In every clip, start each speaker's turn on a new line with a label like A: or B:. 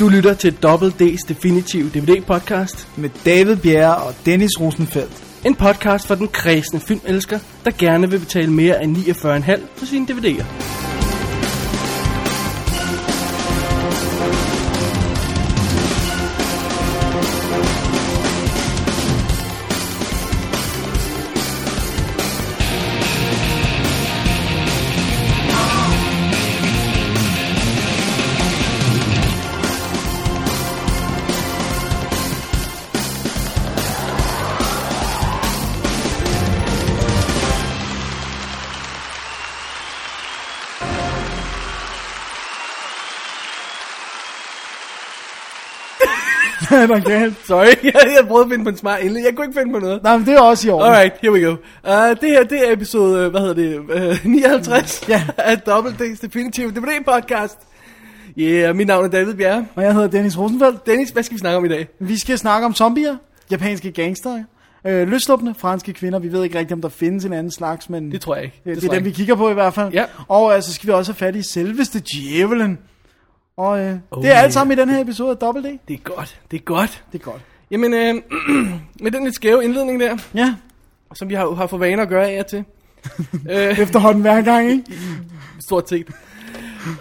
A: Du lytter til Double D's Definitive DVD-podcast.
B: med David Bjerre og Dennis Rosenfeldt.
A: En podcast for den kredsende filmelsker, der gerne vil betale mere end 49,5 for sine DVD'er.
B: Hvad er der galt?
A: Sorry, jeg, jeg prøvede at finde på en smart indlæg. Jeg kunne ikke finde på noget.
B: Nej, men det er også i orden.
A: Alright, here we go. Uh, det her, det er episode, øh, hvad hedder det, uh, 59
B: Ja.
A: af Double D's Definitive DVD-podcast. Yeah, mit navn er David Bjerre.
B: Og jeg hedder Dennis Rosenfeldt.
A: Dennis, hvad skal vi snakke om i dag?
B: Vi skal snakke om zombier, japanske gangster, øh, løsluppende franske kvinder. Vi ved ikke rigtigt, om der findes en anden slags, men
A: Det tror jeg ikke.
B: det, det
A: tror
B: er
A: jeg
B: dem, vi
A: ikke.
B: kigger på i hvert fald.
A: Ja.
B: Og øh, så skal vi også have fat i selveste djævelen. Og øh,
A: Oh,
B: oh, det er
A: yeah.
B: alt sammen i den her episode af Double D.
A: Det er godt, det er godt.
B: Det er godt.
A: Jamen, øh, med den lidt skæve indledning der,
B: Ja,
A: som vi har, har for vaner at gøre af og til. øh,
B: efterhånden hver gang, ikke?
A: stort set.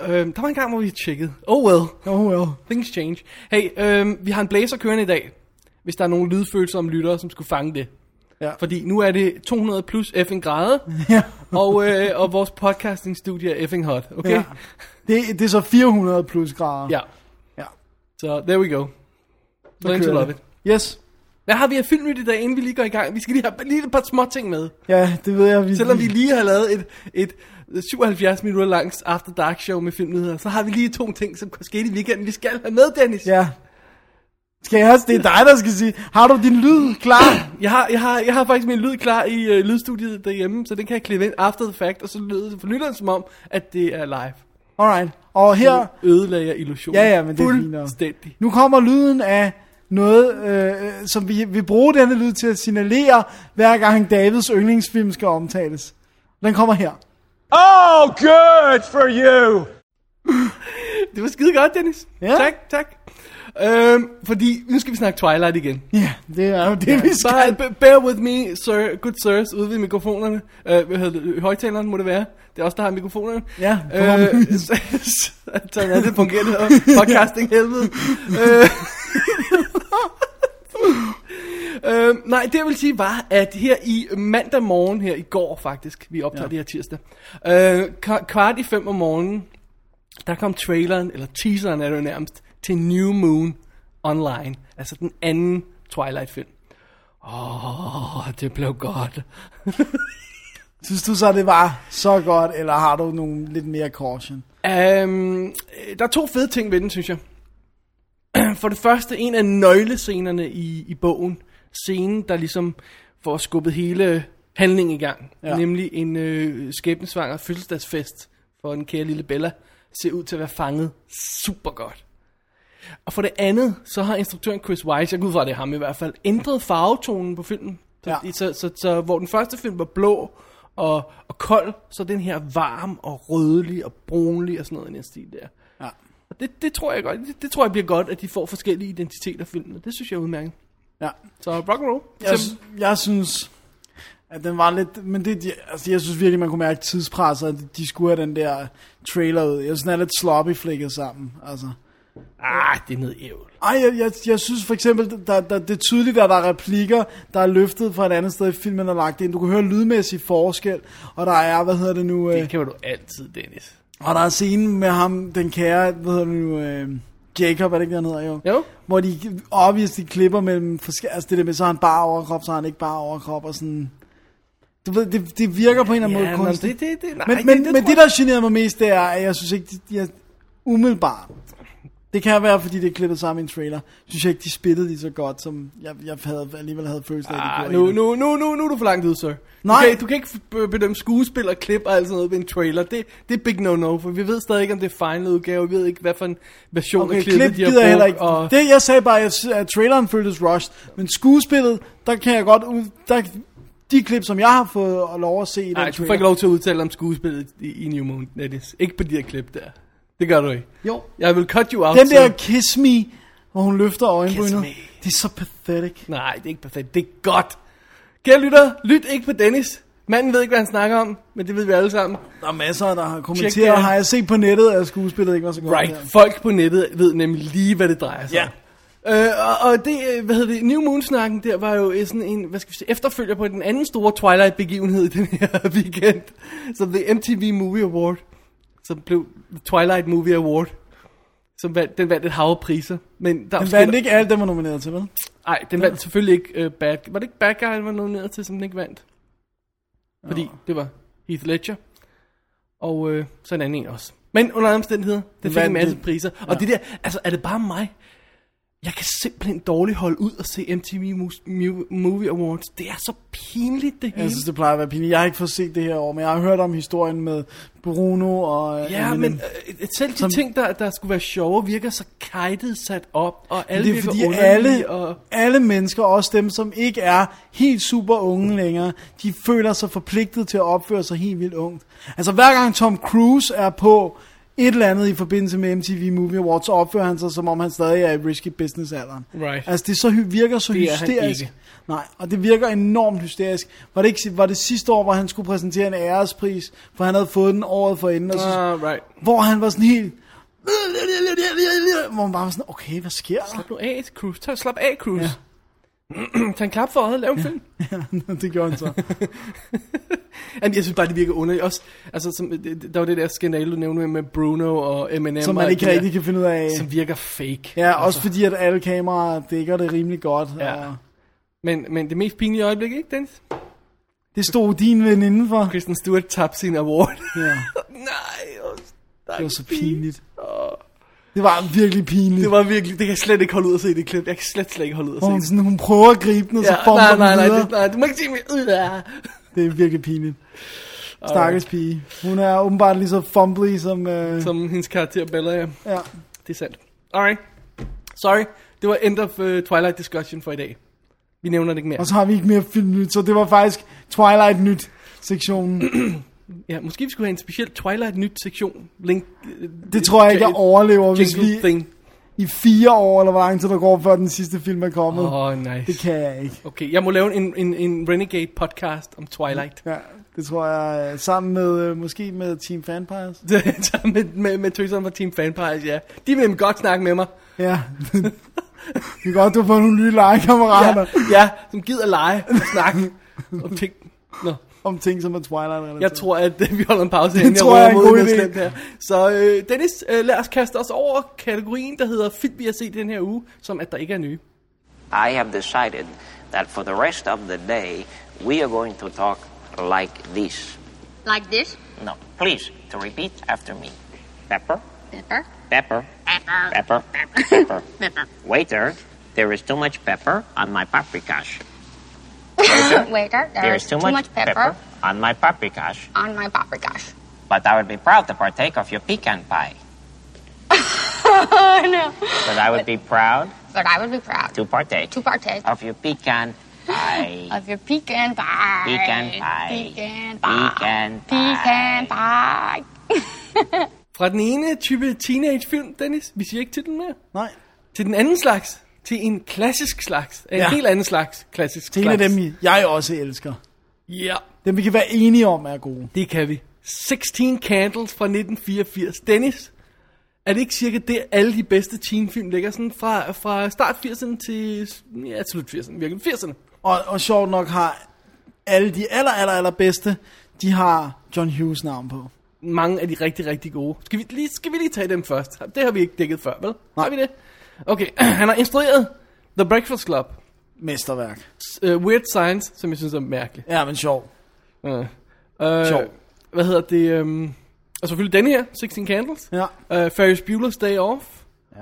A: øh, der var en gang, hvor vi tjekkede. Oh well,
B: Oh well.
A: things change. Hey, øh, vi har en blazer kørende i dag, hvis der er nogle lydfølsomme lyttere, som skulle fange det.
B: Ja.
A: Fordi nu er det 200 plus effing grader,
B: ja.
A: og, øh, og vores podcastingstudie er effing hot, okay?
B: ja. Det, det er så 400 plus grader.
A: ja.
B: Ja.
A: Så there we go. Learn to
B: kører
A: love
B: det.
A: it.
B: Yes.
A: Hvad har vi af filmnyt i dag, inden vi lige går i gang? Vi skal lige have lige et par små ting med.
B: Ja, det ved jeg. Vi,
A: Selvom vi lige har lavet et, et 77 minutter langt After Dark show med filmnyheder, så har vi lige to ting, som skete i weekenden. Vi skal have med, Dennis.
B: Ja. Skal jeg også? Det er dig, der skal sige. Har du din lyd klar?
A: Jeg, har, jeg, har, jeg har faktisk min lyd klar i øh, lydstudiet derhjemme, så den kan jeg klippe ind after the fact, og så lyder det for lytteren som om, at det er live.
B: Alright. Og her,
A: Det ødelagde jeg illusionen.
B: Ja, ja, men det er fint nok.
A: Fuldstændig.
B: nu kommer lyden af noget, øh, øh, som vi vi bruger denne lyd til at signalere, hver gang Davids yndlingsfilm skal omtales. Den kommer her.
C: Oh, good for you!
A: Det var skide godt, Dennis.
B: Ja.
A: Tak, tak. Øhm, fordi nu skal vi snakke Twilight igen.
B: Ja, det er jo det, vi skal.
A: Bare b- bear with me, sir, good sirs, ude ved mikrofonerne. Øh, hvad hedder det? Højtaleren må det være. Det er også der har mikrofonerne.
B: Ja,
A: øh, Sådan er det fungerer det her podcasting helvede. øh, øh, nej, det jeg vil sige var, at her i mandag morgen, her i går faktisk, vi optager ja. det her tirsdag, øh, k- kvart i fem om morgenen, der kom traileren, eller teaseren er det jo nærmest, til New Moon Online, altså den anden Twilight-film. Åh, oh, det blev godt.
B: Synes du så, det var så godt, eller har du nogle lidt mere caution?
A: Um, der er to fede ting ved den, synes jeg. For det første, en af nøglescenerne i, i bogen. Scenen, der ligesom får skubbet hele handlingen i gang. Ja.
B: Ja.
A: Nemlig en øh, skæbnesvanger fødselsdagsfest for den kære lille Bella. Ser ud til at være fanget super godt. Og for det andet, så har instruktøren Chris Wise, jeg går ud fra, at det er ham i hvert fald, ændret farvetonen på filmen. Så, ja.
B: Ja.
A: så, så, så hvor den første film var blå og, og kold, så er den her varm og rødlig og brunlig og sådan noget i den stil der.
B: Ja.
A: Og det, det tror jeg godt, det, det tror jeg bliver godt, at de får forskellige identiteter filmen. Det synes jeg er udmærket.
B: Ja.
A: Så rock and roll.
B: Jeg,
A: Sim-
B: jeg synes, at den var lidt... Men det, altså, jeg synes virkelig, man kunne mærke tidspresset, at de skulle have den der trailer ud. Jeg synes, den er lidt sloppy flækket sammen. Altså.
A: ah, det er noget ævl.
B: Ej, jeg, jeg, jeg synes for eksempel, der, der, det er tydeligt, at der er replikker, der er løftet fra et andet sted i filmen og lagt ind. Du kan høre lydmæssig forskel, og der er, hvad hedder det nu... Øh,
A: Det kan du altid, Dennis.
B: og der er scenen med ham, den kære, hvad hedder det nu... Øh, Jacob, er det ikke, han hedder jo?
A: Jo.
B: Hvor de obviously klipper mellem forskellige... Altså det der med, så har han bare overkrop, så har han ikke bare overkrop, og sådan... Du ved, det, det virker på en eller anden
A: Ja,
B: måde
A: men
B: kunstigt.
A: det, det, det, nej,
B: Men, men,
A: det,
B: det, men
A: tror
B: det,
A: jeg-
B: der generede mig mest, det er, at jeg synes ikke, de, de er umiddelbart. Det kan være, fordi det er klippet sammen i en trailer. Synes jeg ikke, de spillede de så godt, som jeg, jeg havde, alligevel havde følelsen af, at de
A: Ah,
B: gjorde.
A: nu,
B: i det.
A: nu, nu, nu, nu er du for langt ud, sir.
B: Nej.
A: Du kan, du kan ikke f- bedømme skuespil og klip og alt sådan noget ved en trailer. Det, det er big no-no, for vi ved stadig ikke, om det er final udgave. Vi ved ikke, hvad for en version
B: Okay,
A: af klippet,
B: klip
A: de har
B: gider jeg heller ikke.
A: Og...
B: Det jeg sagde bare, at jeg sy- at traileren føltes rushed, men skuespillet, der kan jeg godt ud... Der, de klip, som jeg har fået og lov at se i den
A: Nej, du får
B: trailer,
A: ikke lov til at udtale om skuespillet i, i New Moon, Dennis. Ikke på de her klip der. Det gør du ikke.
B: Jo.
A: Jeg vil cut you out.
B: Den der
A: så-
B: kiss me, hvor hun løfter
A: Kiss
B: øjenbrynet.
A: me.
B: Det er så pathetic.
A: Nej, det er ikke perfekt. Det er godt. Kære lytter, lyt ikke på Dennis. Manden ved ikke, hvad han snakker om, men det ved vi alle sammen.
B: Der er masser, der har
A: Tjek
B: kommenteret,
A: det.
B: og har jeg set på nettet, at skuespillet ikke var så godt.
A: Right.
B: her.
A: Folk på nettet ved nemlig lige, hvad det drejer sig om. Øh, og, og det, øh, hvad hedder det, New Moon-snakken der var jo øh, sådan en, hvad skal vi sige, efterfølger på den anden store Twilight-begivenhed i den her weekend, som The MTV Movie Award, som blev Twilight Movie Award, som vandt, den vandt et hav af priser. Men der Mm.
B: Den
A: skete-
B: vandt ikke alt, den var nomineret til, vel?
A: Nej, den vandt selvfølgelig ikke øh, Bad Var det ikke Bad Guy, han var nomineret til, som den ikke vandt? Fordi det var Heath Ledger. Og øh, så en anden en også. Men under alle omstændigheder, den fik en
B: vandt
A: masse
B: det.
A: priser. Og det der, altså er det bare mig? Jeg kan simpelthen dårligt holde ud og se MTV Mus- Mu- Movie Awards. Det er så pinligt, det hele.
B: Jeg synes, det plejer at være pinligt. Jeg har ikke fået set det her år, men jeg har hørt om historien med Bruno og... øh,
A: ja,
B: Eminem.
A: men øh, selv de ting, der, der skulle være sjove, virker så kajtet sat op, og alle
B: det er
A: virker
B: fordi
A: underlige,
B: alle,
A: og...
B: alle mennesker, også dem, som ikke er helt super unge længere, de føler sig forpligtet til at opføre sig helt vildt ungt. Altså hver gang Tom Cruise er på et eller andet i forbindelse med MTV Movie Awards, så opfører han sig, som om han stadig er i risky business alderen.
A: Right.
B: Altså det så, hy- virker så
A: Det er han
B: hysterisk.
A: ikke.
B: Nej, og det virker enormt hysterisk. Var det, ikke, var det sidste år, hvor han skulle præsentere en ærespris, for han havde fået den året for inden, og så,
A: Uh, right.
B: hvor han var sådan helt... Hvor man bare var sådan, okay, hvad sker der?
A: Slap nu af, Cruise. Tag, slap af, Cruise. Ja. Tag en klap for øjet, lav en film.
B: det gjorde han så.
A: Jamen, jeg synes bare, det virker underligt. Også, altså, som, det- det- der var det der skandale, du nævnte med med Bruno og Eminem.
B: som man
A: og
B: ikke
A: det
B: rigtig
A: der,
B: kan finde ud af.
A: Som virker fake.
B: Ja, også fordi, at alle kameraer dækker det rimelig godt.
A: Ja.
B: Og
A: Men, men det mest pinlige øjeblik, ikke, Dennis?
B: det stod din veninde for.
A: Kristen Stewart tabte sin award.
B: Ja,
A: Nej, åh,
B: det var så pinligt. Det var virkelig pinligt.
A: Det var virkelig, det kan jeg slet ikke holde ud at se i det klip. Jeg kan slet, slet ikke holde ud at
B: Hvor
A: se
B: hun,
A: det.
B: sådan, hun prøver at gribe den, og så
A: Ja,
B: bomber
A: nej, nej,
B: den
A: nej,
B: videre.
A: det, nej, du må ikke sige mig. Ja.
B: Det er virkelig pinligt. Stakkels pige. Hun er åbenbart lige så fumbly som... Øh, som
A: Som hendes karakter Bella er.
B: ja.
A: Det er sandt. Alright. Sorry. Det var end of uh, Twilight Discussion for i dag. Vi nævner det ikke mere.
B: Og så har vi ikke mere filmnyt, så det var faktisk Twilight Nyt sektionen.
A: Ja, måske vi skulle have en speciel Twilight nyt sektion. Link,
B: Det tror jeg ikke, jeg overlever, hvis
A: Jingle
B: vi
A: thing.
B: i fire år, eller hvor lang tid der går, før den sidste film er kommet.
A: Åh, oh, nice.
B: Det kan jeg ikke.
A: Okay, jeg må lave en, en, en Renegade podcast om Twilight.
B: Ja, det tror jeg øh, sammen med, øh, måske med Team Fanpires.
A: Så med, med, med tøserne fra Team Fanpies, ja. De vil nemlig godt snakke med mig.
B: Ja. det er godt, du har fået nogle nye legekammerater
A: Ja, ja som gider lege og snakke om ting. Nå,
B: om ting, som er Twilight-relateret.
A: jeg tror, at øh, vi holder en pause her.
B: tror jeg er en god idé.
A: Her. Så øh, Dennis, øh, lad os kaste os over kategorien, der hedder film, vi har set den her uge, som at der ikke er nye.
D: I have decided that for the rest of the day, we are going to talk like this.
E: Like this?
D: No, please, to repeat after me. Pepper,
E: Pepper?
D: pepper,
E: Pepper.
D: pepper, pepper.
E: Pepper.
D: Waiter, there is too much pepper on my paprikash.
E: Waiter, there
D: There is too much,
E: pepper,
D: on my paprikash.
E: on my paprikash.
D: But I would be proud to partake of your pecan pie.
E: Oh, no.
D: But I would be proud
E: But I would be proud
D: to partake
E: to partake
D: of your pecan pie.
E: of your pecan pie.
D: Pecan pie.
E: Pecan pie.
D: Pecan pie.
E: Pecan pie.
A: Fra den ene type teenagefilm, Dennis, vi siger ikke til den mere.
B: Nej,
A: til den anden slags, til en klassisk slags, en ja.
B: Ja.
A: helt anden slags klassisk
B: det er
A: slags.
B: en af dem, jeg også elsker.
A: Ja,
B: Dem, vi kan være enige om, er gode.
A: det kan vi. 16 Candles fra 1984. Dennis, er det ikke cirka det, alle de bedste teenfilm ligger sådan fra, fra start 80'erne til ja, slut 80'erne, virkelig 80'erne?
B: Og, og sjovt nok har alle de aller, aller, aller bedste, de har John Hughes navn på.
A: Mange af de rigtig, rigtig gode. Skal vi, lige, skal vi lige tage dem først? Det har vi ikke dækket før, vel? Har vi det? Okay, han har instrueret The Breakfast Club,
B: Mesterværk.
A: uh, Weird Science, som jeg synes er mærkelig.
B: Ja, men sjov.
A: Uh, uh,
B: Sjov.
A: Hvad hedder det? Um, og selvfølgelig den her, 16 Candles.
B: Ja.
A: Uh, Ferris Bueller's Day Off.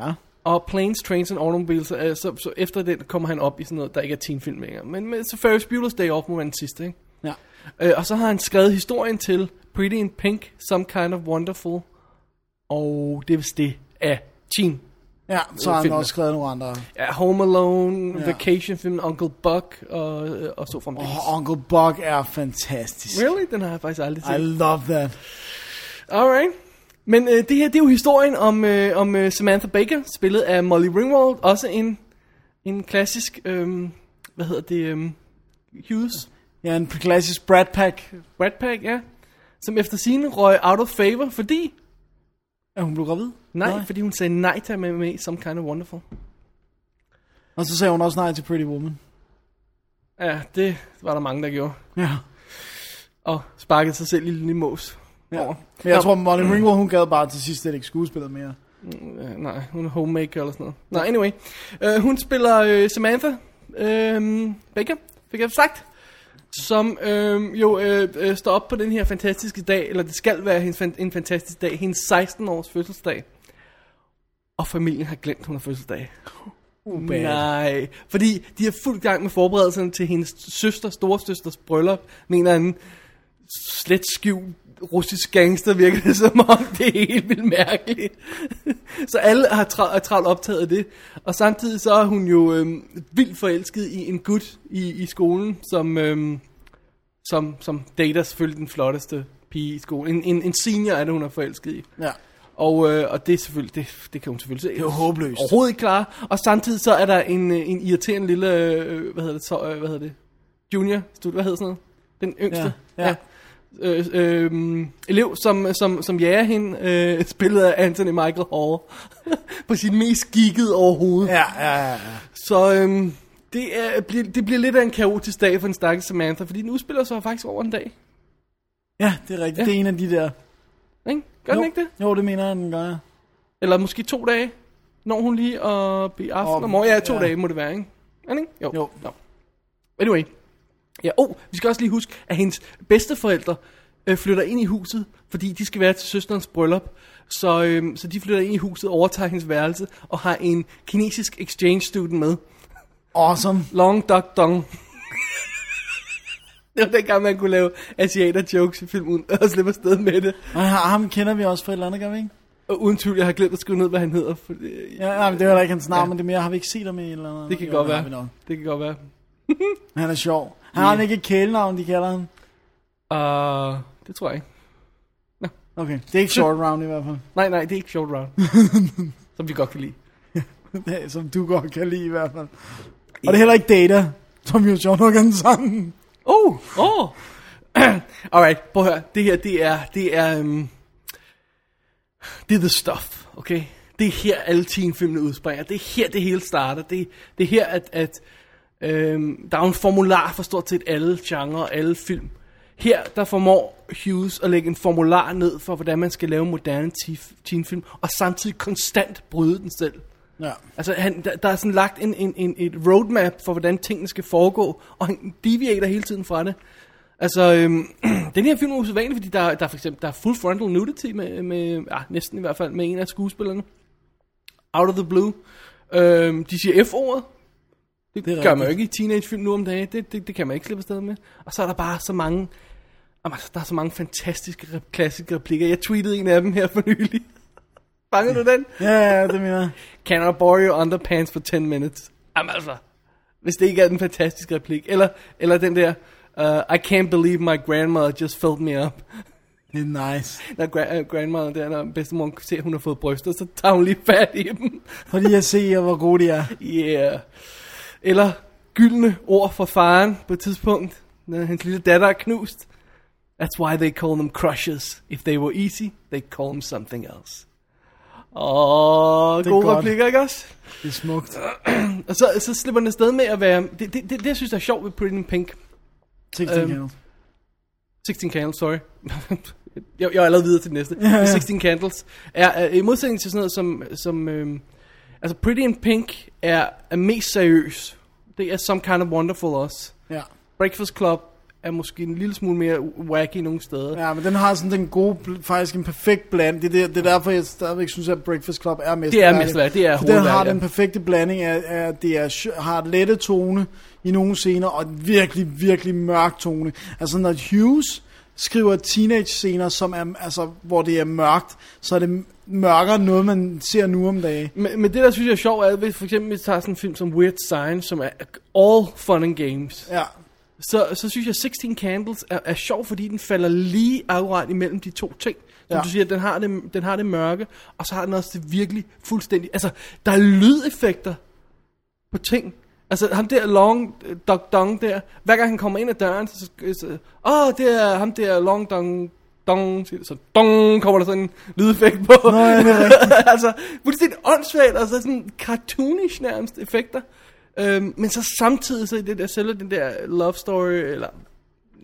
B: Ja.
A: Og Planes, Trains and Automobiles. Uh, så, så efter den kommer han op i sådan noget, der ikke er teenfilm længere. Men, men så Ferris Bueller's Day Off må være den sidste, ikke?
B: Ja.
A: Uh, og så har han skrevet historien til Pretty in Pink, Some Kind of Wonderful. Og det er vist det af teen.
B: Ja, så har han
A: Filmen.
B: også skrevet nogle andre.
A: Ja, Home Alone,
B: Ja.
A: Vacation Film, Uncle Buck og, øh, og så fremdeles.
B: Oh, Uncle Buck er fantastisk.
A: Really? Den har jeg faktisk aldrig set.
B: I love that.
A: Alright. Men øh, det her, det er jo historien om, øh, om øh, Samantha Baker, spillet af Molly Ringwald, også en, en klassisk, øh, hvad hedder det, øh, Hughes,
B: Ja, en klassisk Brad Pack,
A: Brad Pack, ja, som efter sine røg out of favor, fordi,
B: at hun blev gravid.
A: nej, nej. fordi hun sagde nej til at være med i Some Kind of Wonderful.
B: Og så sagde hun også nej til Pretty Woman.
A: Ja, det var der mange, der gjorde.
B: Ja.
A: Og sparkede sig selv i lille mås.
B: ja.
A: Over.
B: Men jeg tror, Molly Ringwald, hun gad bare til sidst slet ikke skuespillet mere.
A: Øh, nej, hun er homemaker eller sådan noget. Nå, anyway. Øh, hun spiller øh, Samantha øh, Baker, fik jeg sagt. Som øh, jo øh, øh, står op på den her fantastiske dag, eller det skal være hendes fan- en fantastisk dag, hendes 16-års fødselsdag. Og familien har glemt, hun har fødselsdag.
B: bad.
A: Nej, fordi de er fuldt gang med forberedelserne til hendes søster, storesøsters bryllup, mener en slet skjult russisk gangster, virker det som om. Det er helt vildt mærkeligt. så alle har tra- er travlt optaget af det. Og samtidig så er hun jo øhm, vildt forelsket i en gut i, i skolen, som, øhm, som, som dater selvfølgelig den flotteste pige i skolen. En, en, en senior er det, hun er forelsket i.
B: Ja.
A: Og, øh, og det, er selvfølgelig, det, det kan hun selvfølgelig se. Det
B: er jo håbløst.
A: Overhovedet ikke klar. Og samtidig så er der en, øh, en irriterende lille, øh, hvad hedder det, så, øh, hvad hedder det, junior, stud, hvad hedder sådan noget? Den yngste.
B: Ja, ja.
A: Øh, øh, elev, som, som, som jager hende, øh, spillet af Anthony Michael Hall, på sin mest giggede overhovedet.
B: Ja, ja, ja. ja.
A: Så øhm, det, er, bliver, det bliver lidt af en kaotisk dag for en stakkels Samantha, fordi den udspiller sig faktisk over en dag.
B: Ja, det er rigtigt.
A: Ja.
B: Ja. Det er en af de der.
A: Ikke? Gør den ikke det?
B: Jo, det mener jeg, den gør, ja.
A: Eller måske to dage. Når hun lige at blive aften og
B: Om-
A: morgen. Ja, to ja.
B: ja.
A: dage må det være, ikke? Er det ikke? Jo.
B: Jo.
A: No. Anyway. Ja, oh, vi skal også lige huske, at hendes bedsteforældre øh, flytter ind i huset, fordi de skal være til søsterens bryllup. Så, øh, så de flytter ind i huset, overtager hendes værelse og har en kinesisk exchange student med.
B: Awesome.
A: Long Dok Dong. det var dengang, man kunne lave asiater jokes i film, uden at slippe afsted med det.
B: Og ha- ham kender vi også fra et eller andet, gør vi ikke?
A: Og uden tvivl, jeg har glemt at skrive ned, hvad han hedder. For, øh,
B: Ja, ja men det er heller ikke hans navn, ja. men det er mere, har vi ikke set ham i et eller andet?
A: det kan
B: Jo,
A: godt
B: har vi
A: være.
B: nok.
A: Det kan godt være.
B: Han er sjov. Har han ikke et kælenavn, de kalder ham?
A: Uh, det tror jeg ikke.
B: Okay, det er ikke short round i hvert fald.
A: Nej, nej, det er ikke Short Round. som vi godt kan lide.
B: Det er, som du godt kan lide i hvert fald. Og det er heller ikke data, som jo sjovt nok er den samme.
A: Oh, oh. Alright, prøv at høre. Det her, det er, det er, um, det er the stuff, okay? Det er her, alle teenfilmene udspringer. Det er her, det hele starter. Det, det er her, at, at øhm, der er jo en formular for stort set alle genrer og alle film. Her, der formår Hughes at lægge en formular ned for, hvordan man skal lave moderne te- teenfilm, og samtidig konstant bryde den selv.
B: Ja.
A: Altså, han, der, der er sådan lagt en, en, en, et roadmap for, hvordan tingene skal foregå, og han deviater hele tiden fra det. Altså, øhm, den her film er usædvanlig, fordi der, der er for eksempel der er full frontal nudity med, med ja, næsten i hvert fald med en af skuespillerne. Out of the blue. Øhm, de siger F-ordet. Det, det gør man jo ikke i teenagefilm nu om dagen. Det, det, det kan man ikke slippe afsted med. Og så er der bare så mange... Jamen, altså, der er så mange fantastiske rep- klassiske replikker. Jeg tweetede en af dem her for nylig. Fangede du den?
B: Ja, ja, det mener jeg.
A: Can I borrow your underpants for 10 minutes? Jamen altså, hvis det ikke er den fantastiske replik. Eller, eller den der, uh, I can't believe my grandmother just filled me up.
B: Det er nice.
A: Når gra- uh, grandmother der, når bedstemor kan se, at hun har fået bryster, så tager hun lige fat i dem.
B: Fordi jeg ser, hvor gode de er.
A: Yeah. Eller gyldne ord fra faren på et tidspunkt, når hans lille datter er knust. That's why they call them crushes. If they were easy, they'd call them something else. Åh, oh,
B: er
A: gode
B: godt.
A: replikker, ikke også?
B: Det er smukt.
A: Og så, så slipper den afsted med at være... Det, det, det, det jeg synes jeg er sjovt ved Pretty in Pink.
B: 16
A: Øhm,
B: candles.
A: 16 Candles, sorry. jeg, jeg er allerede videre til det næste. Yeah, yeah. 16 Candles er, er i modsætning til sådan noget som... som øhm, altså, Pretty in Pink er, er mest seriøs. Det er Some Kind of Wonderful også.
B: Ja.
A: Breakfast Club er måske en lille smule mere wacky nogle steder.
B: ja, men den har sådan den gode, bl- faktisk en perfekt bland. Det er, det, det er derfor, jeg stadigvæk synes, at Breakfast Club er mest
A: mesterværket. Det er
B: den har
A: hovedværket, ja.
B: den perfekte blanding af, af det er, sj- har lette tone i nogle scener, og en virkelig, virkelig mørk tone. Altså når Hughes skriver teenage-scener, som er, altså, hvor det er mørkt, så er det mørkere end noget, man ser nu om dagen.
A: Men, men det, der synes jeg er sjovt, er, hvis for eksempel vi tager sådan en film som Weird Science, som er all fun and games.
B: Ja,
A: så, så synes jeg, 16 Candles er, er sjov, fordi den falder lige akkurat imellem de to ting. Som
B: Ja.
A: ja. du siger, den har, det, den har det mørke, og så har den også det virkelig fuldstændig... Altså, der er lydeffekter på ting. Altså, ham der Long øh, Dong Dong der, hver gang han kommer ind ad døren, så... så- så Åh, oh, det er ham der Long Dong Dong, siger det, så dong, kommer der sådan en lydeffekt på. Nå,
B: ja, det er
A: altså, fuldstændig åndssvagt, altså sådan cartoonish nærmest effekter. Øhm, men så samtidig så i det der, selv den der love story, eller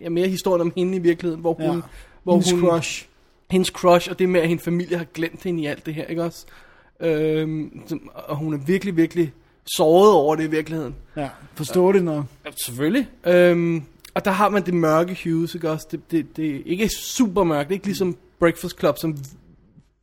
A: ja, mere historien om hende i virkeligheden, hvor hun...
B: Ja.
A: Hvor
B: Hendes
A: hun,
B: crush.
A: hendes crush, og det med, at hendes familie har glemt hende i alt det her, ikke også? Øhm, som- og hun er virkelig, virkelig såret over det i virkeligheden.
B: Ja, forstår det nok.
A: Ja, selvfølgelig. Øhm, og der har man det mørke hues, ikke også? Det, det, det er ikke super mørkt, det er ikke ligesom Breakfast Club, som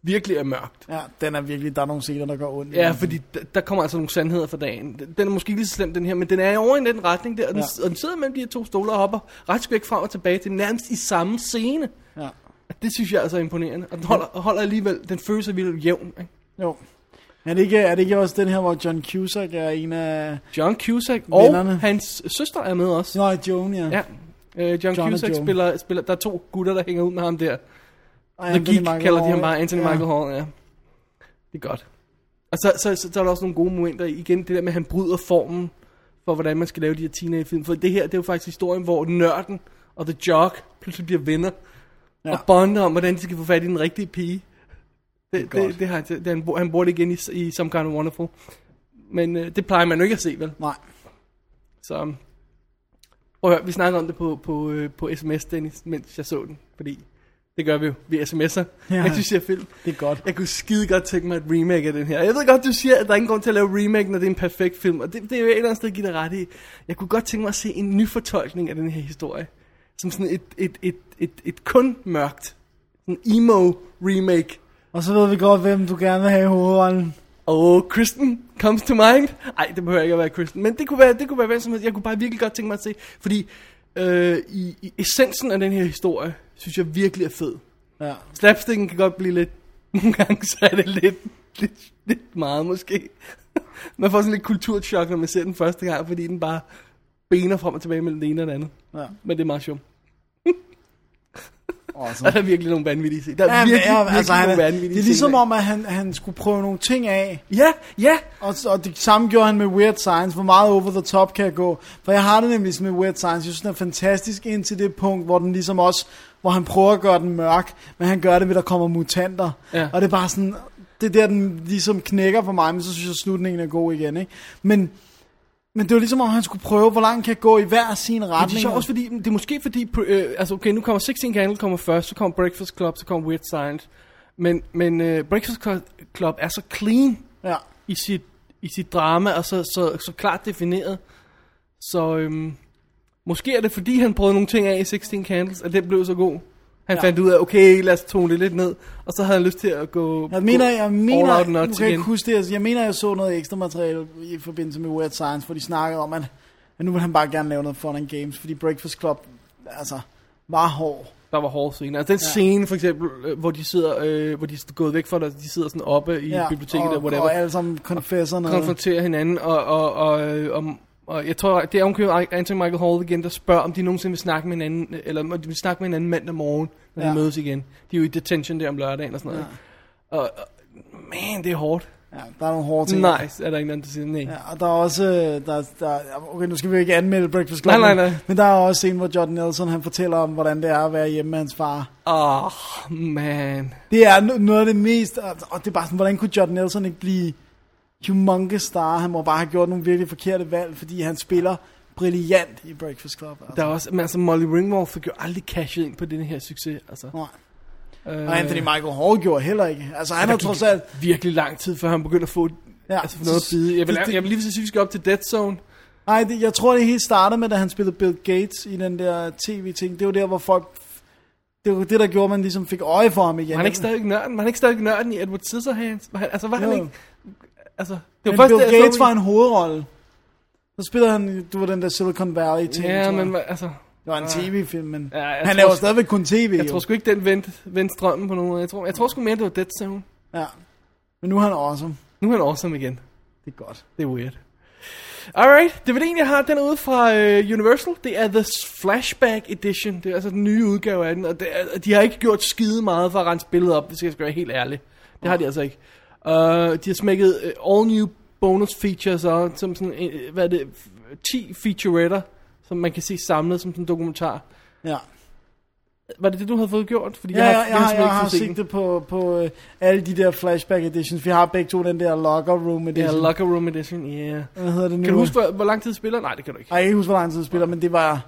A: virkelig er mørkt.
B: Ja, den er virkelig, der er nogle scener, der går ondt. i
A: Ja,
B: den.
A: fordi d- der kommer altså nogle sandheder for dagen. Den- Den er måske ikke lige så slem, den her, men den er over i den retning der, og den,
B: Ja.
A: ja. og den sidder mellem de her to stole og hopper ret skægt frem og tilbage til nærmest i samme scene.
B: Ja.
A: Det synes jeg altså er imponerende. Og den holder, holder alligevel, den føles alligevel jævn, ikke?
B: Jo. Er det, ikke, er det ikke også den her, hvor John Cusack er en af...
A: John Cusack og
B: Vennerne.
A: hans søster er med også.
B: Nå, Joan, ja.
A: Ja. Øh, John,
B: og
A: John Cusack
B: Joan.
A: spiller, spiller, der er to gutter, der hænger ud med ham der.
B: Ej,
A: The
B: Anthony
A: Geek
B: Michael
A: kalder de
B: Hall.
A: ham bare Anthony
B: ja.
A: Michael Hall, ja. Det er godt. Og så, så, så, så er der også nogle gode momenter i. igen, det der med, at han bryder formen for, hvordan man skal lave de her teenagefilm. For det her, det er jo faktisk historien, hvor nørden og The Jock pludselig bliver venner.
B: Ja.
A: Ja. Og bonder om, hvordan de skal få fat i den rigtige pige. Det,
B: godt.
A: det, det, har han, til- det, han, bruger- han bruger det igen i, i Some Kind of Wonderful. Men øh, det plejer man jo ikke at se, vel?
B: Nej.
A: Så um, prøv at høre, vi snakkede om det på, på, øh, på sms, Dennis, mens jeg så den. Fordi det gør vi jo, vi sms'er,
B: Ja.
A: ja. mens vi ser film.
B: Det er godt.
A: Jeg kunne skide godt tænke mig et remake af den her. Jeg ved godt, du siger, at der er ingen grund til at lave remake, når det er en perfekt film. Og det, det er jo et eller andet sted, at give dig ret i. Jeg kunne godt tænke mig at se en ny fortolkning af den her historie. Som sådan et, et, et, et, et kun mørkt. En emo remake.
B: Og så ved vi godt, hvem du gerne vil have i hovedrollen.
A: Og Kristen comes to mind. Nej, det behøver ikke at være Kristen, men det kunne være, det kunne være hvem som helst. Jeg kunne bare virkelig godt tænke mig at se, fordi øh, i, i essensen af den her historie, synes jeg virkelig er fed.
B: Ja.
A: Slapsticken kan godt blive lidt, nogle gange så er det lidt, lidt, lidt meget måske. Man får sådan lidt kulturchok, når man ser den første gang, fordi den bare bener frem og tilbage mellem det ene og det andet.
B: Ja.
A: Men det er meget sjovt.
B: Awesome.
A: Og der er virkelig nogle vanvittige scener. Der er
B: Ja, men,
A: virkelig,
B: ja,
A: virkelig
B: altså, han,
A: nogle
B: er-
A: vanvittige
B: det er ligesom
A: scener.
B: om, at han, han skulle prøve nogle ting af,
A: Ja, ja,
B: og, og det samme gjorde han med Weird Science, hvor meget over the top kan jeg gå. For jeg har det nemlig som med Weird Science, jeg synes den er fantastisk indtil det punkt, hvor den ligesom også, hvor han prøver at gøre den mørk, men han gør det ved, der kommer mutanter.
A: Ja.
B: Og det er bare sådan, det er der, den ligesom knækker for mig, men så synes jeg, slutningen er god igen, ikke? Men, men det var ligesom om, han skulle prøve, hvor langt kan jeg gå i hver sin
A: Men det er
B: retning.
A: sjovt også fordi, det er måske fordi, øh, altså okay, nu kommer 16 Candle kommer først, så kommer Breakfast Club, så kommer Weird Science. Men, men øh, Breakfast Cl- Club er så clean
B: Ja,
A: i sit, i sit drama, og så, så, så klart defineret. Så øhm, måske er det fordi, han prøvede nogle ting af i 16 Candles, at det blev så god. Han
B: Ja.
A: ja. fandt ud af, okay, lad os tone det lidt ned. Og så havde han lyst til at gå,
B: jeg mener,
A: gå
B: jeg mener,
A: all out
B: nu
A: nuts
B: kan jeg
A: igen.
B: ikke huske det, altså, jeg mener, jeg så noget ekstra materiale i forbindelse med Weird Science, hvor de snakkede om, at, at nu vil han bare gerne lave noget fun and games, fordi Breakfast Club, altså, var hård.
A: Der var hårde scener. Altså den
B: Ja.
A: ja. scene for eksempel, øh, hvor de sidder, øh, hvor de er gået væk fra det, de sidder sådan oppe i ja, biblioteket
B: og,
A: og whatever.
B: Og alle sammen confesser noget.
A: konfrontere hinanden, og, og, og, øh, om, og jeg tror, det er omkring Anthony Michael Hall igen, der spørger, om de nogensinde vil snakke med hinanden, eller om de vil snakke med hinanden mandag morgen, når ja.
B: Ja.
A: de mødes igen. De er jo i detention der om lørdagen og sådan noget. Ja. Og, og, man, det er hårdt.
B: ja, der er nogle hårde ting.
A: Nice, er der ingen anden, der siger nej. Ja.
B: Ja, og der er også, øh, der, der, okay, nu skal vi jo ikke anmelde Breakfast Club,
A: Nej, nej,
B: men-
A: nej.
B: men der er også en, hvor John Nelson, han fortæller om, hvordan det er at være hjemme med hans far.
A: Oh, man.
B: Det er no- noget af det mest, og og det er bare sådan, hvordan kunne John Nelson ikke blive humongous star? Han må bare have gjort nogle virkelig forkerte valg, fordi han spiller brilliant i Breakfast Club. Altså.
A: Der er også, men altså Molly Ringwald fik jo aldrig cashet ind på den her succes. Altså.
B: Nej.
A: Øh,
B: Og Anthony Michael Hall gjorde heller ikke. Altså han har
A: gik
B: trods alt...
A: virkelig lang tid, før han begyndte at få
B: Ja,
A: ja, altså, for noget at bide. i. Jeg vil,
B: det- det-
A: jeg vil lige så sige, at vi skal op til Dead Zone.
B: Nej, det, jeg tror det hele startede med, da han spillede Bill Gates i den der tv-ting. Det var der, hvor folk... Det var det, der gjorde, at man ligesom fik øje for ham igen.
A: Var han ikke stadigvæk nørden? Var han ikke stadigvæk nørden i Edward Scissorhands? Var han, altså, var jo.
B: Jo.
A: han ikke... Altså, det var
B: Men
A: først,
B: Bill
A: da jeg så
B: Gates
A: den-
B: var en hovedrolle. Så spiller han, du var den der Silicon Valley-ting,
A: Ja,
B: tror jeg.
A: men hva- altså...
B: Det var en tv-film, men
A: Ja, jeg
B: han
A: tror
B: laver
A: sgu-
B: stadigvæk kun tv,
A: Jeg
B: jo.
A: tror sgu ikke, den vendte, vendte strømmen på nogen måde. Jeg tror, jeg tror sgu mere, det var Dead Zone.
B: Ja. Men nu er han awesome.
A: Nu er han awesome igen.
B: Det er godt.
A: Det er weird. Alright, DVD'en jeg har, den er ude fra øh, Universal. Det er The Flashback Edition. Det er altså den nye udgave af den. Og det er, og de har ikke gjort skide meget for at rense billedet op, hvis jeg skal være helt ærlig. Det har de altså ikke. Uh, de har smækket øh, all new bonus features og som sådan, øh, hvad er det, 10 featuretter, som man kan se samlet som sådan en dokumentar.
B: Ja.
A: Var det det, du havde fået gjort? Fordi
B: Ja, jeg, jeg, har,
A: simpelthen
B: jeg har
A: fået set den.
B: sigtet på, på øh, alle de der flashback editions. Vi har begge to den der locker room
A: Det
B: edition.
A: er Locker Room Edition, ja. Yeah.
B: Hvad hedder det nu?
A: Kan du huske, hvor, hvor lang tid spiller? Nej, det kan du ikke.
B: Ej, jeg kan ikke huske, hvor lang tid det spiller, men det var...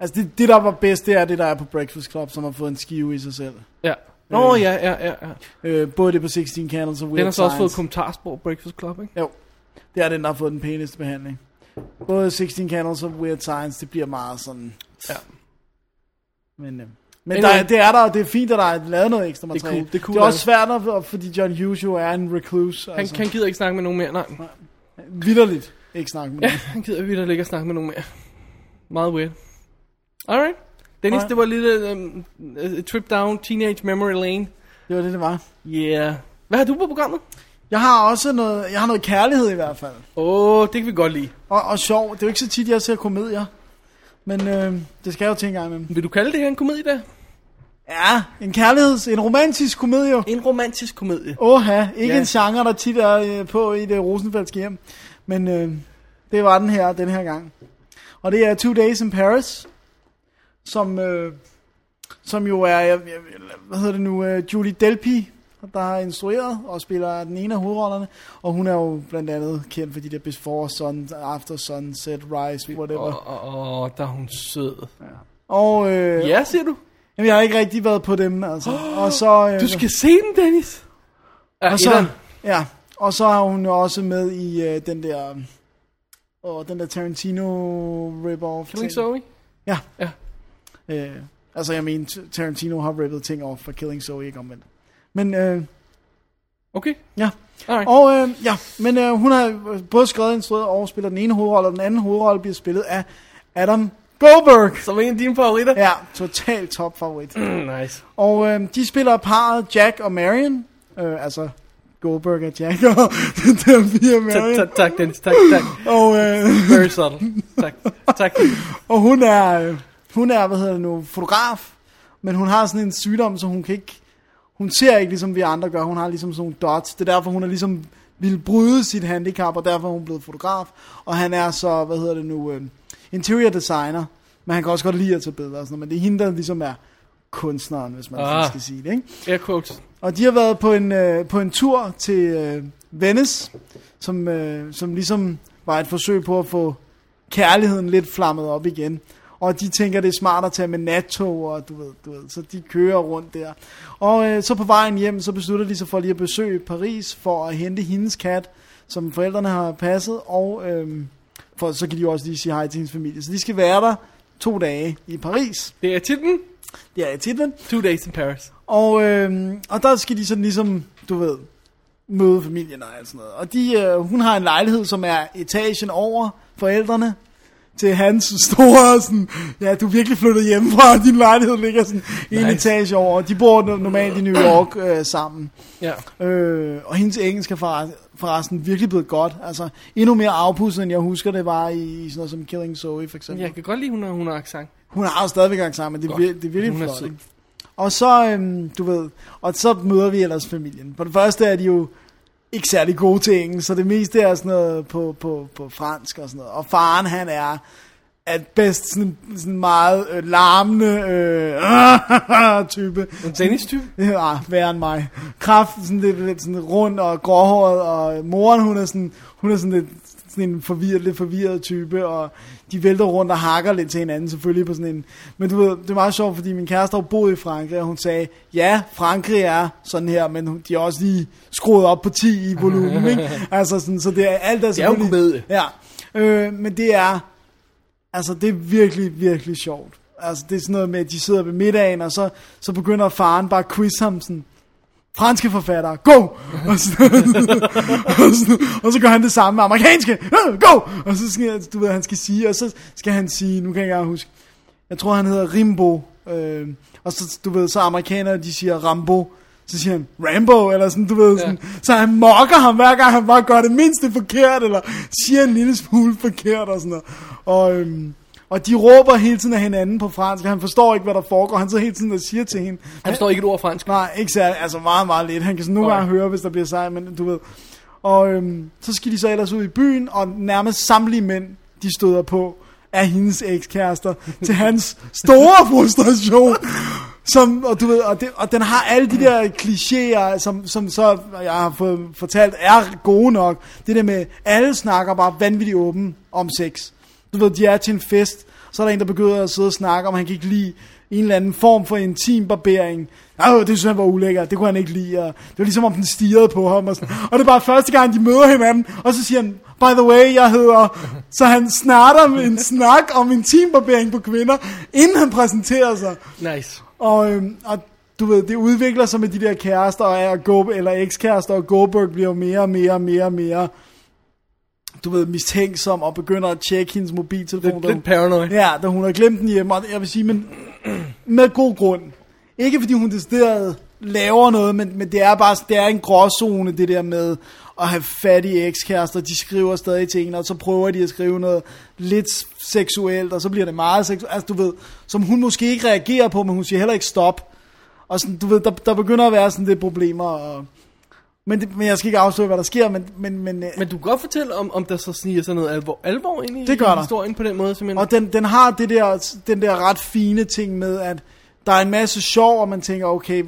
B: Altså, det, det, der var bedst, det er det, der er på Breakfast Club, som har fået en skive i sig selv.
A: Ja. Nå, ja, ja, ja. ja.
B: Øh, både det på 16 Candles og Weird
A: Den har så også
B: Science.
A: fået kommentarspor Breakfast Club, ikke?
B: Jo, det er den, der har fået den pæneste behandling. Både 16 Candles og Weird Science, det bliver meget sådan...
A: Ja.
B: Men, øh, men
A: Anyway.
B: der, det er der, og det er fint, at der er lavet noget ekstra materiale.
A: cool, det er cool,
B: det er også
A: altså.
B: svært, at, at- fordi John Hughes jo er en recluse.
A: Han,
B: altså.
A: han gider ikke snakke med nogen mere, nej.
B: Vitterligt ikke snakke med
A: Ja,
B: ja.
A: han gider virkelig ikke at snakke med nogen mere. Meget weird. Alright. Dennis,
B: Alright.
A: det var lidt um, trip down teenage memory lane.
B: Det var det, det var.
A: Yeah. Hvad har du på programmet?
B: Jeg har også noget, jeg har noget kærlighed i hvert fald.
A: Åh, oh, det kan vi godt lide.
B: Og, og sjov. Det er jo ikke så tit, jeg ser komedier. Men øh, det skal jeg jo til en gang imellem.
A: Vil du kalde det her en komedie da?
B: Ja, en kærligheds, en romantisk komedie. jo.
A: En romantisk komedie.
B: Åha, ikke
A: Ja.
B: ja. en genre, der tit er øh, på i det Rosenfeldske hjem. Men øh, det var den her, den her gang. Og det er Two Days in Paris, som, øh, som jo er, jeg, jeg, hvad hedder det nu, øh, Julie Delpy, der har instrueret og spiller den ene af hovedrollerne. Og hun er jo blandt andet kendt for de der Before Sun, After Sunset, Rise,
A: Åh,
B: whatever.
A: oh, oh, der er hun sød.
B: Og øh,
A: Ja, siger du?
B: Jamen, jeg har ikke rigtig været på dem, altså. Og så, øh,
A: Du skal se den, Dennis. Altså. Ja,
B: og så,
A: etteren.
B: ja, og så har hun jo også med i øh, den der... Og den der Tarantino
A: Killing
B: rip-off ting.
A: Zoe?
B: Ja.
A: Ja.
B: Øh, altså, jeg mener, T- Tarantino har rippet ting off for Killing Zoe, ikke omvendt. Men, øh,
A: Okay.
B: ja.
A: Alright.
B: Og, øh, ja, men øh, hun har både skrevet, instrueret og spiller den ene hovedrolle, og den anden hovedrolle bliver spillet af Adam Goldberg.
A: Som en af dine favoritter? Mm,
B: Ja, total top favorit.
A: Nice.
B: Og øh, de spiller parret Jack og Marion. Øh, altså Goldberg og Jack og dem fire
A: Tak,
B: Marion.
A: tak, tak, Dennis. Tak, tak.
B: Og, øh,
A: Very subtle. Tak, tak.
B: og hun er, øh, hun er, hvad hedder det nu, fotograf. Men hun har sådan en sygdom, så hun kan ikke... Hun ser ikke ligesom vi andre gør. Hun har ligesom sådan nogle dots. Det er derfor, hun er ligesom ville bryde sit handicap, og derfor er hun blevet fotograf. Og han er så, hvad hedder det nu, øh, interior designer. Men han kan også godt lide at tage billeder og sådan noget. Men det er hende, der ligesom er kunstneren, hvis man
A: Ah.
B: ah. skal sige det, ikke?
A: Air quotes.
B: Og de har været på en, øh, på en tur til øh, Venice, som, øh, som ligesom var et forsøg på at få kærligheden lidt flammet op igen. Og de tænker, det er smart at tage med nattog, og du ved, du ved, så de kører rundt der. Og øh, så på vejen hjem, så beslutter de sig for lige at besøge Paris for at hente hendes kat, som forældrene har passet, og øh, for, så kan de jo også lige sige hej til hendes familie. Så de skal være der to dage i Paris.
A: Det er titlen.
B: Det er i titlen.
A: Two Days in Paris.
B: Og, øh, og der skal de sådan ligesom, du ved, møde familien og alt sådan noget. Og de, øh, hun har en lejlighed, som er etagen over forældrene til hans store, sådan, ja, du er virkelig flyttet hjemmefra, og din lejlighed ligger sådan nice. en
A: Nice.
B: etage over. De bor no- normalt i New York øh, sammen.
A: Ja.
B: Øh, og hendes engelsk er forre- forresten virkelig blevet godt. Altså, endnu mere afpudset, end jeg husker, det var i, i sådan noget som Killing Zoe, for eksempel.
A: Jeg kan godt lide, hun har, hun har accent.
B: Hun har jo stadigvæk gang sammen, det, er vir- det er virkelig
A: Hun er
B: flot.
A: sød.
B: ikke? Og så, øhm, du ved, og så møder vi ellers familien. For det første er de jo ikke særlig gode til engelsk, så det meste er sådan noget på, på, på fransk og sådan noget. Og faren, han er at bedst sådan, sådan meget øh, larmende øh, type.
A: En tennis-type?
B: Ja, værre end mig. Kraft, sådan lidt, lidt sådan rund og gråhåret, og moren, hun er sådan, hun er sådan lidt sådan en forvirret, lidt forvirret type, og de vælter rundt og hakker lidt til hinanden selvfølgelig på sådan en... Men du ved, det er meget sjovt, fordi min kæreste har jo boet i Frankrig, og hun sagde, ja, Frankrig er sådan her, men hun- de er også lige skruet op på 10 i volumen, ikke? Altså sådan, så det er alt er
A: er jo
B: selvfølgelig...
A: komedie.
B: Ja, øh, men det er... Altså, det er virkelig, virkelig sjovt. Altså, det er sådan noget med, at de sidder ved middagen, og så, så begynder faren bare at quiz ham sådan, franske forfattere, go! Og så, og, så, og så gør han det samme med amerikanske, "Øh, go! Og så skal, du ved, han skal sige, og så skal han sige, nu kan jeg ikke engang huske, jeg tror han hedder Rimbo, øh, og så, du ved, så amerikanere, de siger Rambo, Så siger han, Rambo, eller sådan, du ved, sådan. Så han mokker ham, hver gang han bare gør det mindste forkert, eller siger en lille smule forkert, og sådan noget. Og, øhm, og de råber hele tiden af hinanden på fransk, og han forstår ikke, hvad der foregår. Han sidder hele tiden og siger til hende.
A: Han forstår ikke et ord fransk.
B: Nej, ikke særlig, altså meget, meget lidt. Han kan sådan nogle
A: Nej.
B: gange høre, hvis der bliver sej, men du ved. Og øhm, så skal de så ellers ud i byen, og nærmest samtlige mænd, de støder på, af hendes ekskærester, til hans store frustration. Som, og, du ved, og, det, og den har alle de der klichéer, som, som så, jeg har fået fortalt, er gode nok. Det der med, alle snakker bare vanvittigt åben om sex. Du ved, de er til en fest, så er der en, der begynder at sidde og snakke om, han kan ikke lide en eller anden form for intim barbering. Ej, det synes han var ulækkert, det kunne han ikke lide. Og det var ligesom om den stirrede på ham. Og, sådan. og det er bare første gang, de møder hinanden, og så siger han, by the way, jeg hedder... Så han snatter med en snak om intim barbering på kvinder, inden han præsenterer sig.
A: Nice.
B: Og, øhm, og du ved, det udvikler sig med de der kærester, og er Go, eller ekskærester, og Goldberg bliver jo mere og mere og mere og mere, du ved, mistænksom, og begynder at tjekke hendes mobiltelefon.
A: Lidt,
B: da hun-
A: lidt paranoid.
B: Ja, da hun har glemt den hjemme, og jeg vil sige, men med god grund. Ikke fordi hun decideret laver noget, men, men det er bare det er en gråzone, det der med at have fattige ekskærester, de skriver stadig til en, og så prøver de at skrive noget lidt seksuelt, og så bliver det meget seksuelt, altså du ved, som hun måske ikke reagerer på, men hun siger heller ikke stop. Og sådan, du ved, der, der begynder at være sådan lidt problemer, og, men, det, men jeg skal ikke afsløre, hvad der sker, men, men, men,
A: Men du kan godt fortælle, om, om der så sniger sig noget alvor, alvor ind i
B: Det gør
A: i
B: der.
A: historien på den måde, som jeg...
B: Og den, den har det der, den der ret fine ting med, at der er en masse sjov, og man tænker, okay,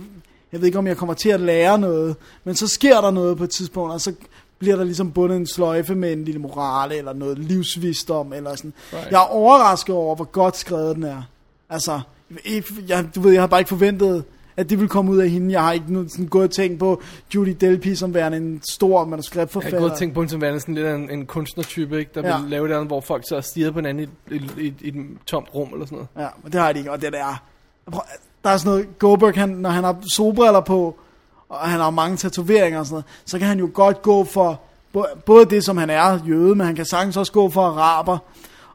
B: jeg ved ikke, om jeg kommer til at lære noget, men så sker der noget på et tidspunkt, og så bliver der ligesom bundet en sløjfe med en lille morale, eller noget livsvisdom, eller sådan. Right.
A: Right.
B: Jeg er overrasket over, hvor godt skrevet den er. Altså, ikke, jeg, du ved, jeg har bare ikke forventet, at det ville komme ud af hende. Jeg har ikke nu sådan gået og tænkt på Judy Delpy som værende en stor
A: Jeg
B: manuskriptforfatter.
A: har gået og tænkt på hende som værende sådan lidt af en, en kunstnertype, ikke? der
B: Ja.
A: ja. vil lave det andet, hvor folk så stiger på hinanden i et, et, et, et, et tomt rum eller sådan noget.
B: Ja, men det har de ikke, og det der der er sådan noget, Goldberg, han, når han har solbriller på, og han har mange tatoveringer og sådan noget, så kan han jo godt gå for, bo- både det som han er, jøde, men han kan sagtens også gå for araber,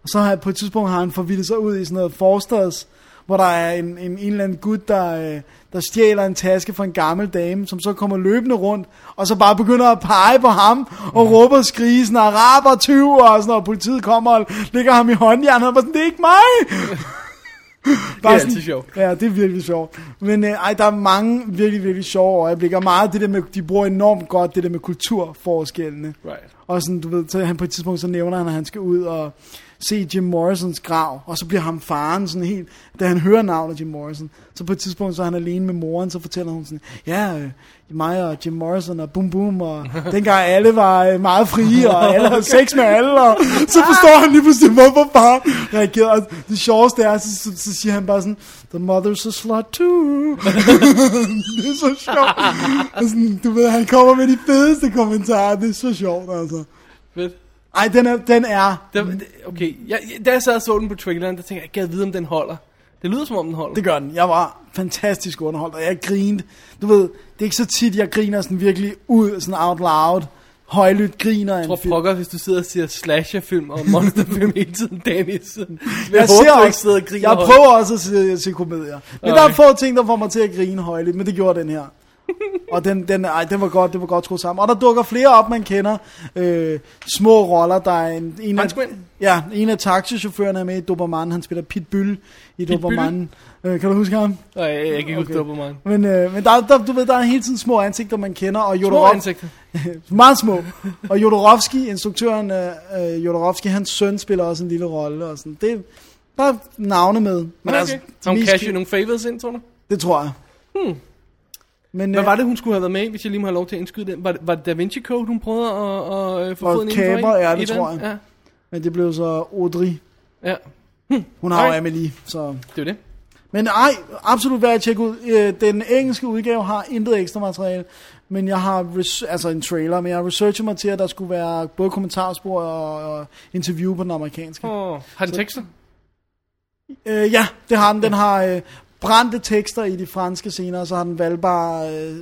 B: og så har på et tidspunkt har han forvildet sig ud i sådan noget forstads, hvor der er en, en, en eller anden gut, der, øh, der stjæler en taske fra en gammel dame, som så kommer løbende rundt, og så bare begynder at pege på ham, og mm. råber og skriger sådan, araber, tyver, og sådan noget, og politiet kommer og lægger ham i håndjernet, og bare sådan, det er ikke mig!
A: Det er altid sjovt.
B: Ja, det er virkelig sjovt. Men øh, ej, der er mange virkelig, virkelig sjove øjeblikke, og meget af det der med, de bruger enormt godt det der med kulturforskellene.
A: Right.
B: Og sådan, du ved, så han på et tidspunkt, så nævner han, at han skal ud og se Jim Morrisons grav, og så bliver ham faren sådan helt, da han hører navnet Jim Morrison, så på et tidspunkt, så er han alene med moren, så fortæller hun sådan, ja, øh, mig og Jim Morrison og Boom Boom, og dengang alle var øh, meget frie, og alle havde sex med alle, og så forstår han lige pludselig, hvorfor far reagerede, og det sjoveste er, så, så, så siger han bare sådan, the mother's a slut too, det er så sjovt, og sådan, du ved, han kommer med de fedeste kommentarer, det er så sjovt, altså.
A: Fedt.
B: Ej, den er, den er.
A: Der, det- okay, jeg, jeg- da jeg sad og så den på traileren, der tænkte jeg, jeg gad vide, om den holder. Det lyder, som om den holder.
B: Det gør den. Jeg var fantastisk underholdt, og jeg grinede. Du ved, det er ikke så tit, jeg griner sådan virkelig ud, sådan out loud. Højlydt griner af en
A: Jeg tror
B: film.
A: pokker, hvis du sidder og ser slasherfilm og monsterfilm hele tiden, Dennis. Jeg, jeg
B: Jeg, ser
A: håber, du ikke
B: også,
A: sidder og griner.
B: jeg
A: højt.
B: prøver også at se, at se komedier. Men der er
A: Okay.
B: få ting, der får mig til at grine højlydt, men det gjorde den her. og den, den, ej, den var godt, det var godt skruet sammen. Og der dukker flere op, man kender. Øh, små roller, der er en... en af,
A: Franskmænd?
B: ja, en af taxichaufførerne er med i Doberman. Han spiller Pitbull i Doberman. Øh, kan du huske ham?
A: Nej, jeg, jeg kan ikke
B: Okay.
A: okay. på mig.
B: Men, øh, men der, der, du ved, der er hele tiden små ansigter, man kender, og
A: Små
B: Jodorov,
A: ansigter.
B: meget små. Og Jodorowski, instruktøren øh, øh, Jodorowski, hans søn spiller også en lille rolle. Og sådan. Det er bare navne med. Men
A: Men okay. altså, har hun
B: mest
A: cashet
B: ki-
A: nogle favors ind, tror du?
B: Det tror jeg. Hmm. Men,
A: Hvad
B: øh,
A: var det, hun skulle have været med i, hvis jeg lige må have lov til at indskyde den? Var, det- var det Da Vinci Code, hun prøvede at, at, at få
B: Og
A: foden indenfor i?
B: Caper, ja, det
A: I den?
B: tror jeg.
A: Ja,
B: men det blev så Audrey.
A: ja,
B: Hun har jo
A: Nej.
B: Amelie, så...
A: det er jo det.
B: Men ej, absolut værd at tjekke ud. Øh, den engelske udgave har intet ekstra materiale, men jeg har, res- altså en trailer, men jeg har researchet mig til, at der skulle være både kommentarspor og, og interview på den amerikanske.
A: Oh, har den tekster?
B: Øh, ja, det har den. Den har øh, brændte tekster i de franske scener, og så har den valgbare øh, øh,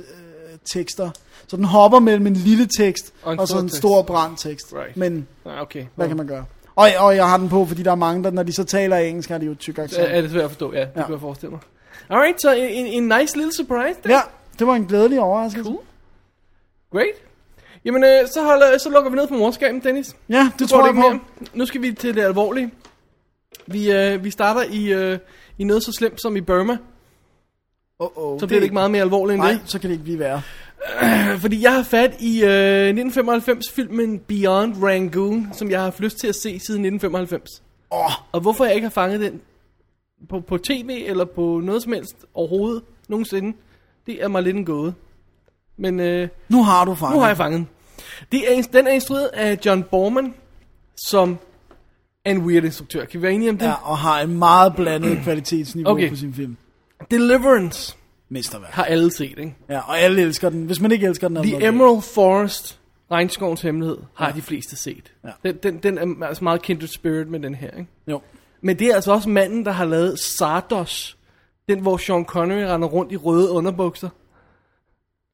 B: tekster. Så den hopper mellem en lille tekst og,
A: Og en
B: og så
A: stor
B: en
A: tekst.
B: stor brandtekst.
A: Right.
B: Men
A: Nej, okay.
B: hvad kan man gøre? Og, og jeg har den på, fordi der er mange, der, når de så taler engelsk, har de jo tyk
A: Er,
B: accent.
A: er det svært at forstå? Ja, det
B: Ja.
A: ja. kunne jeg forestille mig. Alright, så en, en, en nice lille surprise der.
B: Ja, det var en glædelig overraskelse.
A: Cool. Great. Jamen, øh, så, holder, så lukker vi ned på morskaben, Dennis.
B: Ja, det, det tror jeg
A: ikke
B: på.
A: mere. Nu skal vi til det alvorlige. Vi, øh, vi starter i, øh, i noget så slemt som i Burma.
B: Oh, oh,
A: Så bliver det ikke meget mere alvorligt end
B: Nej,
A: det.
B: så kan det ikke blive værre.
A: Fordi jeg har fat i øh, 1995-filmen Beyond Rangoon, som jeg har haft lyst til at se siden 1995.
B: Åh,
A: Og hvorfor jeg ikke har fanget den på, på tv eller på noget som helst overhovedet nogensinde, det er mig lidt en gåde. Men øh,
B: nu har du fanget.
A: nu har jeg fanget den. Det er, den er instrueret af John Borman, som er en weird instruktør. Kan vi være enige om det?
B: Ja, og har en meget blandet kvalitetsniveau
A: Okay.
B: på sin film.
A: Deliverance
B: Mesterværk.
A: har alle set, ikke?
B: Ja, og alle elsker den. Hvis man ikke elsker den, er man okay.
A: The Emerald Forest, regnskovens hemmelighed, har ja. de fleste set.
B: Ja.
A: Den, den, den er altså meget kindred spirit med den her, ikke?
B: Jo.
A: Men det er altså også manden, der har lavet Sardos. Den, hvor Sean Connery render rundt i røde underbukser.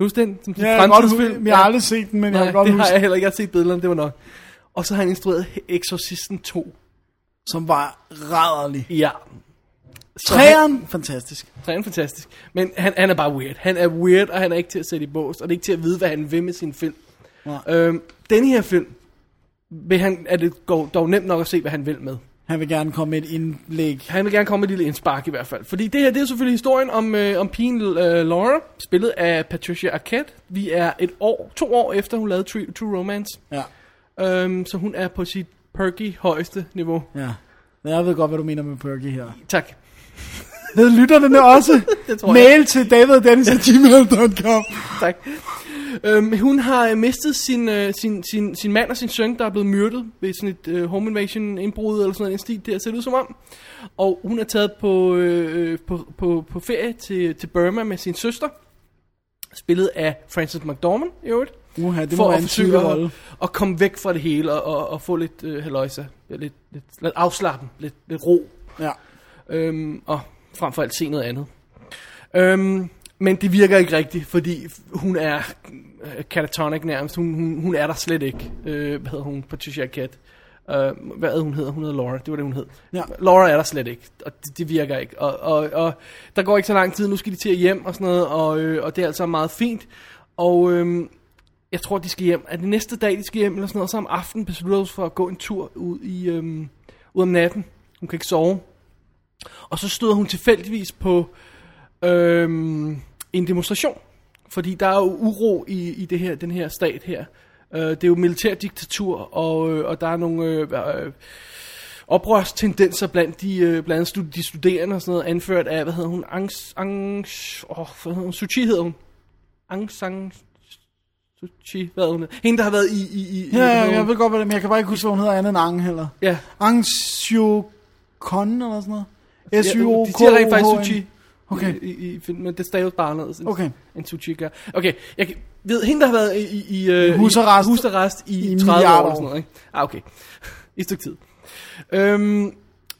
A: Husk den? Som
B: Ja, jeg, kan godt huske, den. jeg har aldrig set den, men jeg
A: Nej,
B: kan godt
A: det
B: huske,
A: har
B: den,
A: jeg heller ikke. Jeg har set billederne, det var nok. Og så har han instrueret Exorcisten 2.
B: som var rædderlig.
A: Ja. Så han-
B: Træeren, fantastisk.
A: Træeren er fantastisk. Men han, han er bare weird. Han er weird, og han er ikke til at sætte i bås, og det er ikke til at vide, hvad han vil med sin film.
B: Nej.
A: Øhm, den her film, vil han, er det dog, dog nemt nok at se, hvad han vil med.
B: Han vil gerne komme med et indlæg.
A: Han vil gerne komme med et lille indspark i hvert fald. Fordi det her, det er selvfølgelig historien om, øh, om pigen øh, Laura, spillet af Patricia Arquette. Vi er et år, to år efter, hun lavede True, True Romance.
B: Ja,
A: Øhm, så hun er på sit perky højeste niveau.
B: ja. Men Jeg ved godt, hvad du mener med Perky her.
A: Tak.
B: Ved lytterne det også?
A: Det tror jeg.
B: Mail til daviddennis.gmail.com
A: tak. Øhm, hun har øh, mistet sin, øh, sin, sin, sin mand og sin søn, der er blevet myrdet ved sådan et øh, home invasion indbrud eller sådan noget, i den stil, det ser det ud som om. Og hun er taget på, øh, på, på, på ferie til, til Burma med sin søster, spillet af Frances McDormand i øvrigt.
B: Uha, det må
A: for
B: være
A: at
B: en
A: forsøge
B: tykke rolle.
A: at, at komme væk fra det hele og, og, og få lidt øh, haløjse, lidt, lidt, lidt afslappen, lidt, lidt ro
B: Ja.
A: øhm, og frem for alt se noget andet. Øhm, men det virker ikke rigtigt, fordi hun er øh, catatonic nærmest. Hun, hun, hun er der slet ikke. Øh, hvad hedder hun? Patricia Arquette. Øh, hvad er det, hun hedder? Hun hedder Laura. Det var det, hun hed.
B: Ja.
A: Laura er der slet ikke, og det, det virker ikke. Og, og, og der går ikke så lang tid, nu skal de til at hjem og sådan noget, og, øh, og det er altså meget fint. Og øh, jeg tror, de skal hjem. Er det næste dag, de skal hjem eller sådan noget? Så om aftenen beslutter hun sig for at gå en tur ud, i, øh, ud om natten. Hun kan ikke sove. Og så støder hun tilfældigvis på øhm, en demonstration. Fordi der er jo uro i, i det her, den her stat her. Øh, det er jo militærdiktatur, og, øh, og der er nogle øh, øh, oprørstendenser blandt, de, øh, blandt andet stud- de studerende og sådan noget, anført af, hvad hedder hun, Angs, Angs, åh, hvad hedder hun, Suchi hedder hun. Aung San Suchi, hvad hedder hun? Hende, der har været i... i, i
B: Ja,
A: hvad hedder
B: ja, jeg
A: hun?
B: ved godt, hvad det er, men jeg kan bare ikke huske, hvad hun hedder andet end Ange heller.
A: ja.
B: Ang Seo Kon eller sådan noget? s y o
A: De
B: k
A: siger rent faktisk Suchi.
B: Okay.
A: I, i, i, filmen, men det staves bare anderledes end,
B: Okay.
A: end Suchi gør. Okay, jeg kan- ved, hende der har været i, i, i øh, i,
B: husarrest.
A: husarrest i,
B: I
A: 30 år
B: milliarder
A: eller sådan noget. Ikke? Ah, okay. I et stykke tid. Øhm,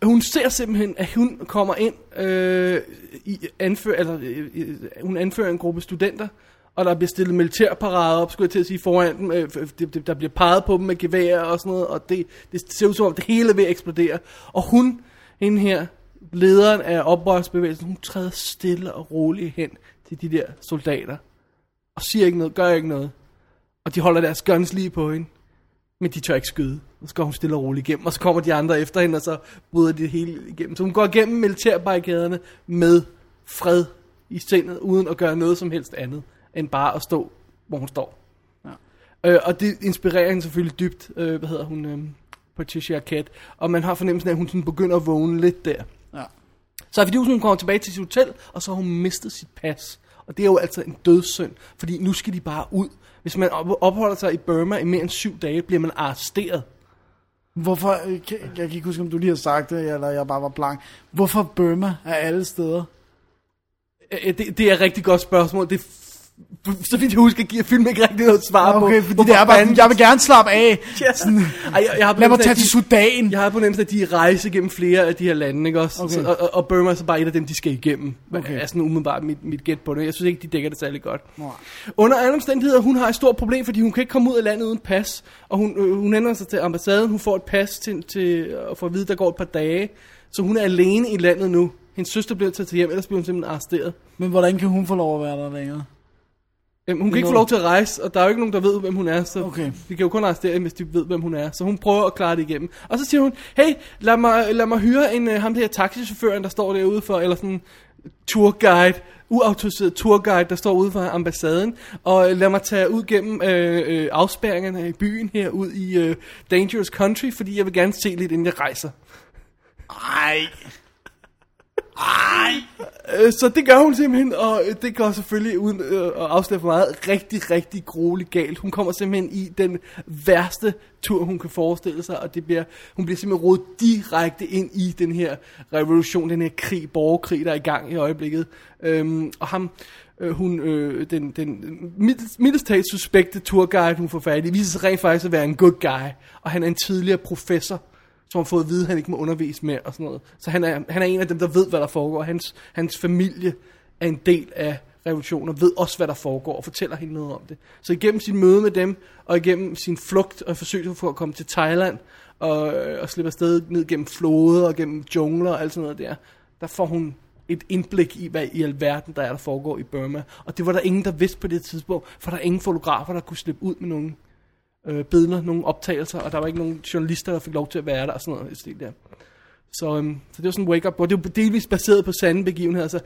A: hun ser simpelthen, at hun kommer ind, øh, i, anfører, eller, øh, øh, hun anfører en gruppe studenter, og der bliver stillet militærparade op, skulle jeg til at sige, foran dem. Øh, f- det- det- der bliver peget på dem med geværer og sådan noget, og det, det ser ud som om, det hele er ved at eksplodere. Og hun, hende her, lederen af oprørsbevægelsen, hun træder stille og roligt hen til de der soldater, og siger ikke noget, gør ikke noget. Og de holder deres guns lige på hende. Men de tør ikke skyde. Og så går hun stille og roligt igennem, og så kommer de andre efter hende, og så bryder de det hele igennem. Så hun går igennem militærbarrikaderne med fred i sindet, uden at gøre noget som helst andet, end bare at stå, hvor hun står. Ja. Øh, og det inspirerer hende selvfølgelig dybt, øh, hvad hedder hun, øh, Patricia Arquette. Og man har fornemmelsen af, at hun sådan begynder at vågne lidt der.
B: Ja.
A: Så er det fordi, hun kommer tilbage til sit hotel, og så har hun mistet sit pas. Og det er jo altså en dødssynd, fordi nu skal de bare ud. Hvis man op- opholder sig i Burma i mere end syv dage, bliver man arresteret.
B: Hvorfor, øh, kan- jeg kan ikke huske, om du lige har sagt det, eller jeg bare var blank. Hvorfor Burma er alle steder?
A: Øh, Det, det er et rigtig godt spørgsmål. Det, f- f- så vidt jeg husker, giver filmen ikke rigtig noget svar på.
B: Ah, Okay, fordi
A: hvorfor
B: det er bare sådan,
A: fanden-
B: jeg vil gerne slappe af.
A: Ja. Ej, jeg, jeg har
B: Lad mig
A: fornemmelsen af,
B: tage
A: at
B: til
A: de-
B: Sudan.
A: Jeg har på nemlig, at de rejser gennem flere af de her lande, ikke også?
B: Okay.
A: Okay. Så, og, og Burma er så bare et af dem, de skal igennem.
B: Okay.
A: Okay. Er sådan umiddelbart mit, mit gæt på det. Jeg synes ikke, de dækker det særlig godt.
B: Nej.
A: Under alle omstændigheder, hun har et stort problem, fordi hun kan ikke komme ud af landet uden pas. Og hun, øh, hun ændrer sig til ambassaden, hun får et pas til, til, og får at vide, der går et par dage. Så hun er alene i landet nu. Hendes søster bliver taget til hjem, ellers bliver hun simpelthen arresteret.
B: Men hvordan kan hun få lov at være der længere?
A: Jamen, hun kan ikke få
B: Nå.
A: lov til at rejse, og der er jo ikke nogen, der ved, hvem hun er, så
B: Okay.
A: de kan jo kun arrestere hende, hvis de ved, hvem hun er. Så hun prøver at klare det igennem. Og så siger hun, hey, lad mig, lad mig hyre en, uh, ham der taxichaufføren, der står derude for, eller sådan tourguide, uautoriseret tourguide, der står ude for ambassaden, og øh, lad mig tage ud gennem øh, øh, afspærringerne i byen her, ud i øh, Dangerous Country, fordi jeg vil gerne se lidt, inden jeg rejser.
B: Ej. Ej.
A: Øh, så det gør hun simpelthen, og øh, det går selvfølgelig, uden øh, at afsløre for meget, rigtig, rigtig grueligt galt. Hun kommer simpelthen i den værste tur, hun kan forestille sig, og det bliver, hun bliver simpelthen rodet direkte ind i den her revolution, den her krig, borgerkrig, der er i gang i øjeblikket. Øhm, og ham, øh, hun, øh, den, den mildest- mildest talt suspekte turguide, hun får fat i, viser sig rent faktisk at være en good guy, og han er en tidligere professor som har fået at vide, at han ikke må undervise mere og sådan noget. Så han er, han er en af dem, der ved, hvad der foregår. Hans, hans familie er en del af revolutionen og ved også, hvad der foregår og fortæller hende noget om det. Så igennem sin møde med dem, og igennem sin flugt og forsøg på at komme til Thailand og, og slippe afsted ned gennem floder og gennem jungler og alt sådan noget der, der får hun et indblik i, hvad i alverden der er, der foregår i Burma. Og det var der ingen, der vidste på det tidspunkt, for der er ingen fotografer, der kunne slippe ud med nogen øh, billeder, nogle optagelser, og der var ikke nogen journalister, der fik lov til at være der og sådan noget i stil der. Så, øhm, så det var sådan en wake-up, hvor det var delvis baseret på sande begivenheder, så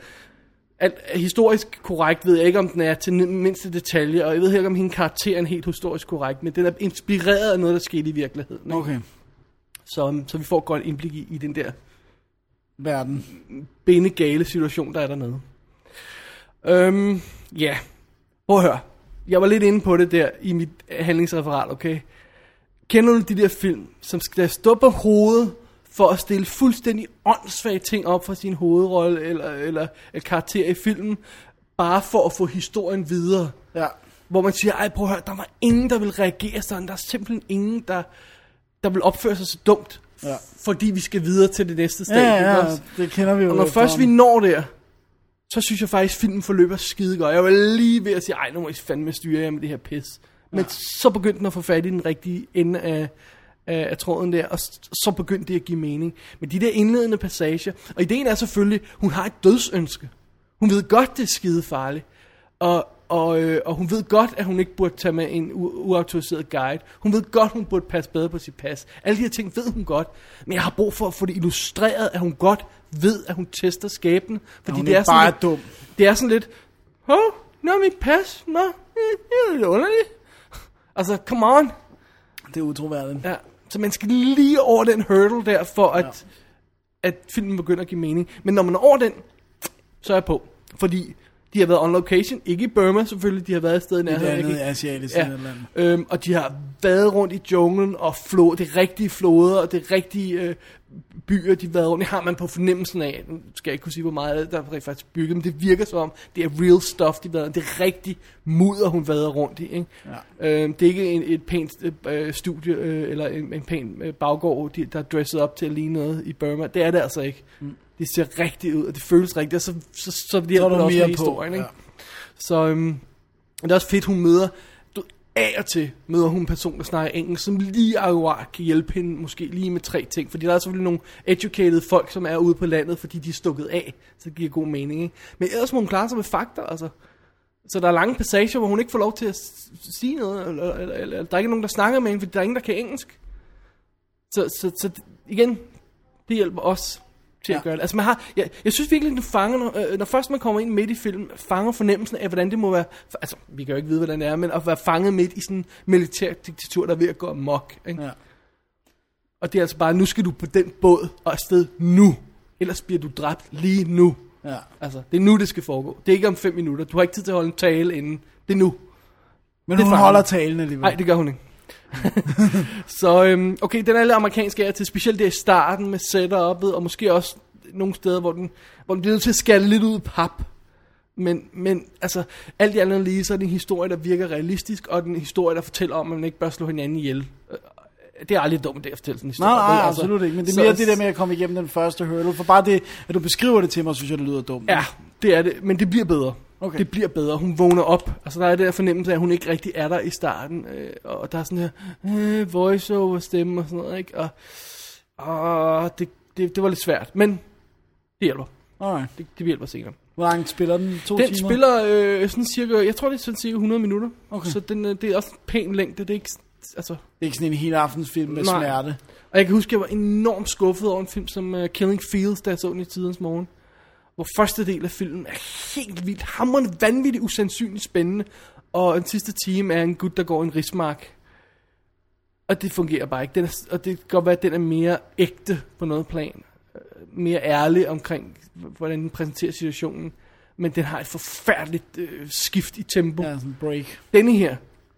A: alt, historisk korrekt ved jeg ikke, om den er til den mindste detalje, og jeg ved heller ikke, om hende karakteren er helt historisk korrekt, men den er inspireret af noget, der skete i virkeligheden. ikke?
B: Okay.
A: Så, øhm, så vi får et godt indblik i, i den der
B: Verden.
A: bindegale situation, der er dernede. Øhm, ja. Prøv at høre. Jeg var lidt inde på det der i mit handlingsreferat, okay? Kender du de der film, som skal stå på hovedet for at stille fuldstændig åndssvage ting op for sin hovedrolle eller, eller et karakter i filmen, bare for at få historien videre?
B: Ja.
A: Hvor man siger, ej prøv at høre, der var ingen, der ville reagere sådan. Der er simpelthen ingen, der, der vil opføre sig så dumt,
B: Ja.
A: fordi vi skal videre til det næste
B: Ja,
A: stadie.
B: ja,
A: ikke også?
B: det kender vi jo.
A: Og når først vi
B: efterhånden.
A: når der, så synes jeg faktisk, at filmen forløber skide godt. Jeg var lige ved at sige, ej, nu må I fandme styre jer med det her pis. Men så begyndte den at få fat i den rigtige ende af, af, af tråden der, og s- så begyndte det at give mening. Men de der indledende passager, og ideen er selvfølgelig, hun har et dødsønske. Hun ved godt, det er skide farligt. Og, og, øh, og hun ved godt, at hun ikke burde tage med en u- uautoriseret guide. Hun ved godt, hun burde passe bedre på sit pas. Alle de her ting ved hun godt. Men jeg har brug for at få det illustreret, at hun godt ved, at hun tester skæbnen. Fordi
B: hun
A: det
B: ikke
A: er sådan
B: bare
A: lidt,
B: er dum.
A: Det er sådan lidt, hov, nå er mit pas, nå, det det er lidt underligt. Altså, come on.
B: Det er utroværdigt.
A: Ja, så man skal lige over den hurdle der, for at, ja. at filmen begynder at give mening. Men når man er over den, så er jeg på. Fordi de har været on location, ikke i Burma selvfølgelig, de har været et sted i
B: Det er
A: nærheden.
B: andet
A: ikke?
B: asiatisk
A: Ja,
B: eller et eller andet.
A: øhm, og de har været rundt i junglen og flå, det rigtige floder og det rigtige øh, byer, de har været rundt i, har man på fornemmelsen af, nu skal jeg ikke kunne sige, hvor meget der er rent faktisk bygget, men det virker som om, det er real stuff, de har været, det er rigtig mudder, hun har været rundt i. Ikke? Ja. Øhm, det er ikke en, et pænt øh, studie øh, eller en, en pæn øh, baggård, de, der er dresset op til at ligne noget i Burma. Det er det altså ikke. Mm. Det ser rigtigt ud, og det føles rigtigt, og så, så, så, så
B: Så er
A: hjælper det
B: du
A: også
B: mere
A: med
B: på.
A: historien. Ikke?
B: Ja.
A: Så øhm, det er også fedt, hun møder, du, af og til møder hun en person, der snakker engelsk, som lige akkurat kan hjælpe hende, måske lige med tre ting. Fordi der er selvfølgelig nogle educated folk, som er ude på landet, fordi de er stukket af, så det giver god mening. Ikke? Men ellers må hun klare sig med fakta, altså. Så der er lange passager, hvor hun ikke får lov til at s- s- sige noget, eller, eller, eller, eller der er ikke nogen, der snakker med hende, fordi der er ingen, der kan engelsk. Så, så, så d- igen, det hjælper os til ja.
B: Ja.
A: at gøre det. Altså man har, jeg, jeg synes virkelig, du fanger, når, øh, når først man kommer ind midt i film, fanger fornemmelsen af, hvordan det må være, altså vi kan jo ikke vide, hvordan det er, men at være fanget midt i sådan en militær diktatur, der er ved at gå amok. Ikke?
B: Ja.
A: Og det er altså bare, nu skal du på den båd og afsted nu, ellers bliver du dræbt lige nu.
B: Ja.
A: Altså, det er nu, det skal foregå. Det er ikke om fem minutter. Du har ikke tid til at holde en tale inden. Det er nu.
B: Men
A: Det
B: hun
A: fanger
B: holder
A: hun.
B: talen alligevel.
A: Nej, det gør hun ikke. så øhm, okay, den er lidt amerikansk af og til, specielt der i starten med setup'et, og måske også nogle steder, hvor den, hvor den bliver nødt til at skære lidt ud i pap. Men, men altså, alt i andet lige, så er det en historie, der virker realistisk, og den historie, der fortæller om, at man ikke bør slå hinanden ihjel. Øh, Det er aldrig en dum idé at fortælle sådan en historie.
B: Nej, nej,
A: vel?
B: altså, absolut ikke. Men det er mere det der med at komme igennem den første hurdle. For bare det, at du beskriver det til mig, synes jeg, det lyder dumt.
A: Ja, det er det, men det bliver bedre.
B: Okay.
A: Det bliver bedre. Hun vågner op. Altså, der er den der fornemmelse af, at hun ikke rigtig er der i starten. Øh, og der er sådan her øh, voice-over stemme og sådan noget, ikke? Og, og det, det, det var lidt svært, men det hjælper.
B: Alright.
A: Det, det hjælper senere.
B: Hvor langt spiller den? To
A: Den
B: timer?
A: spiller øh, sådan cirka, jeg tror det er sådan cirka 100 minutter.
B: Okay.
A: Så den, øh, det er også en pæn længde, det er ikke, s- altså...
B: Det er ikke sådan en hel aftensfilm med
A: Nej.
B: smerte.
A: Og jeg kan huske, jeg var enormt skuffet over en film som uh, Killing Fields, da jeg så den i tidens morgen. Hvor første del af filmen er helt vildt, hammerende, vanvittigt, usandsynligt spændende. Og den sidste time er en gut, der går i en rismark. Og det fungerer bare ikke. Den er, og det kan godt være, at den er mere ægte på noget plan. Øh, Mere ærlig omkring, h- hvordan den præsenterer situationen. Men den har et forfærdeligt øh, skift i tempo.
B: Ja, sådan en break.
A: Denne her,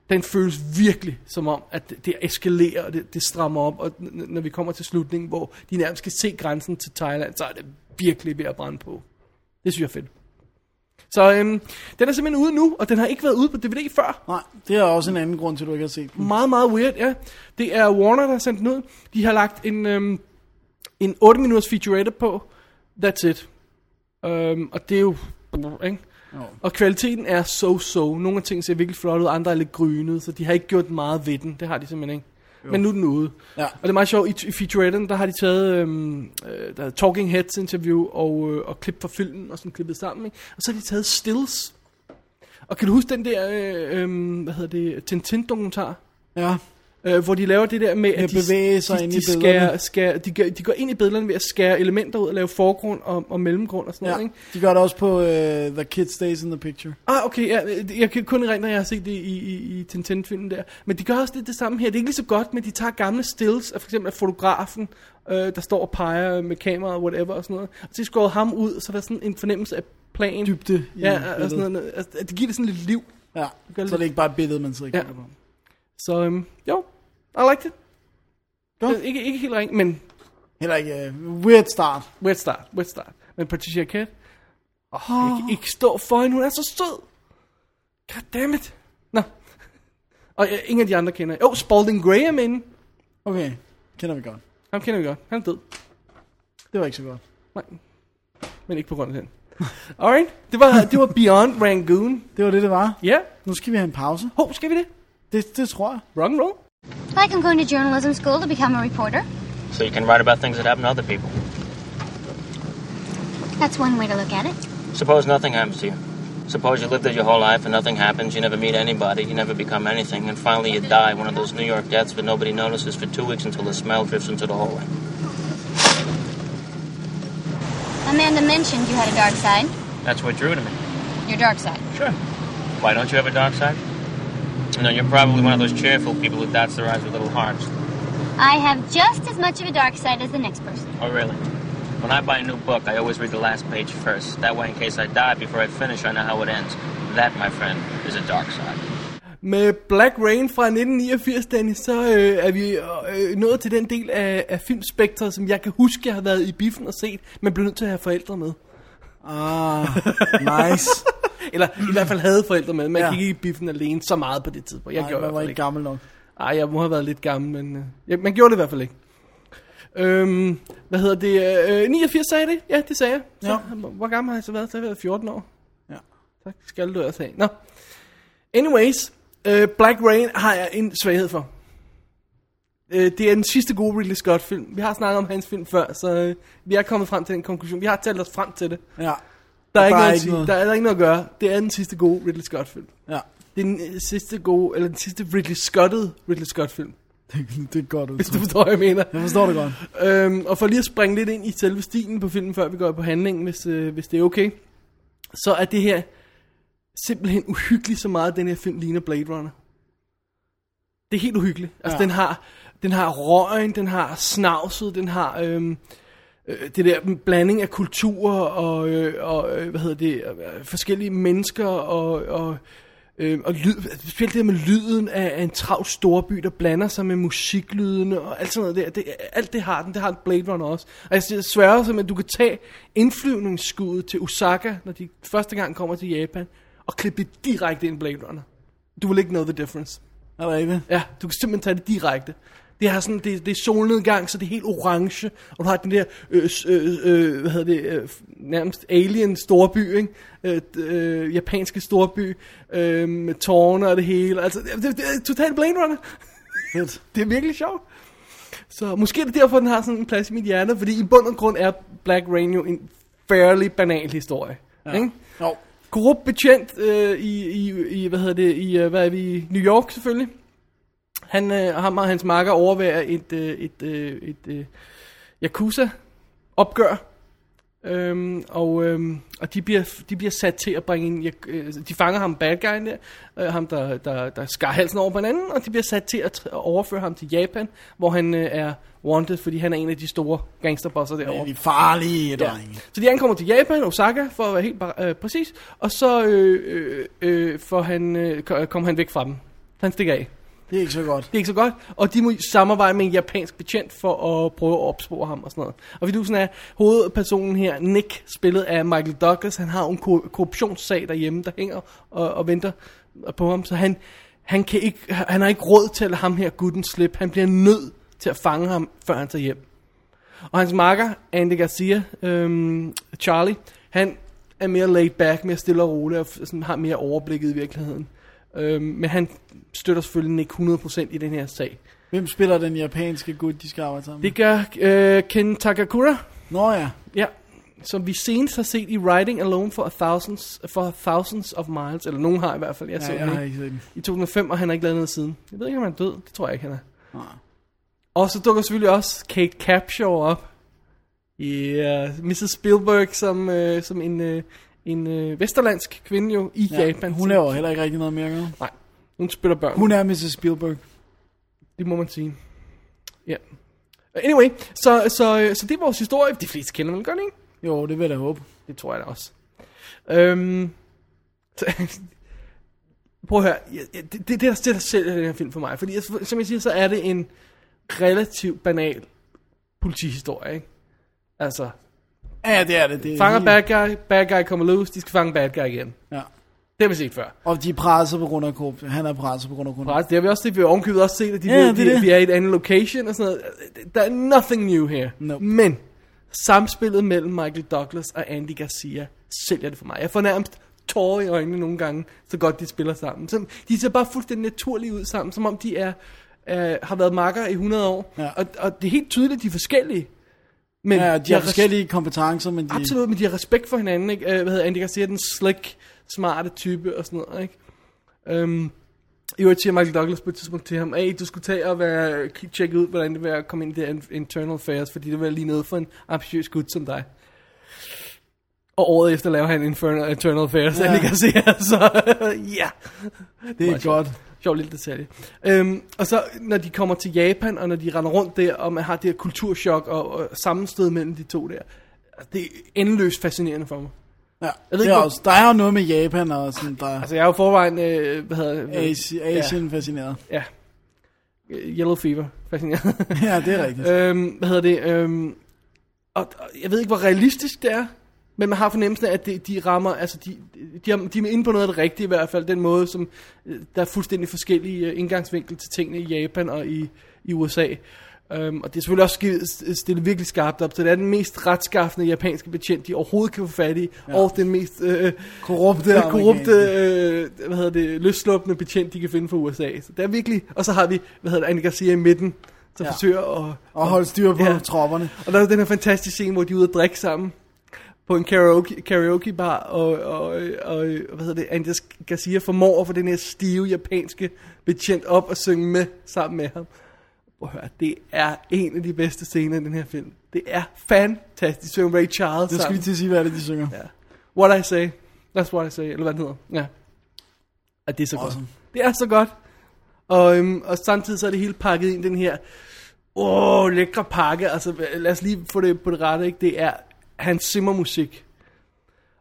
A: den føles virkelig som om, at det- det eskalerer, og det, det strammer op, og n- n- når vi kommer til slutningen, hvor de nærmest kan se grænsen til Thailand, så er det virkelig ved at brænde på. Det synes jeg er fedt. Så øhm, den er simpelthen ude nu, og den har ikke været ude på DVD før.
B: Nej, det er også en anden grund til, at du ikke har set den.
A: Meget, meget weird, ja. Det er Warner, der har sendt den ud. De har lagt en, øhm, en 8-minutters featurette på. That's it. Øhm, og det er jo... Ikke?
B: Jo.
A: Og kvaliteten er so-so. Nogle af tingene ser virkelig flot ud, andre er lidt grynede, så de har ikke gjort meget ved den. Det har de simpelthen ikke. Jo. Men nu er den ude.
B: Ja.
A: Og det er meget sjovt, i, i featuretten, der har de taget øhm, øh, der er Talking Heads interview og, øh, og klip fra filmen, og sådan klippet sammen. Ikke? Og så har de taget stills. Og kan du huske den der, øh, øh, hvad hedder det, Tintin-dokumentar?
B: Ja,
A: Øh, hvor de laver det der med, at de,
B: bevæge sig
A: de,
B: ind
A: de,
B: i
A: skærer,
B: billederne.
A: skærer, de, gør, de går ind i billederne ved at skære elementer ud og lave forgrund og, og mellemgrund og sådan
B: ja.
A: noget. Ikke?
B: De gør det også på uh, The Kid Stays in the Picture.
A: Ah, okay, ja, øh, jeg kan kun erindre, at jeg har set det i, i, i Tintin-filmen der. Men de gør også lidt det samme her. Det er ikke lige så godt, men de tager gamle stills af for eksempel af fotografen, øh, der står og peger med kameraet og whatever og sådan noget. Og så skåret ham ud, så der er sådan en fornemmelse af plan.
B: Dybde i
A: Ja, og
B: billedet.
A: sådan noget. Altså, det giver det sådan lidt liv.
B: Ja,
A: gør
B: så det er
A: lidt-
B: ikke bare et billede, man sidder
A: Ja.
B: og kigger på.
A: Så øhm, jo, I liked it.
B: Godt.
A: Øh, Ikke, ikke helt ring, men
B: Heller ikke uh, weird start.
A: wet start, wet start. Men Patricia Arquette, åh, oh, jeg kan ikke stå for hende, hun er så sød. Goddammit. Nå. Og øh, ingen af de andre kender. Jo, oh, Spalding Gray er med inde.
B: Okay, kender vi godt.
A: Ham kender vi godt. Han er død.
B: Det var ikke så godt.
A: Nej. Men ikke på grund af den. Alright. Det var, det var Beyond Rangoon.
B: Det var det, det var.
A: Ja. Yeah.
B: Nu skal vi have en pause.
A: Hov, skal vi det?
B: Det, det tror jeg.
A: Rock and roll.
F: Like I'm going to journalism school to become a reporter.
G: So you can write about things that happen to other people.
F: That's one way to look at it.
G: Suppose nothing happens to you. Suppose you live there your whole life and nothing happens, you never meet anybody, you never become anything, and finally you die one of those New York deaths that nobody notices for two weeks until the smell drifts into the hallway.
F: Amanda mentioned you had a dark side.
G: That's what drew to me.
F: Your dark side.
G: Sure. Why don't you have a dark side? You know, you're probably one of those cheerful people who dots their eyes with little hearts.
F: I have just as much of a dark side as the next person.
G: Oh, really? When I buy a new book, I always read the last page first. That way, in case I die before I finish, I know how it ends. That, my friend, is a dark side.
A: Med Black Rain fra 1989, Danny, så øh, er vi øh, øh, nået til den del af, af filmspektret, som jeg kan huske, jeg har været i biffen og set, men blev nødt til at have forældre med.
B: Ah, nice.
A: Eller i hvert fald havde forældre med. Man
B: Ja.
A: ja. gik ikke i biffen alene så meget på det tidspunkt. Jeg
B: Nej,
A: gjorde i
B: man
A: hvert
B: var
A: fald
B: ikke
A: ikke.
B: gammel nok.
A: Ej, jeg må have været lidt gammel, men øh, ja, man gjorde det i hvert fald ikke. Øhm, hvad hedder det? Øh, 89 sagde jeg det? Ja, det sagde jeg. Så,
B: Ja.
A: Hvor gammel har jeg så været? Så har jeg været 14 år.
B: Ja.
A: Tak skal du også have. Nå. Anyways, øh, Black Rain har jeg en svaghed for. Øh, det er den sidste gode Ridley Scott film. Vi har snakket om hans film før, så øh, vi er kommet frem til den konklusion. Vi har talt os frem til det.
B: Ja,
A: Der er, ikke
B: er
A: noget, at
B: ikke
A: sige.
B: noget.
A: Der, er, der er ikke noget at gøre. Det er den sidste gode Ridley Scott film.
B: ja.
A: Det er den øh, sidste gode, eller den sidste Ridley Scottede Ridley Scott film.
B: Det er godt
A: Hvis
B: udtryk.
A: du forstår, hvad jeg mener.
B: Jeg forstår det godt.
A: Øhm, og for lige at springe lidt ind i selve stilen på filmen, før vi går på handlingen, hvis, øh, hvis det er okay, så er det her simpelthen uhyggeligt så meget, den her film ligner Blade Runner. Det er helt uhyggeligt. Altså, ja.
B: Ja.
A: den, har, den har røgen, den har snavset, den har øhm, øh, det der blanding af kulturer og, øh, og øh, hvad hedder det, øh, forskellige mennesker og... og Øh, og lyd, specielt det her med lyden af, af en trav storby, der blander sig med musiklydene og alt sådan noget der. Det, alt det har den, det har Blade Runner også. Og jeg siger- sværger simpelthen, at du kan tage indflyvningsskuddet til Osaka, når de første gang kommer til Japan, og klippe det direkte ind i Blade Runner. Du vil ikke know the difference.
B: Er der ikke det?
A: Ja, du kan simpelthen tage det direkte. Det er, sådan, det, det er solnedgang, så det er helt orange, og du har den der, øh, s- øh, øh, hvad hedder det, øh, nærmest alien storby, ikke? Øh, d- øh, japanske storby, øh, med tårne og det hele. Altså, det, det, det er totalt Blade Runner.
B: Fedt.
A: Det er virkelig sjovt. Så måske er det derfor, den har sådan en plads i mit hjerte, fordi i bund og grund er Black Rain jo en fairly banal historie. Ja. Ikke?
B: Jo.
A: Korrupt betjent øh, i, i, i, hvad hedder det, i, øh, hvad er vi, i New York selvfølgelig. Han, øh, ham og hans makker overværer et, øh, et, øh, et øh, Yakuza-opgør. Øhm, og øhm, og de, bliver, de bliver sat til at bringe en... yak- Øh, de fanger ham, bad guyen der, øh, ham der, der, der skar halsen over på en anden, og de bliver sat til at, tr- at overføre ham til Japan, hvor han øh, er wanted, fordi han er en af de store gangsterbosser derovre.
B: Men de er farlige
A: Ja.
B: drenge.
A: Så de ankommer til Japan, Osaka, for at være helt bar- øh, præcis, og så øh, øh, øh, får han, øh, ko- øh, kommer han væk fra dem. Han stikker af.
B: Det er ikke så godt.
A: Det er ikke så godt, og de må samarbejde med en japansk betjent for at prøve at opspore ham og sådan noget. Og vidusen er, hovedpersonen her, Nick, spillet af Michael Douglas, han har jo en kor- korruptionssag derhjemme, der hænger og, og venter på ham, så han, han, kan ikke, han har ikke råd til at lade ham her gutten slippe. Han bliver nødt til at fange ham, før han tager hjem. Og hans makker, Andy Garcia, øhm, Charlie, han er mere laid back, mere stille og rolig, og f- sådan, har mere overblikket i virkeligheden. Øhm, men han støtter selvfølgelig Nick 100% i den her sag.
B: Hvem spiller den japanske gut, de skal arbejde sammen med?
A: Det gør øh, Ken Takakura,
B: Nå ja.
A: ja, som vi senest har set i Riding Alone for a Thousands, for Thousands of Miles, eller nogen har i hvert fald, jeg så
B: ja
A: den
B: jeg
A: ikke.
B: har ikke set den.
A: i 2005, og han har ikke lavet noget siden. Jeg ved ikke, om han er død. Det tror jeg ikke, han er. Og så dukker selvfølgelig også Kate Capshaw op. Yeah. Mrs. Spielberg som, øh, som en, øh, en øh, vesterlandsk kvinde jo i ja, Japan.
B: Hun laver heller ikke rigtig noget mere. gør hun?
A: Nej, hun spiller børn.
B: Hun er Mrs. Spielberg.
A: Det må man sige. Ja. Anyway, så, så, øh, så det er vores historie. De fleste kender man godt, ikke?
B: Jo, det vil jeg da håbe.
A: Det tror jeg da også. Øhm, så, prøv at høre. Jeg- jeg- Det, det, det, der- det der sælger den her film for mig. Fordi jeg, som jeg siger, så er det en relativt banal politihistorie. Ikke? Altså,
B: Ja, det er det. det er
A: fanger
B: helt-
A: bad guy, bad guy kommer løs, de skal fange bad guy igen.
B: Ja.
A: Det har vi set før.
B: Og de er presset på grund af korruption. Han er presset på grund af korruption.
A: Præcis, det har vi også set, vi har ovenkøbet også set, at de
B: Ja,
A: ja, ved,
B: det er
A: vi,
B: det.
A: vi er i et andet location og sådan noget. Der er nothing new her.
B: Nope.
A: Men samspillet mellem Michael Douglas og Andy Garcia sælger det for mig. Jeg får nærmest tårer i øjnene nogle gange, så godt de spiller sammen. Så de ser bare fuldstændig naturlige ud sammen, som om de er, øh, har været makker i 100 år.
B: Ja.
A: Og, og det er helt tydeligt, at de er forskellige. Men
B: Ja, de har
A: res-
B: forskellige kompetencer, men de...
A: Absolut, men de har respekt for hinanden, ikke? Øh, Hvad hedder Andy Garcia, den slick, smarte type og sådan noget, ikke? Øhm, I øvrigt siger Michael Douglas på et tidspunkt til ham, hey, du skulle tage og være, k- tjekke ud, hvordan det vil at komme ind i det in- internal affairs, fordi det var lige noget for en ambitiøs gut som dig. Og året efter laver han Infernal, Internal Affairs, ja. Andy Garcia, så ja.
B: Det er godt.
A: Sjov lille detalje. Øhm, og så når de kommer til Japan, og når de render rundt der, og man har det her kulturschok og, og sammenstød mellem de to der. Det er endeløst fascinerende for mig.
B: Ja.
A: ved
B: Det
A: ikke,
B: er
A: hvor-
B: også, der er jo noget med Japan og sådan, der er
A: Altså jeg er jo forvejen, øh, hvad hedder det?
B: Asi- Asian fascineret.
A: Ja. ja. Yellow Fever, fascinerende.
B: Ja, det er rigtigt.
A: øhm, hvad hedder det? Øhm, og, og jeg ved ikke, hvor realistisk det er, men man har fornemmelsen af, at det, de rammer, altså de, de, er, de er inde på noget af det rigtige i hvert fald, den måde, som øh, der er fuldstændig forskellige øh, indgangsvinkel til tingene i Japan og i, i USA. Um, og det er selvfølgelig også skidt- stillet virkelig skarpt op, så det er den mest retskaffende japanske betjent, de overhovedet kan få fat i, ja. og den mest øh,
B: Korrupte
A: den korrupte,
B: amerikanske.
A: øh, hvad hedder det, løsluppende betjent, de kan finde fra USA. Så det er virkelig, og så har vi, hvad hedder det, Anne Garcia i midten, der ja.
B: Ja.
A: forsøger at...
B: Og holde styr på
A: Ja.
B: ja. tropperne.
A: Og der er den her fantastiske scene, hvor de er ude at drikke sammen på en karaoke, karaoke bar, og, og, og, og, hvad hedder det, Andy Garcia formår at få den her stive japanske betjent op og synge med sammen med ham. Prøv at høre, det er en af de bedste scener i den her film. Det er fantastisk. Synger Ray Charles
B: Det skal
A: sammen.
B: vi til at sige, hvad det er, de synger. Ja.
A: What I Say. That's What I Say, eller hvad den hedder. Ja. At det er så awesome.
B: Awesome.
A: godt. Det er så godt. Og, øhm, og samtidig så er det hele pakket ind i den her, åh, oh, lækre pakke. Altså, lad os lige få det på det rette, ikke? Det er Hans Zimmer-musik.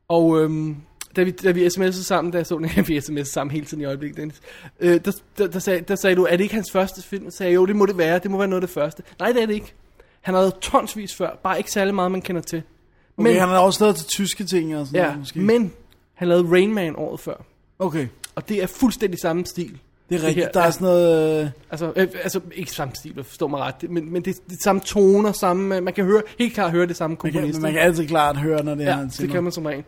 A: Og øhm, da, vi, da vi sms'ede sammen, da jeg så den her, vi sms'ede sammen hele tiden i øjeblikket, Dennis, øh, der, der, der, sagde, der sagde du, er det ikke hans første film? Så sagde jeg, jo, det må det være, det må være noget af det første. Nej, det er det ikke. Han har lavet tonsvis før, bare ikke særlig meget, man kender til.
B: Okay, men, han har også lavet til tyske ting og sådan
A: Ja,
B: noget, måske.
A: men han lavede Rain Man året før,
B: Okay,
A: og det er fuldstændig samme stil.
B: det er rigtigt.
A: her
B: der er sådan noget... øh,
A: Altså, øh, altså ikke samme stil, forstår mig ret, det- men, men det, det er samme toner, samme, øh, man kan høre, helt klart høre det samme
B: Man kan,
A: komponist.
B: man kan altid klart høre, når det er
A: Ja,
B: han
A: det kan man som regel.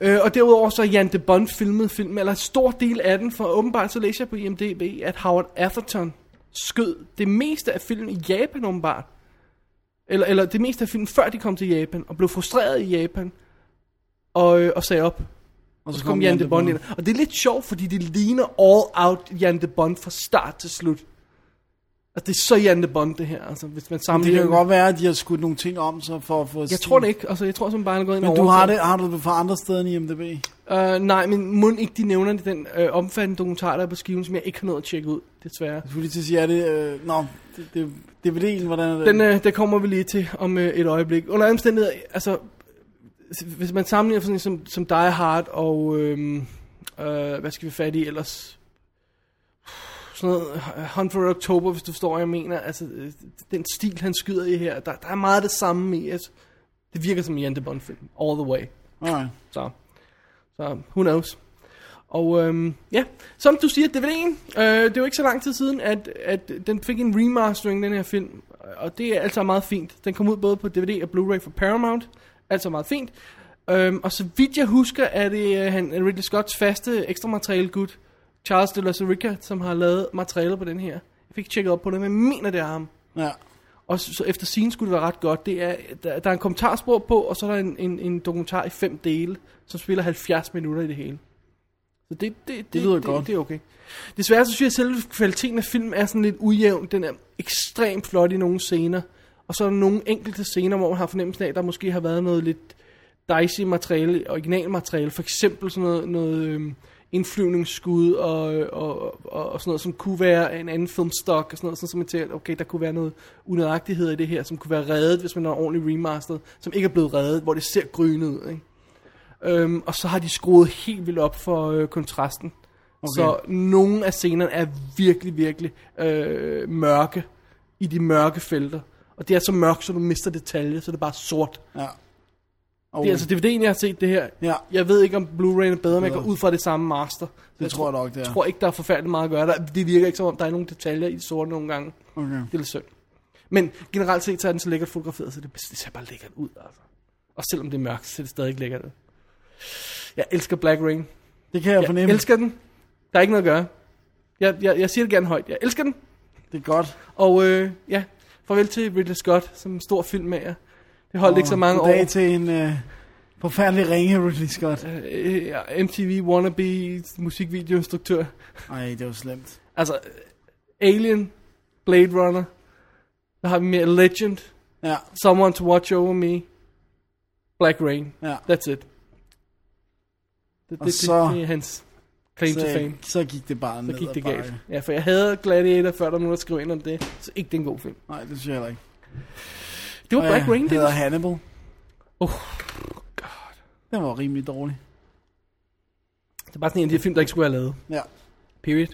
A: Øh, og derudover så er Jan de Bond filmet filmen, eller en stor del af den, for åbenbart så læser jeg på IMDb, at Howard Atherton skød det meste af filmen i Japan åbenbart. Eller, eller det meste af filmen, før de kom til Japan, og blev frustreret i Japan. og, øh, og sagde op. Og så
B: så
A: kom
B: kom
A: Jan
B: Jan
A: de
B: de
A: Bond
B: Bond.
A: ind. Og det er lidt sjovt, fordi det ligner all out Jan de Bond fra start til slut. Altså, det er så Jan de Bond, det her. Altså, hvis man
B: Det
A: sammenligner...
B: kan godt være, at de har skudt nogle ting om, så for at få...
A: Jeg tror det ikke. Altså, jeg tror simpelthen bare, han er gået ind
B: Men
A: og
B: du har,
A: overtaget.
B: det, har du det fra andre steder end i MDB?
A: Øh, nej, men mund ikke, de nævner det, den øh, omfattende dokumentar, der er på skiven, som jeg ikke har nået at tjekke ud, desværre.
B: Jeg skulle lige til at sige, er det... Øh, nå, det, det, DVD'en, hvordan er det?
A: Den, øh, der kommer vi lige til om øh, et øjeblik. Under alle omstændigheder, altså, s- hvis man sammenligner for sådan en som, som Die Hard og, øhm, øh, hvad skal vi fat i ellers? Sådan noget, øh, Hunt for October, hvis du forstår, hvad jeg mener. Altså, øh, den stil, han skyder i her, der, der er meget det samme i. Altså, det virker som en Jante Bond film, all the way.
B: Alright.
A: Så, så who knows. Og øhm, ja, som du siger, DVD'en, øh, det er jo ikke så lang tid siden, at, at den fik en remastering, den her film. Og det er altså meget fint. Den kom ud både på DVD og Blu-ray fra Paramount. Altså meget fint. Øhm, og så vidt jeg husker, er det øh, han, Ridley Scotts faste ekstra materiale gut, Charles de la Rica, som har lavet materialet på den her. Jeg fik tjekket op på det, men jeg mener, det er ham.
B: Ja.
A: Og så, så efter scene skulle det være ret godt. Det er, der, der er en kommentarspor på, og så er der en, en, en dokumentar i fem dele, som spiller 70 minutter i det hele. Så det, det, det,
B: lyder
A: det,
B: godt.
A: Det er okay. Desværre så synes jeg, at selve kvaliteten af filmen er sådan lidt ujævn. Den er ekstremt flot i nogle scener. Og så er der nogle enkelte scener, hvor man har fornemmelsen af, at der måske har været noget lidt dicey materiale, originalmateriale. For eksempel sådan noget, noget øhm, indflyvningsskud og, og, og, og sådan noget, som kunne være en anden filmstok og sådan noget, sådan, som man tænker, okay, der kunne være noget unødagtighed i det her, som kunne være reddet, hvis man har ordentligt remasteret, som ikke er blevet reddet, hvor det ser grynet ud, ikke? Øhm, og så har de skruet helt vildt op for øh, kontrasten. Okay. Så nogle af scenerne er virkelig, virkelig øh, mørke i de mørke felter. Og det er så mørkt, så du mister detaljer, så det er bare sort.
B: Ja.
A: Det er altså DVD'en, jeg har set det her.
B: Ja.
A: Jeg ved ikke, om Blu-ray er bedre, men jeg går ud fra det samme master. Så jeg
B: tror jeg nok, det er.
A: tror ikke, der er forfærdeligt meget at gøre. Der, det virker ikke som om, der er nogle detaljer i det sorte nogle gange.
B: Okay.
A: Det er lidt synd. Men generelt set, så er den så lækkert fotograferet, så det, det ser bare lækkert ud, altså. Og selvom det er mørkt, så ser det stadig lækkert ud. Jeg elsker Black Rain.
B: Det kan jeg,
A: Jeg
B: fornemme.
A: elsker den. Der er ikke noget at gøre. Jeg, jeg, jeg siger det gerne højt. Jeg elsker den.
B: Det er godt.
A: Og øh, ja, farvel til Ridley Scott, som en stor filmmager. Det holdt ikke så mange år.
B: dag til en øh, forfærdelig ringe, Ridley Scott.
A: Øh, ja, MTV wannabe musikvideoinstruktør.
B: Ej, det var slemt.
A: Altså, øh, Alien, Blade Runner, der har vi mere Legend,
B: Ja,
A: Someone to Watch Over Me, Black Rain.
B: Ja.
A: That's it. Det,
B: Og
A: det,
B: så-
A: det, det er hans claim to
B: så,
A: fame.
B: så gik det bare ned
A: Så gik
B: ad
A: det
B: bakke.
A: galt. Ja, for jeg havde Gladiator, før der var nogen, der skrev ind om det. Så ikke det er en god film.
B: Nej, det synes jeg heller ikke.
A: Det var
B: Og
A: Black
B: jeg
A: Rain, det
B: hedder
A: var.
B: Hannibal.
A: Oh,
B: Den var rimelig dårlig.
A: det er bare sådan en af de her film, der ikke skulle have lavet.
B: Ja.
A: Period.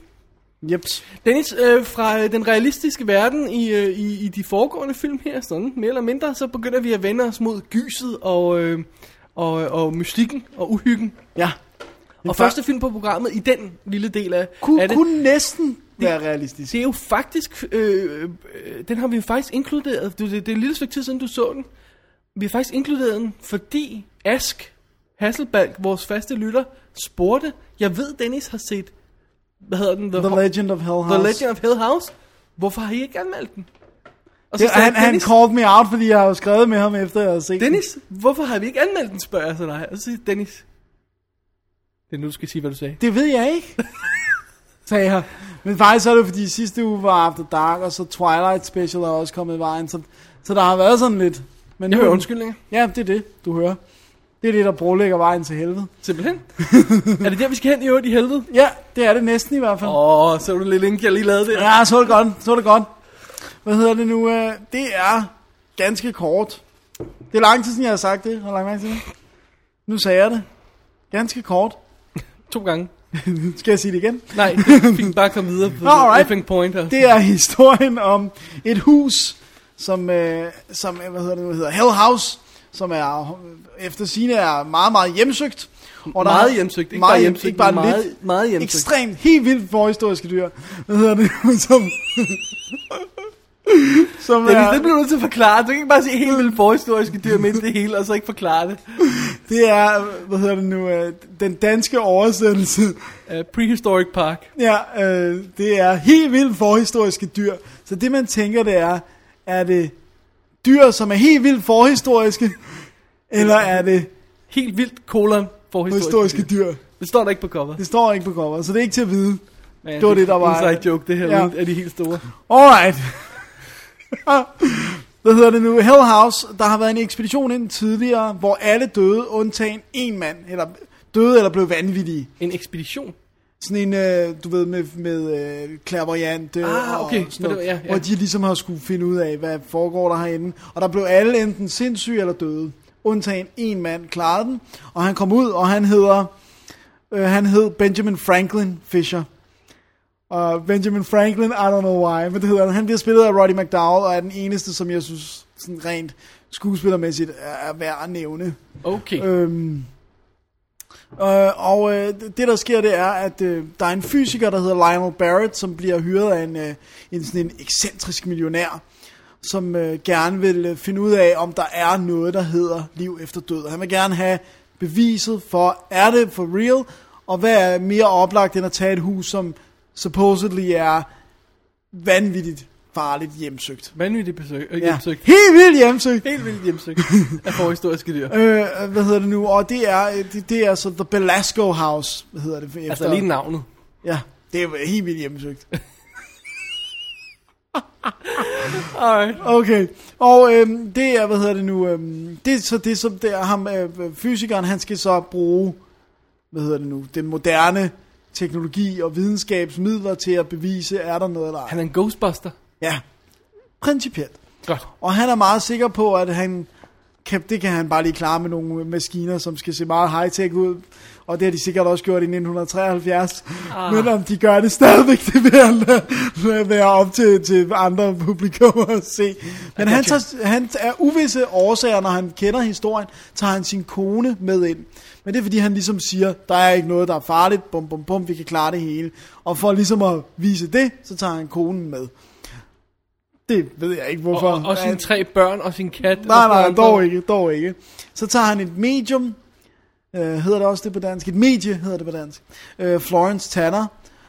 B: Jeps.
A: Dennis, øh, fra øh, den realistiske verden i, øh, i, i de foregående film her, sådan mere eller mindre, så begynder vi at vende os mod gyset og, øh, og, og mystikken og uhyggen.
B: Ja.
A: Og første film på programmet i den lille del af,
B: kunne,
A: af det,
B: kunne næsten være realistisk.
A: det er jo faktisk, øh, øh, den har vi jo faktisk inkluderet, du, det, det er et lille stykke tid siden du så den, vi har faktisk inkluderet den, fordi Ask Hasselbalg, vores faste lytter, spurgte, jeg ved Dennis har set, hvad hedder den?
B: The Legend of Hell House.
A: The Legend of Hell House. Hvorfor har I ikke anmeldt den? Og så
B: Det,
A: sagde
B: han, han
A: Dennis,
B: called me out, fordi jeg har jo skrevet med ham, efter jeg havde set den.
A: Dennis, hvorfor har vi ikke anmeldt den, spørger jeg så dig. Og så siger Dennis, det er nu, du skal sige, hvad du sagde.
B: Det ved jeg ikke, sagde jeg. Men faktisk er det jo, fordi sidste uge var After Dark, og så Twilight Special er også kommet i vejen, så, så der har været sådan lidt. Men
A: Jeg
B: nu-
A: hører undskyldninger,
B: Ja, det er det, du hører. Det er det, der brolægger vejen til helvede.
A: simpelthen. er det der, vi skal hen i øvrigt i helvede?
B: Ja, det er det næsten i hvert fald. Oh.
A: Åh, oh, så du lidt link, jeg lige lavede det.
B: Ja, så er det godt, så er det godt. Hvad hedder det nu? øh, Det er ganske kort. Det er lang tid siden, jeg har sagt det. Hvor lang lang tid siden? Nu sagde jeg det. Ganske kort.
A: To gange.
B: Skal jeg sige det igen?
A: Nej, det fik bare komme videre på
B: Alright.
A: Effing Point her.
B: Det er historien om et hus, som, øh, som øh, hvad hedder det, nu, hedder Hell House, som er øh, efter sine er meget, meget hjemsøgt. Og der
A: Meget
B: er-
A: hjemsøgt, ikke
B: meget
A: bare
B: hjem-
A: hjemsøgt,
B: ikke bare
A: men
B: lidt,
A: meget- meget hjemsøgt.
B: Ekstremt, helt vildt forhistoriske dyr. Hvad hedder det? Som, som
A: Dennis,
B: er,
A: det bliver du nødt til at forklare. Du kan ikke bare sige helt vildt forhistoriske dyr midt i det hele, og så ikke forklare det.
B: det er, hvad hedder det nu, øh, den danske oversættelse
A: Uh, prehistoric Park.
B: Ja, øh, det er helt vildt forhistoriske dyr. Så det man tænker, det er, er det dyr, som er helt vildt forhistoriske, eller er det
A: Helt vildt kolon for
B: på
A: historiske,
B: historiske
A: dyr.
B: dyr.
A: Det står der ikke på coveret.
B: Det står ikke på coveret, så det er ikke til at vide.
A: Ja,
B: det var det, der var-
A: Inside joke, det her
B: Ja.
A: ja. er de helt store.
B: Alright. Hvad hedder det nu? Hell House, der har været en ekspedition ind tidligere, hvor alle døde, undtagen en mand, eller døde eller blev vanvittige.
A: En ekspedition.
B: Sådan en, øh, du ved, med, med øh, clairvoyant øh,
A: Ah, okay.
B: og sådan noget,
A: På den- ja, ja.
B: hvor de ligesom har skulle finde ud af, hvad foregår der herinde. Og der blev alle enten sindssyge eller døde, undtagen en mand klarede den, og han kom ud, og han hedder, øh, han hed Benjamin Franklin Fisher. Og Benjamin Franklin, I don't know why, men det hedder han. Han bliver spillet af Roddy McDowell, og er den eneste, som jeg synes sådan rent skuespillermæssigt er værd at nævne.
A: Okay. Øh.
B: Øhm, øh, og øh, det der sker, det er, at øh, der er en fysiker, der hedder Lionel Barrett, som bliver hyret af en, øh, en, sådan en ekscentrisk millionær, som øh, gerne vil øh, finde ud af, om der er noget, der hedder liv efter død. Og Han vil gerne have beviset for, er det for real, og hvad er mere oplagt end at tage et hus, som supposedly er vanvittigt farligt hjemsøgt.
A: Vanvittigt besøg. Øh,
B: Ja.
A: hjemsøgt.
B: Helt vildt hjemsøgt!
A: Helt vildt hjemsøgt af forhistoriske dyr.
B: Øh, hvad hedder det nu? Og det er, øh, det, det er så The Belasco House, hvad hedder det? Efter.
A: Altså lige navnet.
B: Ja, det er jo helt vildt hjemmesøgt.
A: Alright.
B: Okay, og øhm, det er, hvad hedder det nu, øhm, det er så det, som det er ham, øh, fysikeren, han skal så bruge, hvad hedder det nu, den moderne teknologi og videnskabsmidler til at bevise, er der noget eller ej.
A: Han er en ghostbuster.
B: Ja, principielt.
A: Godt.
B: Og han er meget sikker på, at han kan, det kan han bare lige klare med nogle maskiner, som skal se meget high-tech ud. Og det har de sikkert også gjort i 1973. Ah. Men om de gør det stadigvæk, det vil jeg lade, lade være op til, til andre publikummer at se. Men han, tager, han er uvisse årsager, når han kender historien, tager han sin kone med ind. Men det er fordi, han ligesom siger, der er ikke noget, der er farligt, bum bum bum, vi kan klare det hele. Og for ligesom at vise det, så tager han konen med. Det ved jeg ikke, hvorfor.
A: Og, og, og sine
B: Han-
A: tre børn og sin kat.
B: Nej,
A: og
B: nej,
A: sådan
B: dog
A: noget.
B: ikke, dog ikke. Så tager han et medium, øh, hedder det også det på dansk, et medie hedder det på dansk, øh, Florence Tanner,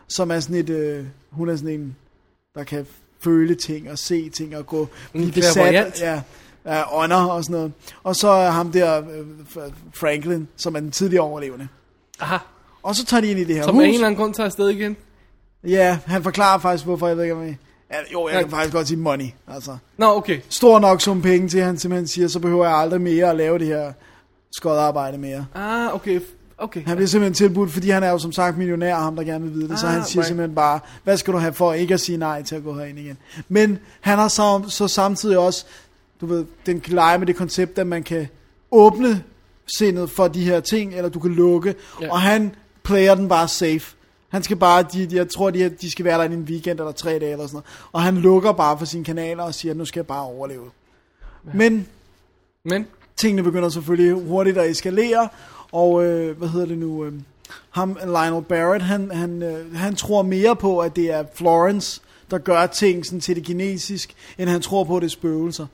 B: som er sådan et, øh, hun er sådan en, der kan føle ting og se ting og gå, blive
A: clairvoyant.
B: besat ja, af ånder og sådan noget. Og så er ham der, øh, Fra- Franklin, som er den tidligere overlevende.
A: Aha.
B: Og så tager de ind i det her
A: Som af
B: hus.
A: en eller anden grund tager afsted igen.
B: Ja, han forklarer faktisk, hvorfor, jeg ved ikke om jeg... Ja, jo, jeg kan
A: Ja.
B: faktisk godt sige money, altså
A: Nå, okay.
B: stor nok sum penge til, at han simpelthen siger, så behøver jeg aldrig mere at lave det her skodarbejde mere.
A: Ah, okay. F- Okay.
B: Han bliver simpelthen tilbudt, fordi han er jo som sagt millionær, ham der gerne vil vide det, så
A: Ah,
B: han siger
A: right.
B: simpelthen bare, hvad skal du have for ikke at sige nej til at gå herind igen. Men han har så, så samtidig også, du ved, den kan lege med det koncept, at man kan åbne sindet for de her ting, eller du kan lukke,
A: Ja.
B: og han player den bare safe. Han skal bare, de, de- jeg tror, de, de skal være der i en weekend eller tre dage eller sådan noget. Og han lukker bare for sine kanaler og siger, nu skal jeg bare overleve. Men
A: Men,
B: tingene begynder selvfølgelig hurtigt at eskalere, og øh, hvad hedder det nu, øh, ham, Lionel Barrett, han, han, øh, han tror mere på, at det er Florence, der gør ting sådan til det kinesisk, end han tror på, at det er spøgelser.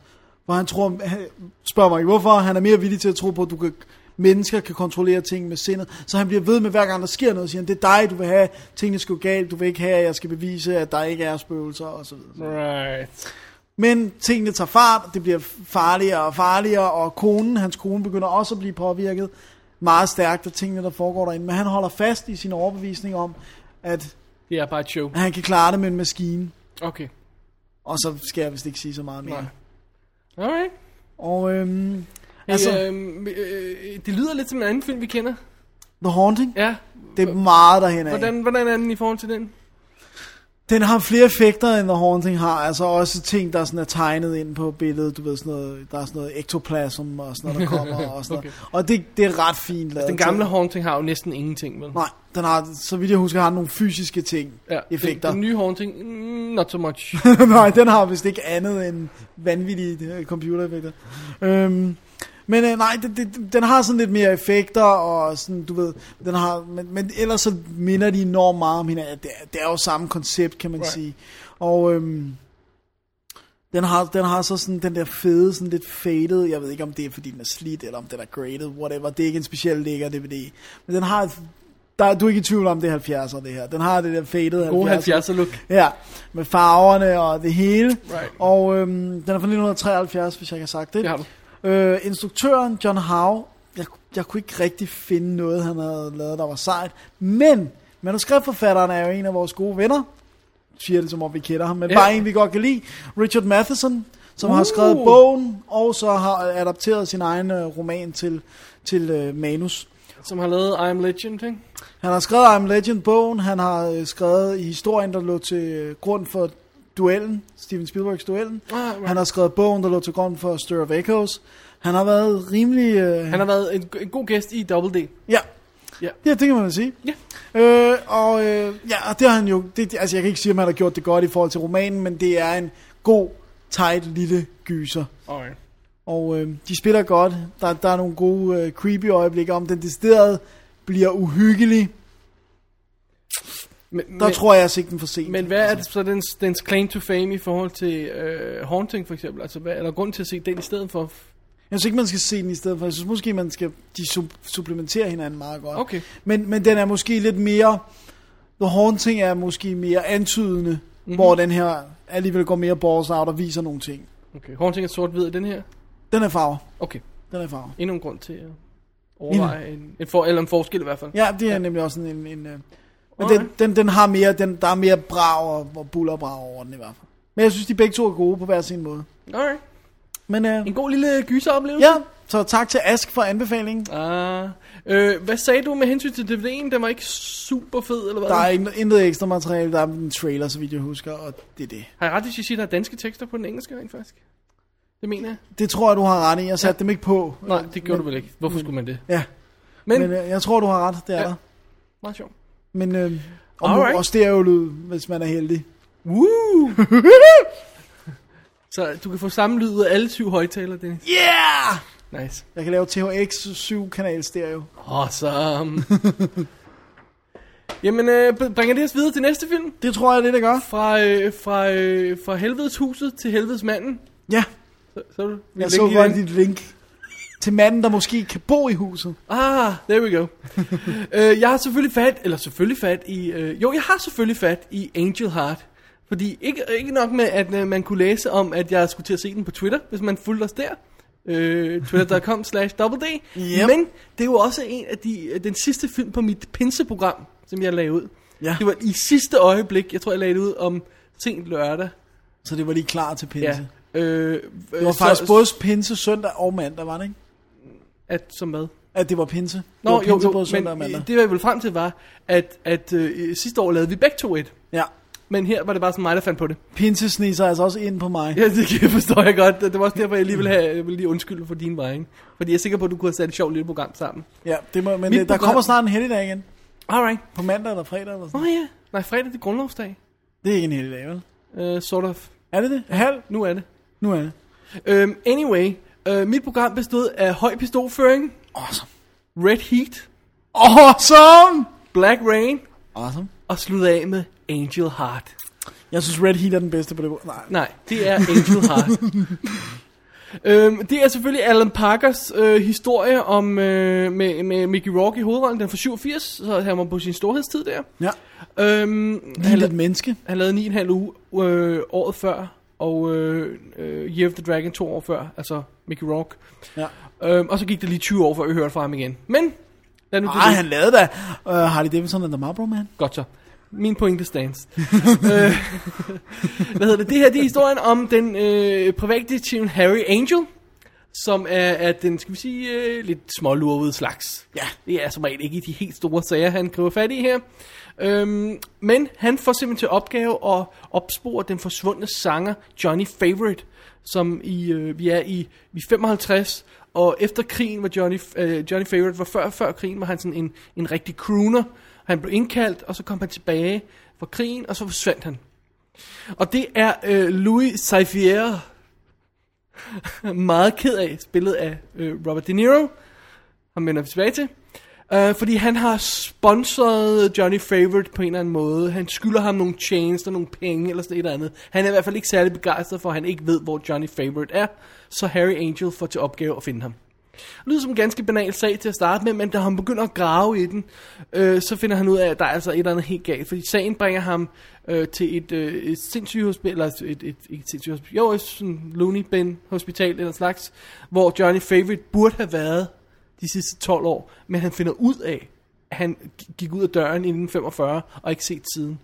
B: For han tror, han, spørger mig ikke hvorfor, han er mere villig til at tro på, at du kan, mennesker kan kontrollere ting med sindet, så han bliver ved med, hver gang der sker noget, siger han, det er dig, du vil have, tingene skal gå galt, du vil ikke have, at jeg skal bevise, at der ikke er spøgelser, osv.
A: right.
B: Men tingene tager fart, det bliver farligere og farligere, og konen, hans kone begynder også at blive påvirket meget stærkt af tingene, der foregår derinde. Men han holder fast i sin overbevisning om, at
A: Det er bare et show.
B: han kan klare det med en maskine.
A: Okay.
B: Og så skal jeg vist ikke sige så meget mere.
A: Nej. Alright.
B: Og øhm,
A: Hey,
B: altså,
A: altså, øh, øh, det lyder lidt som en anden film, vi kender.
B: The Haunting,
A: Ja.
B: det er meget derhen af.
A: Hvordan, hvordan er den i forhold til den?
B: Den har flere effekter, end The Haunting har. Altså også ting, der sådan er tegnet ind på billedet. Du ved, sådan noget, der er sådan noget ektoplasm og sådan noget, der kommer. Og, sådan okay. noget. og det, det er ret fint lavet.
A: Altså, Den gamle Haunting har jo næsten ingenting, vel?
B: Altså- Nej, den har, så vidt jeg husker, har den nogle fysiske ting, ja, effekter.
A: Den, den nye Haunting, mm, not so much.
B: Nej, den har vist ikke andet end vanvittige øh, computereffekter. Øhm, men øh, nej, det, det, den har sådan lidt mere effekter, og sådan, du ved, den har, men, men ellers så minder de enormt meget om hinanden. Det, er- det er jo samme koncept, kan man right.
A: Right.
B: sige. Og øhm, den har, den har så sådan den der fede, sådan lidt faded, jeg ved ikke om det er fordi den er slidt, eller om den er graded, whatever, det er ikke en speciel lækker DVD. Men den har, der, du er ikke i tvivl om det er 70'er det her, den har det der faded
A: God 70'er look.
B: Ja, med farverne og det hele.
A: Right.
B: Og øhm, den er fra 1973, hvis jeg kan have sagt det.
A: Det har du.
B: Øh, instruktøren John Howe, jeg, jeg kunne ikke rigtig finde noget, han havde lavet, der var sejt. Men manuskriptforfatteren er jo en af vores gode venner. Siger det, som om vi kender ham, men
A: Ja. Uh.
B: bare en, vi godt kan lide. Richard Matheson, som har skrevet bogen, og så har adapteret sin egen øh, roman til, til øh, manus.
A: Som har lavet I Am Legend, ikke?
B: Han har skrevet I'm Legend-bogen, han har øh, skrevet i historien, der lå til øh, grund for duellen, Steven Spielbergs duellen.
A: Ah, right.
B: Han har skrevet bogen, der lå til grund for Stir of Echoes. Han har været rimelig... Øh,
A: Han har været en, en god gæst i Double D.
B: ja.
A: Ja.
B: ja, det kan man vel sige.
A: Ja.
B: Øh, og øh, ja, og det har han jo... Det, det- altså, jeg kan ikke sige, om han har gjort det godt i forhold til romanen, men det er en god, tight lille gyser.
A: Alright.
B: Og øh, de spiller godt. Der, der er nogle gode, øh, creepy øjeblikke om den decideret bliver uhyggelig.
A: Men,
B: Der
A: men,
B: men, tror jeg, jeg har set den for sent.
A: men hvad er det så dens, dens claim to fame i forhold til øh, Haunting for eksempel? Altså, hvad er der grund til at se den i stedet for?
B: Jeg synes ikke, man skal se den i stedet for. Jeg synes måske, man skal de sub- supplementere hinanden meget godt.
A: Okay.
B: Men, men den er måske lidt mere... The Haunting er måske mere antydende,
A: Mhm.
B: mm-hmm. hvor den her alligevel går mere balls out og viser nogle ting.
A: Okay, Haunting er sort-hvid i den her?
B: Den er farve.
A: Okay,
B: Den er farve.
A: endnu en grund til at overveje en, en, for, eller en forskel i hvert fald.
B: Ja, det er nemlig også sådan en... en øh, men
A: Alright.
B: den, den, den, har mere, den, der er mere brav og, og buller brav over den i hvert fald. Men jeg synes, de begge to er gode på hver sin måde.
A: Alright.
B: Men øh,
A: En god lille gyseroplevelse.
B: ja, så tak til Ask for anbefalingen.
A: Ah, øh, hvad sagde du med hensyn til DVD'en? Den var ikke super fed, eller hvad?
B: Der er ikke- intet ekstra materiale, der er en trailer, så vidt jeg husker, og det er det.
A: Har jeg ret, hvis jeg siger, at der er danske tekster på den engelske rent faktisk? Det mener jeg.
B: Det tror jeg, du har ret i. Jeg satte ja. dem ikke på.
A: Nej, det gjorde du vel ikke. Hvorfor skulle man det?
B: Ja,
A: Men,
B: men øh, jeg tror, du har ret, det er
A: Ja.
B: ja. der.
A: meget sjovt.
B: Men øh, og
A: Alright.
B: nu, og stereolyd, hvis man er heldig.
A: Woo! Så du kan få samme lyd ud af alle syv højtalere, Dennis.
B: Yeah!
A: Nice.
B: Jeg kan lave THX 7-kanal stereo.
A: Awesome. Jamen, øh, b- bringer det os videre til næste film?
B: Det tror jeg, det er, det gør.
A: Fra, øh, fra, øh, fra helvedes huset til helvedes manden.
B: Ja,
A: Så, så er du? vi linker
B: jeg så
A: i
B: godt
A: den.
B: dit link til manden, der måske kan bo i huset.
A: Ah, there we go. øh, jeg har selvfølgelig fat, eller selvfølgelig fat i, øh, jo, jeg har selvfølgelig fat i Angel Heart. Fordi ikke, ikke nok med, at øh, man kunne læse om, at jeg skulle til at se den på Twitter, hvis man fulgte os der. Øh, twitter.com slash double D.
B: Yep.
A: Men det er jo også en af de, øh, den sidste film på mit pinseprogram, som jeg lagde ud.
B: Ja.
A: Det var i sidste øjeblik, jeg tror jeg lagde det ud om sent lørdag.
B: Så det var lige klar til pinse. Ja.
A: Øh,
B: Det var faktisk både pinse søndag og mandag, var det ikke?
A: At, som hvad?
B: At det var pinse.
A: Nå,
B: det var
A: jo,
B: pinse
A: jo,
B: både søndag og
A: men
B: mandag.
A: øh, det jeg ville frem til var, at, at øh, sidste år lavede vi begge to et,
B: Ja.
A: men her var det bare sådan mig, der fandt på det.
B: Pinse sniger altså også ind på mig.
A: Ja, det kan- forstår jeg godt. Det var også derfor, jeg lige ville, have, jeg ville lige undskylde for din vej, ikke? Fordi jeg er sikker på, at du kunne have sat et sjovt lille program sammen.
B: Ja, det må, men
A: Mit
B: øh, der
A: program-
B: kommer snart en helligdag igen.
A: Alright.
B: På mandag eller fredag eller sådan
A: Nå oh, ja. Nej, fredag det er grundlovsdag.
B: Det er ikke en helligdag, vel?
A: Uh, sort of.
B: Er det det? Halv?
A: Nu er det.
B: Nu er det.
A: Um, anyway, uh, mit program bestod af høj pistolføring,
B: Awesome.
A: Red Heat,
B: Awesome!
A: Black Rain
B: Awesome.
A: og slutte af med Angel Heart.
B: Jeg synes, Red Heat er den bedste på det. Nej.
A: Nej, det er Angel Heart. øhm, det er selvfølgelig Alan Parkers øh, historie om øh, med, med Mickey Rourke i hovedrollen. Den er fra 87, så han var på sin storhedstid der.
B: Ja.
A: Øhm,
B: Lige
A: han,
B: lidt
A: la-
B: menneske.
A: han lavede 9,5 uge øh, året før, og øh, øh, Year of the Dragon to år før, altså Mickey Rourke.
B: Ja.
A: Øhm, og så gik det lige 20 år, før vi hørte fra ham igen. Men, lad nu det
B: Ej,
A: ligge.
B: han lavede da uh, Harley Davidson and the Marlboro Man.
A: Godt så. Min pointe stands. øh, hvad hedder det? Det her det er historien om den øh, privatdetektiv Harry Angel, som er, er den, skal vi sige, øh, lidt smålurvede slags.
B: Ja.
A: Det er som regel ikke de helt store sager, han griber fat i her. Øhm, men han får simpelthen til opgave at opspore den forsvundne sanger Johnny Favorite, som i, øh, vi er i, i 55, og efter krigen var Johnny, øh, Johnny Favorite, var før, før krigen, var han sådan en, en rigtig crooner. Han blev indkaldt, og så kom han tilbage fra krigen, og så forsvandt han. Og det er øh, Louis Saifier, meget ked af, spillet af øh, Robert De Niro. Ham vender vi tilbage til. Øh, fordi han har sponsoret Johnny Favorite på en eller anden måde. Han skylder ham nogle tjenester, nogle penge eller sådan et eller andet. Han er i hvert fald ikke særlig begejstret for, at han ikke ved, hvor Johnny Favorite er. Så Harry Angel får til opgave at finde ham. Det lyder som en ganske banal sag til at starte med, men da han begynder at grave i den, øh, så finder han ud af, at der er altså et eller andet helt galt. Fordi sagen bringer ham øh, til et, øh, et sindssygehospital, eller et, et, et, ikke et sindssygehospital, jo, et sådan Looney Bin hospital eller slags, hvor Johnny Favorite burde have været de sidste 12 år, men han finder ud af, at han g- gik ud af døren i 1945 og ikke set siden.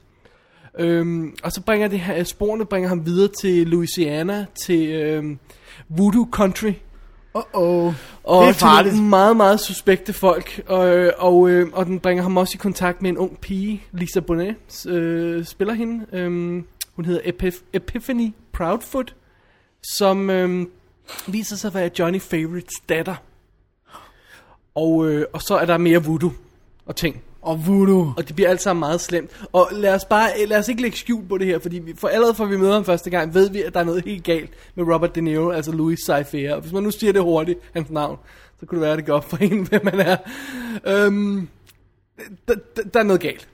A: Øhm, og så bringer det her, sporene bringer ham videre til Louisiana, til øhm, Voodoo Country,
B: Uh-oh.
A: og
B: det er farligt.
A: til meget, meget suspekte folk. Og, øh, og, øh, og den bringer ham også i kontakt med en ung pige, Lisa Bonet, øh, spiller hende. Øh, hun hedder Epif- Epiphany Proudfoot, som øh, viser sig at være Johnny Favorites datter. Og, øh, og så er der mere voodoo og ting.
B: Og voodoo.
A: Og det bliver alt sammen meget slemt. Og lad os, bare, lad os ikke lægge skjul på det her, fordi vi, for allerede fra vi møder ham første gang, ved vi, at der er noget helt galt med Robert De Niro, altså Louis Seifer. Og hvis man nu siger det hurtigt, hans navn, så kunne det være, at det går op for en, hvem man er. Øhm, der, der, der er noget galt.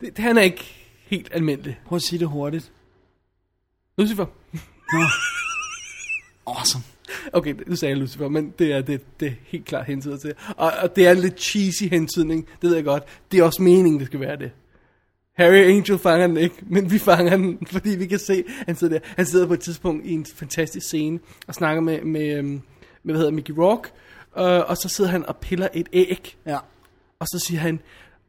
A: Det, han er ikke helt almindelig.
B: Prøv at sige det hurtigt.
A: Lucifer.
B: Awesome.
A: Okay, nu sagde jeg Lucifer, men det er det, det er helt klart hentyder til. Og, og det er en lidt cheesy hentydning, det ved jeg godt. Det er også meningen, det skal være det. Harry Angel fanger den ikke, men vi fanger den, fordi vi kan se, han sidder der. Han sidder på et tidspunkt i en fantastisk scene og snakker med, med, øhm, med hvad hedder Mickey Rourke, øh, og så sidder han og piller et æg,
B: Ja.
A: og så siger han,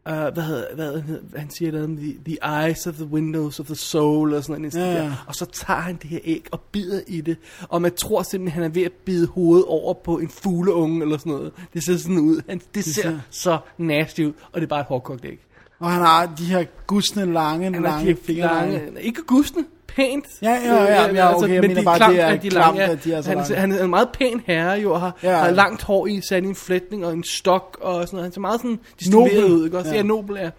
A: uh, hvad, hedder, hvad hedder- han siger noget om the, the eyes of the windows of the soul, og sådan noget.
B: Ja,
A: Ja,
B: ja.
A: ja. Og så tager han det her æg og bider i det, og man tror simpelthen, han er ved at bide hovedet over på en fugleunge, eller sådan noget. Det ser sådan ud. Han, det, det ser,
B: ser-
A: så nasty ud, og det er bare et hårdkogt æg.
B: Og han har de her gudsne lange,
A: Han har de
B: lange
A: her
B: fingre.
A: Ikke altså, gusne, pænt.
B: Ja, ja, ja, ja, okay, jeg mener bare, det er klamt, at de er så
A: han,
B: lange.
A: han er en meget pæn herre, jo, og har,
B: Ja.
A: ja. har langt hår i, sat i en flætning og en stok og sådan noget. Han ser meget sådan distingueret
B: Nobel.
A: ud, ikke også?
B: Ja.
A: Ja, nobel er.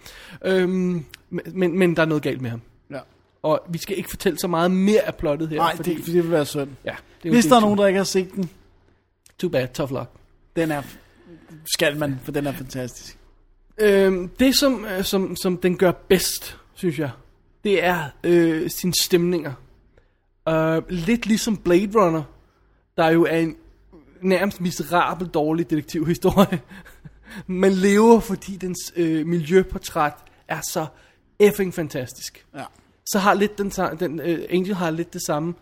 A: Øhm, men- men, men der er noget galt med ham.
B: Ja.
A: Og vi skal ikke fortælle så meget mere af plottet her.
B: Nej, det, det vil være synd.
A: ja, det er jo
B: Hvis
A: det,
B: der er nogen, der ikke har set den,
A: Too bad, tough luck.
B: den er, skal man, for den er fantastisk.
A: Øhm, det, som, øh, som, som den gør bedst, synes jeg, det er øh, sine stemninger. Øh, lidt ligesom Blade Runner, der jo er en nærmest miserabel dårlig detektivhistorie, men lever, fordi dens øh, miljøportræt er så effing fantastisk.
B: Ja.
A: Så har lidt den, sa- den øh, Angel har lidt det samme.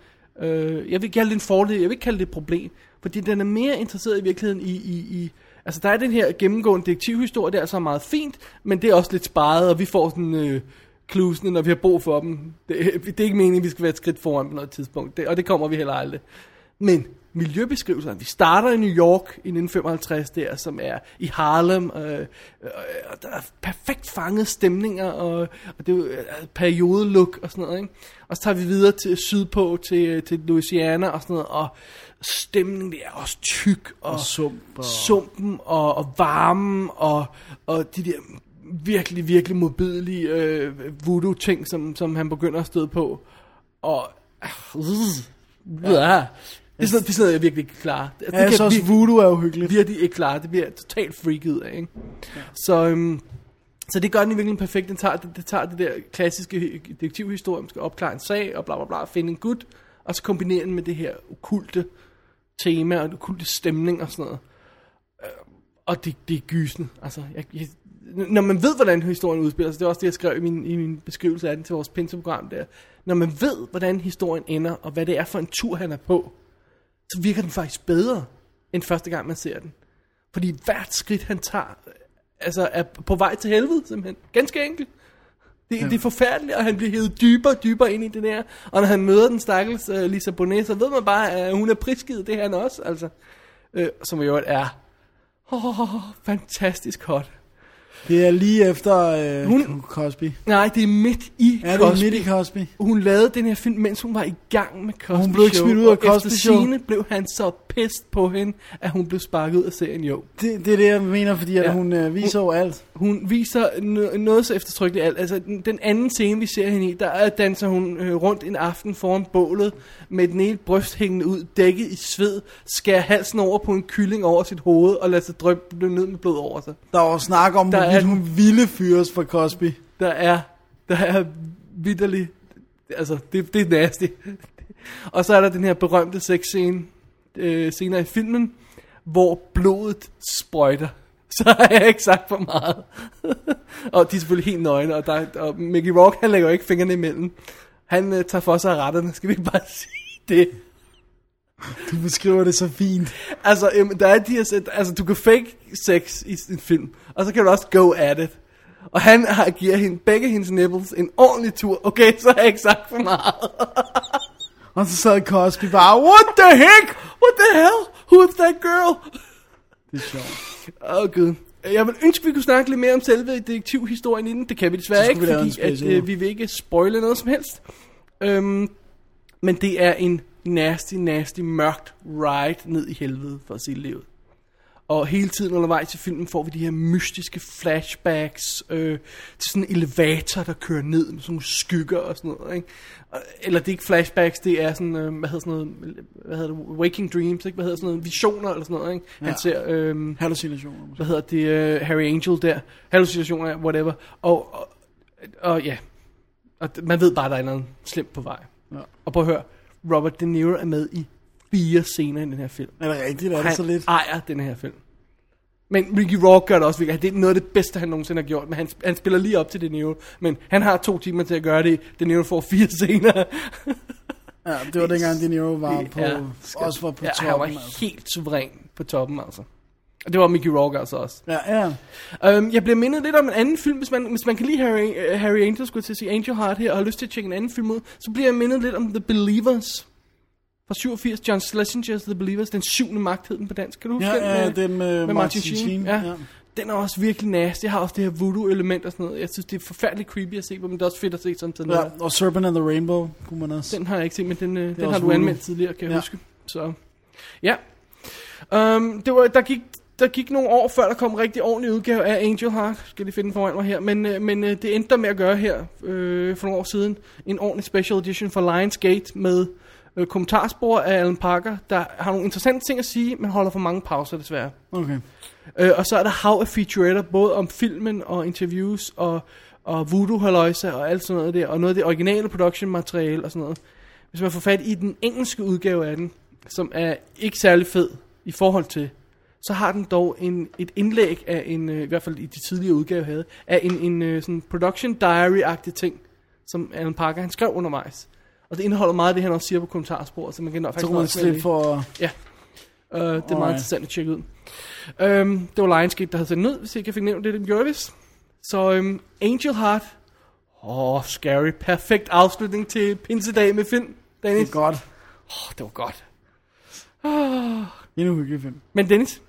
A: Øh, jeg vil ikke kalde det en fordel, jeg vil ikke kalde det et problem, fordi den er mere interesseret i virkeligheden i, i, i altså der er den her gennemgående detektivhistorie, der er så meget fint, men det er også lidt sparet, og vi får sådan øh, klusene, når vi har brug for dem. Det, det er ikke meningen, at vi skal være et skridt foran på noget tidspunkt, det, og det kommer vi heller aldrig. Men miljøbeskrivelserne, vi starter i New York i 1955 der, som er i Harlem, øh, øh, og der er perfekt fanget stemninger, og, og det er jo øh, periodelook og sådan noget, ikke? Og så tager vi videre til sydpå, til, til Louisiana og sådan noget, og stemningen det er også tyk, og, og
B: sump og-
A: sumpen, og, og varmen, og, og de der virkelig, virkelig modbydelige øh, voodoo-ting, som, som han begynder at støde på, og... Ja. Det er sådan noget, det er sådan noget, jeg virkelig ikke klare. Det,
B: Ja, jeg så også
A: virkelig,
B: voodoo er uhyggeligt.
A: virkelig ikke klare. Det bliver jeg totalt freaket ud af, ikke? Ja. Så, øhm, så det gør den i virkeligheden perfekt. Den tager, det, det tager det der klassiske detektivhistorie, man skal opklare en sag, og bla bla bla, finde en gut, og så kombinere den med det her okulte tema, og det okulte stemning og sådan noget. Øh, Og det, det er gysen. Altså, jeg, jeg, når man ved, hvordan historien udspiller sig, det er også det, jeg skrev i min, i min beskrivelse af den til vores pinseprogram der. Når man ved, hvordan historien ender, og hvad det er for en tur, han er på, så virker den faktisk bedre, end første gang, man ser den. Fordi hvert skridt, han tager, øh, altså er på vej til helvede, simpelthen. Ganske enkelt. Det, ja. det er forfærdeligt, og han bliver hævet dybere og dybere ind i det der. Og når han møder den stakkels uh, Lisa Bonet, så ved man bare, at hun er prisgivet det her han også, altså. Øh, som i øvrigt er oh, fantastisk hot.
B: Det er lige efter øh,
A: Hun-
B: Cosby.
A: Nej, det er midt i
B: Ja, det er
A: Cosby.
B: midt i Cosby.
A: hun lavede den her film, mens hun var i gang med Cosby
B: Hun blev ikke
A: Show,
B: smidt ud af
A: og
B: Cosby
A: efter
B: Show.
A: Sine blev han så pissed på hende, at hun blev sparket ud af serien, jo.
B: Det, det er det, jeg mener, fordi at ja.
A: Ja.
B: hun øh, viser jo alt.
A: Hun viser no- noget så eftertrykkeligt alt. Altså, den den anden scene, vi ser hende i, der er- danser hun øh, rundt en aften foran bålet, med den ene bryst hængende ud, dækket i sved, skærer halsen over på en kylling over sit hoved, og lader sig drøbe ned med blod over sig.
B: Der var snak om,
A: Der er-
B: hvorvidt hun ville fyres fra Cosby.
A: Der er, der er vidderlig, altså, det, det er nasty. og så er der den her berømte sexscene, øh, senere i filmen, hvor blodet sprøjter. Så har jeg ikke sagt for meget. og de er selvfølgelig helt nøgne, og, der, og Mickey Rourke, han lægger jo ikke fingrene imellem. Han øh, tager for sig af retterne, skal vi ikke bare sige det?
B: Du beskriver det så fint.
A: Altså, øhm, der er de her, sæt- altså, du kan fake sex i en film, og så kan du også go at it. Og han har, giver hende, begge hendes nipples en ordentlig tur. Okay, så har jeg ikke sagt for meget.
B: Og så sad Cosby bare, what the heck?
A: What the hell? Who's that girl?
B: Det er sjovt.
A: Åh, oh, gud. Jeg vil ønske, vi kunne snakke lidt mere om selve detektivhistorien inden. Det kan vi desværre
B: Så skulle
A: ikke,
B: vi lave en
A: fordi at,
B: special.
A: øh, vi vil ikke spoile noget som helst. Øhm, men det er en nasty, nasty, mørkt ride ned i helvede, for at sige det livet. Og hele tiden undervejs i filmen får vi de her mystiske flashbacks øh, til sådan en elevator, der kører ned med sådan nogle skygger og sådan noget. Ikke? Og- Eller det er ikke flashbacks, det er sådan, øh, hvad hedder sådan noget, hvad hedder det, waking dreams, ikke? hvad hedder sådan noget, visioner eller sådan noget. Ikke? Han
B: Ja.
A: ser... Øh,
B: Hallucinationer måske.
A: hvad hedder det, uh, Harry Angel der, hallucinationer, whatever, og, og, og ja, og d- man ved bare, der er noget slemt på vej.
B: Ja.
A: Og prøv at høre, Robert De Niro er med i fire scener i den her film.
B: Er det rigtigt? Er det
A: Han
B: så lidt?
A: ejer den her film. Men Ricky Rock gør det også virkelig. Det er noget af det bedste, han nogensinde har gjort. Men han, han spiller lige op til De Niro. Men han har to timer til at gøre det. De Niro får fire scener.
B: Ja, det var dengang De Niro var
A: Det
B: på,
A: er skønt.
B: også var på
A: ja, Han var
B: toppen. altså.
A: helt suveræn på toppen, altså. Og det var Mickey Rock altså også.
B: Ja, ja.
A: Um, jeg bliver mindet lidt om en anden film, hvis man, hvis man kan lide Harry, uh, Harry Angel, skulle jeg til at sige Angel Heart her, og har lyst til at tjekke en anden film ud, så bliver jeg mindet lidt om The Believers fra 87, John Schlesinger's The Believers, den syvende magt hed den på dansk, kan du huske
B: Ja,
A: den?
B: ja,
A: øh,
B: den med Martin Sheen,
A: Ja.
B: ja.
A: Den er også virkelig nasty, jeg har også det her voodoo-element og sådan noget, jeg synes det er forfærdeligt creepy at se på, men det er også fedt at se sådan sådan noget.
B: ja. Og Serpent and the Rainbow kunne man også.
A: Den har jeg ikke set, men den, øh, den har
B: også
A: du
B: voodoo.
A: anmeldt tidligere, kan jeg ja.
B: Ja.
A: huske. Så, ja. Um, det var, der, gik, der gik nogle år, før der kom en rigtig ordentlig udgave af Angel Heart. Skal lige finde den foran mig her. Men, øh, men øh, det endte der med at gøre her øh, for nogle år siden. En ordentlig special edition for Lionsgate med øh, kommentarspor af Alan Parker, der har nogle interessante ting at sige, men holder for mange pauser desværre.
B: Okay.
A: Øh, og så er der hav af featuretter, både om filmen og interviews og, og voodoo halløjsa og alt sådan noget der. Og noget af det originale production materiale og sådan noget. Hvis man får fat i den engelske udgave af den, som er ikke særlig fed i forhold til, så har den dog en, et indlæg af en, øh, i hvert fald i de tidligere udgave havde, af en, en øh, sådan production diary-agtig ting, som Alan Parker han skrev undervejs. Og det indeholder meget af det, han også siger på kommentarsporet, så man kan
B: Så
A: faktisk
B: kunne man
A: nøjes med at
B: slippe
A: læse.
B: for...
A: Øh, det er meget
B: Alright.
A: interessant at tjekke ud. Øhm, det var Lionsgate, der havde sendt den ud, hvis ikke jeg fik nævnt det, den gjorde vist. Så øhm, Angel Heart. Åh, oh, scary. Perfekt afslutning til pinsedag med Finn.
B: Det
A: Dennis.
B: er godt.
A: Åh, det var godt.
B: Endnu hyggelig film.
A: Men Dennis,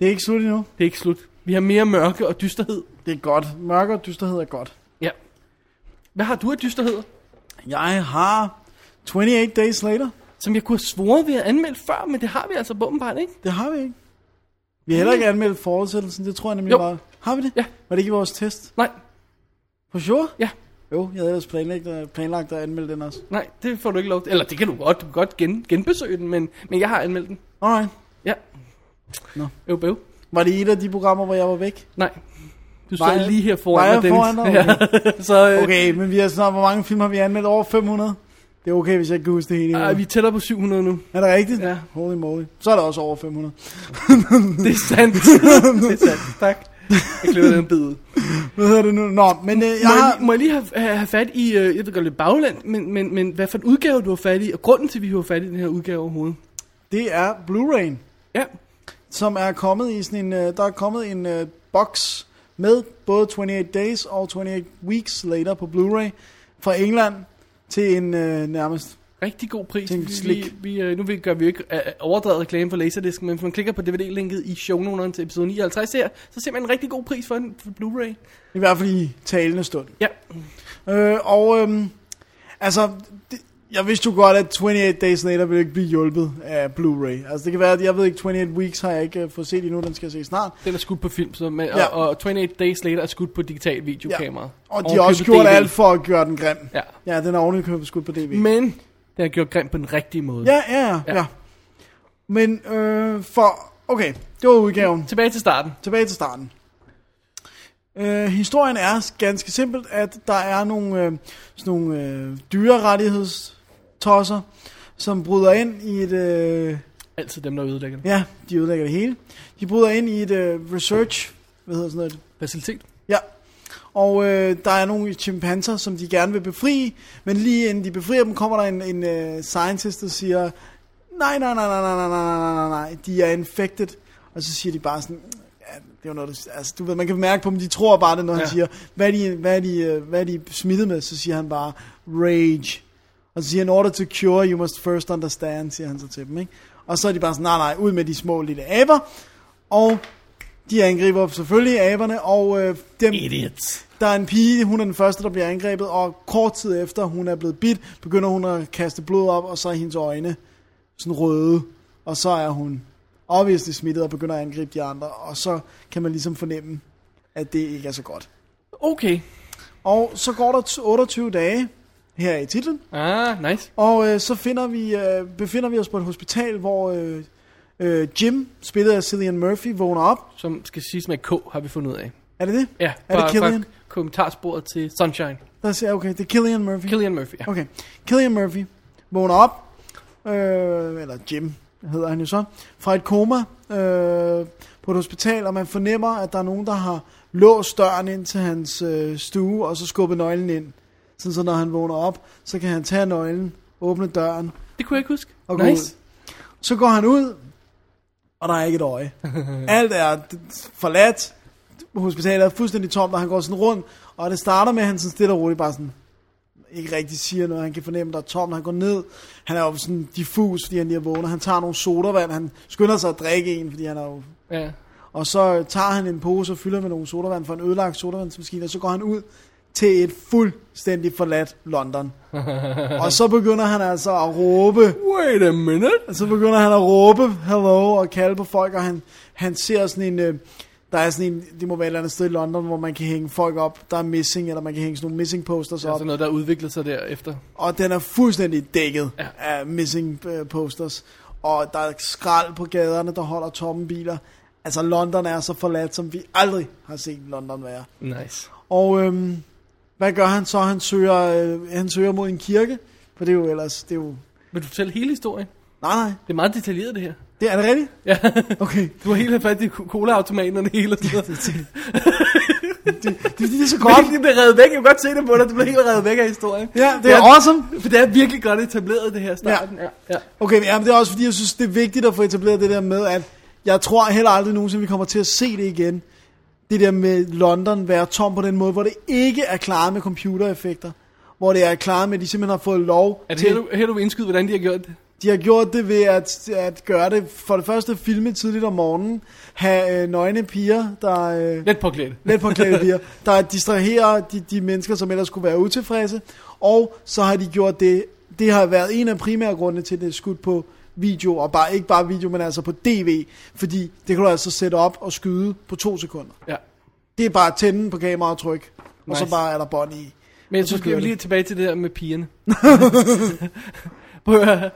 B: Det er ikke slut endnu.
A: det er ikke slut. Vi har mere mørke og dysterhed.
B: Det er godt. Mørke og dysterhed er godt.
A: Ja. Hvad har du af dysterhed,
B: Jeg har 28 Days Later.
A: som jeg kunne have svoret, vi havde anmeldt før, men det har vi altså åbenbart ikke?
B: Det har vi ikke. Vi har heller ikke anmeldt fortsættelsen. Det tror jeg nemlig
A: Jo.
B: var... Har vi det?
A: Ja.
B: Var det ikke i vores test?
A: Nej,
B: For sure?
A: ja.
B: Jo, jeg havde ellers planlagt, planlagt at anmelde den også.
A: Nej, det får du ikke lov til. Eller det kan du godt. Du kan godt gen, genbesøge den, men, men jeg har anmeldt den.
B: Alright.
A: Ja.
B: Nå.
A: Øv, bøv.
B: Var det et af de programmer, hvor jeg var væk?
A: Nej. Du
B: Var
A: sad
B: jeg-
A: lige her
B: var
A: foran
B: jeg
A: mig, Dennis.
B: foran dig?
A: Ja. så øh, okay.
B: Okay, men vi har snart, hvor mange film har vi anmeldt? Over 500? Det er okay, hvis jeg ikke kan huske det hele.
A: øh, vi tæller på 700 nu.
B: Er det rigtigt?
A: Ja.
B: Holy moly. Så er der også over 500.
A: Det er sandt. det er sandt. Tak. Jeg klipper den bid ud.
B: Hvad hedder det nu? Nå, men øh, jeg
A: Må jeg,
B: har...
A: lige, må jeg lige have, have have fat i, øh, jeg ved godt lidt bagland, men, men, men hvad for en udgave du har fat i, og grunden til, at vi har fat i den her udgave overhovedet.
B: Det er Blu-ray,
A: Ja,
B: som er kommet i sådan en... Øh, der er kommet en øh, boks med både 28 Days og 28 Weeks Later på Blu-ray fra England til en øh, nærmest...
A: rigtig god pris.
B: Tænk
A: Vi- Vi,
B: slik.
A: vi, øh, nu vil- gør vi jo ikke øh, overdrevet reklame for Laserdisc, men hvis man klikker på DVD-linket i shownoteren til episode 59 her, så ser man en rigtig god pris for en for Blu-ray.
B: I hvert fald i talende stund.
A: Ja,
B: Øh, og øhm, altså, det, jeg vidste jo godt, at 28 Days Later ville ikke blive hjulpet af Blu-ray. Altså det kan være, at jeg ved ikke, 28 Weeks har jeg ikke øh, fået set endnu, den skal jeg se snart.
A: den er skudt på film, så med,
B: Ja.
A: og, og 28 Days Later er skudt på digital videokamera.
B: Og de har også gjort alt for at gøre den grim.
A: Ja.
B: Ja, den er ovenikøbet skudt på DV.
A: Men det har gjort grimt på den rigtige måde.
B: Ja, ja,
A: Ja.
B: ja, ja. Men øh, for, okay, det var udgaven.
A: Tilbage til starten.
B: Tilbage til starten. Øh, historien er ganske simpelt, at der er nogle, øh, sådan nogle øh, dyrerettighedstosser, som bryder ind i et... Øh,
A: Altid dem, der ødelægger det.
B: Ja, de ødelægger det hele. De bryder ind i et uh, research, hvad hedder sådan noget?
A: Facilitet.
B: Ja. Og øh, der er nogle chimpanser, som de gerne vil befri, men lige inden de befrier dem, kommer der en, en uh, scientist, der øh, siger, nej, nej, nej, nej, nej, nej, nej, nej, nej, nej, de er infected. Og så siger de bare sådan, ja, det er jo noget, der, altså, du ved, man kan mærke på dem, de tror bare det, når ja. han
A: Ja.
B: siger, hvad er, de, hvad, er de, øh, hvad er de smittet med? Så siger han bare, rage. Og så siger han, in order to cure, you must first understand, siger han så til dem, ikke? Og så er de bare sådan, nej, nej, ud med de små lille aber. Og de angriber selvfølgelig aberne, og øh, dem,
A: Idiots.
B: der er en pige, hun er den første, der bliver angrebet, og kort tid efter hun er blevet bit, begynder hun at kaste blod op, og så er hendes øjne sådan røde, og så er hun obviously smittet og begynder at angribe de andre, og så kan man ligesom fornemme, at det ikke er så godt.
A: Okay.
B: Og så går der t- 28 dage, her i titlen,
A: Ah, nice.
B: og øh, så finder vi, øh, befinder vi os på et hospital, hvor øh, øh, Jim, spillet af Cillian Murphy, vågner op.
A: Som skal siges med K, har vi fundet ud af.
B: Er det det?
A: Ja,
B: Er det Killian?
A: fra kommentarsporet til Sunshine.
B: Der siger, okay, det er Killian Murphy.
A: Killian Murphy, ja.
B: Okay. Killian Murphy vågner op, øh, eller Jim hedder han jo så, fra et koma øh, på et hospital, og man fornemmer, at der er nogen, der har låst døren ind til hans øh, stue, og så skubbet nøglen ind. Sådan så når han vågner op, så kan han tage nøglen, åbne døren,
A: Det kunne jeg ikke huske.
B: og gå nice. ud. Så går han ud, og der er ikke et øje. Alt er d- forladt, hospitalet er fuldstændig tomt, og han går sådan rundt, og det starter med, at han sådan stille og roligt bare sådan, ikke rigtig siger noget, han kan fornemme, at der er tomt, han går ned, han er jo sådan diffus, fordi han lige er vågnet, han tager nogle sodavand, han skynder sig at drikke en, fordi han er jo
A: Ja.
B: og så tager han en pose og fylder med nogle sodavand for en ødelagt sodavandsmaskine, og så går han ud til et fuldstændig forladt London. og så begynder han altså at råbe
A: Wait a minute.
B: og så begynder han at råbe hello og kalde på folk, og han, han ser sådan en... Øh, der er sådan en, det må være et eller andet sted i London, hvor man kan hænge folk op, der er missing, eller man kan hænge sådan nogle missing posters
A: Så
B: op.
A: altså noget, der udvikler sig derefter.
B: Og den er fuldstændig dækket ja.
A: Ja.
B: af missing øh, posters. Og der er skrald på gaderne, der holder tomme biler. Altså London er så forladt, som vi aldrig har set London være.
A: Nice.
B: Og øhm, hvad gør han så? Han søger, øh, han søger mod en kirke, for det er jo ellers, det er jo...
A: Vil du fortælle hele historien?
B: Nej, nej,
A: Det er meget detaljeret, det her.
B: det er det rigtigt?
A: Ja.
B: Okay.
A: Du har helt fat i co- colaautomaten og det hele. og sådan noget.
B: Det er fordi, det er så
A: Det er
B: godt.
A: ikke, det bliver revet væk. Jeg kan godt se det på dig. Du bliver helt revet væk af historien.
B: Ja, det er awesome.
A: For det er virkelig godt etableret, det her i starten. Ja. ja.
B: Okay, men jamen, det er også fordi, jeg synes, det er vigtigt at få etableret det der med, at jeg tror heller aldrig nogensinde, vi kommer til at se det igen. Det der med London være tom på den måde, hvor det ikke er klaret med computereffekter. Hvor det er klaret med, at de simpelthen har fået lov
A: Er det
B: til...
A: her, du, her, du vil indskyde, hvordan de har gjort det?
B: De har gjort det ved at, at gøre det for det første filme tidligt om morgenen, have øh, nøgne piger, der... Øh,
A: Let påklædt.
B: let på klavier, der distraherer de, de mennesker, som ellers skulle være utilfredse. Og så har de gjort det, det har været en af primære grunde til, at det er skudt på video, og bare, ikke bare video, men altså på DV, fordi det kan du altså sætte op og skyde på to sekunder.
A: Ja.
B: Det er bare at tænde på kamera og tryk, og så
A: Nice.
B: bare er der bånd i.
A: Men jeg
B: Og så
A: synes, vi
B: kører
A: er
B: det.
A: lige tilbage til det der med pigerne. Prøv at høre.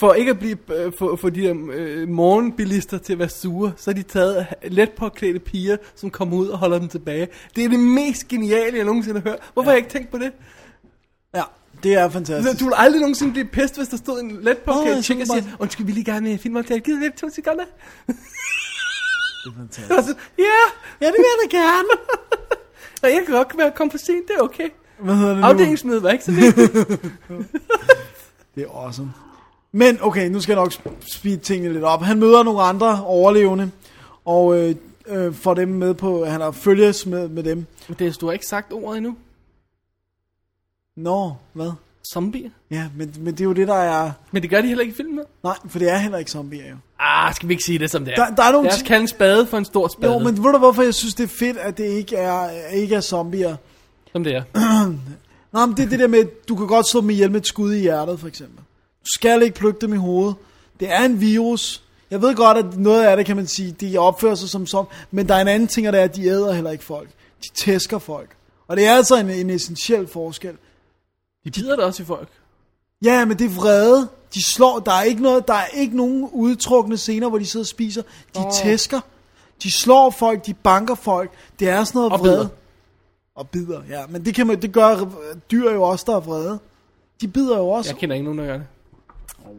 A: for ikke at blive øh, for, for de der øh, morgenbilister til at være sure, så har de taget let påklædte piger, som kommer ud og holder dem tilbage. Det er det mest geniale, jeg nogensinde har hørt. Hvorfor ja. har jeg ikke tænkt på det?
B: Ja, det er
A: Altså,
B: fantastisk.
A: du vil aldrig nogensinde blive pest, hvis der stod en let
B: Åh,
A: påklædt
B: jeg
A: oh, chick og
B: synes bare-
A: siger, undskyld, vi er lige gerne øh, med filmoptagelse. Gider du lidt to sekunder?
B: Det er fantastisk.
A: Det var sådan, ja,
B: Ja, det vil jeg da gerne.
A: og jeg kan godt være kommet for sent, det er okay.
B: Hvad hedder det nu?
A: Afdelingsmødet var ikke så vigtigt.
B: Det er awesome. Men okay, nu skal jeg nok sp- speede tingene lidt op. Han møder nogle andre overlevende, og øh, øh, får dem med på, han har følges med, med dem.
A: Men det er, du har ikke sagt ordet endnu.
B: Nå, hvad?
A: Zombier.
B: Ja, men, men det er jo det, der er...
A: Men det gør de heller ikke i filmen.
B: Nej, for det er heller ikke zombier jo.
A: Ah, skal vi ikke sige det som det er?
B: Der- der er nogle
A: Lad os
B: ting-
A: kalde en spade for en stor spade,
B: Jo, men ved du, hvorfor jeg synes, det er fedt, at det ikke er, ikke er zombier?
A: som det er.
B: Nej, men det er det der med, at du kan godt slå dem ihjel med et skud i hjertet, for eksempel. Du skal ikke plukke dem i hovedet. Det er en virus. Jeg ved godt, at noget af det, kan man sige, de opfører sig som som, men der er en anden ting, og det er, at de æder heller ikke folk. De tæsker folk. Og det er altså en, en essentiel forskel.
A: De bider da også i folk.
B: Ja, men det er vrede. De slår. Der er ikke, noget, der er ikke nogen udtrukne scener, hvor de sidder og spiser. De oh. tæsker. De slår folk, de banker folk. Det er sådan noget
A: Og
B: vrede.
A: bider.
B: Og bider, ja. Men det, kan man, det gør øh, dyr jo også, der er vrede. De bider jo også.
A: Jeg kender ikke nogen, der gør det.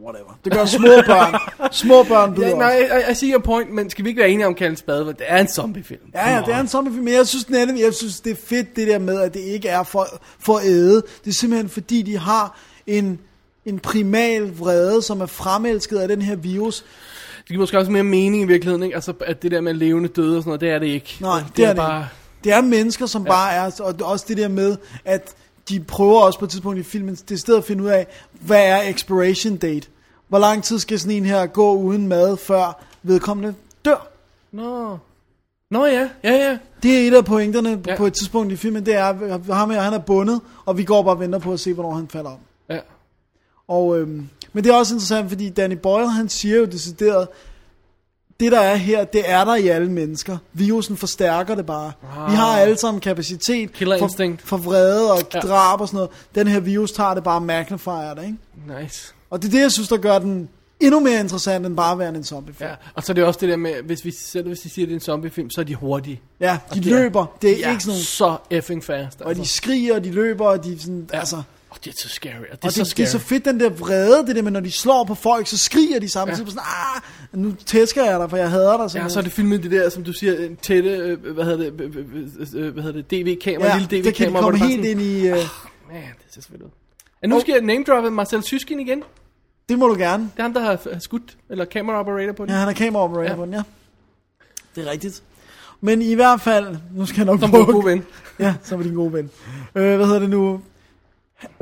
B: Whatever. Det gør små børn. små børn bider
A: Ja,
B: ja,
A: nej, jeg, jeg siger point, men skal vi ikke være enige om at kalde en spade? for Det er en zombiefilm.
B: Ja, ja, det er en zombiefilm, men jeg synes, den anden, jeg synes, det er fedt det der med, at det ikke er for, for at æde. Det er simpelthen fordi, de har en en primal vrede, som er fremelsket af den her virus.
A: Det giver måske også mere mening i virkeligheden, ikke? Altså, at det der med levende døde og sådan noget, det er det ikke.
B: Nej, det, det er, er det bare... Det er mennesker, som ja. bare er, og også det der med, at de prøver også på et tidspunkt i filmen, det er stedet at finde ud af, hvad er expiration date? Hvor lang tid skal sådan en her gå uden mad, før vedkommende dør?
A: Nå. Nå ja, ja ja.
B: Det er et af pointerne ja.
A: Ja.
B: på et tidspunkt i filmen, det er, at ham her, han er bundet, og vi går bare og venter på at se, hvornår han falder om.
A: ja.
B: Og, øhm, men det er også interessant, fordi Danny Boyle, han siger jo decideret, det der er her, det er der i alle mennesker. Virusen forstærker det bare. Wow. Vi har alle sammen kapacitet
A: Killer instinct.
B: for vrede og
A: Ah. Ja.
B: drab og sådan noget. Den her virus tager det bare og magnifier det, ikke?
A: Nice.
B: Og det er det, jeg synes, der gør den endnu mere interessant, end bare at være en zombiefilm.
A: Ja. Og så er det også det der med, hvis vi, selv hvis vi siger, at det er en zombiefilm, så er de hurtige.
B: ja
A: Og
B: de, de løber. Er, det er
A: de
B: ikke sådan nogle...
A: så effing fast.
B: Og de skriger, og de løber, og de er sådan... Ja. Altså,
A: Oh, det er så scary. Og det er
B: Og
A: så
B: det,
A: scary.
B: det er så fedt, den der vrede, det der med, når de slår på folk, så skriger de samtidig ja. sådan, ah, nu tæsker jeg dig, for jeg hader dig.
A: Ja,
B: simpelthen."
A: så er det filmet det der, som du siger, øh, tætte, øh, hvad hedder det, øh, øh, øh, hvad hedder det, DV-kamera,
B: ja,
A: lille
B: det kan de
A: DV-kamera.
B: komme helt ind i... Uh,
A: Man, det ser så fedt ud. Ja, nu skal jeg name-droppe Marcel Syskin igen. Det
B: det må du gerne.
A: er ham, der har, har skudt, eller camera-operator på den.
B: Ja, han er kameraoperator ja.
A: Ja.
B: på den, ja. Det er rigtigt. Men i hvert fald, nu skal jeg nok
A: Som
B: bukke.
A: vores gode ven.
B: Ja, som er din gode ven. Øh, hvad hedder det nu?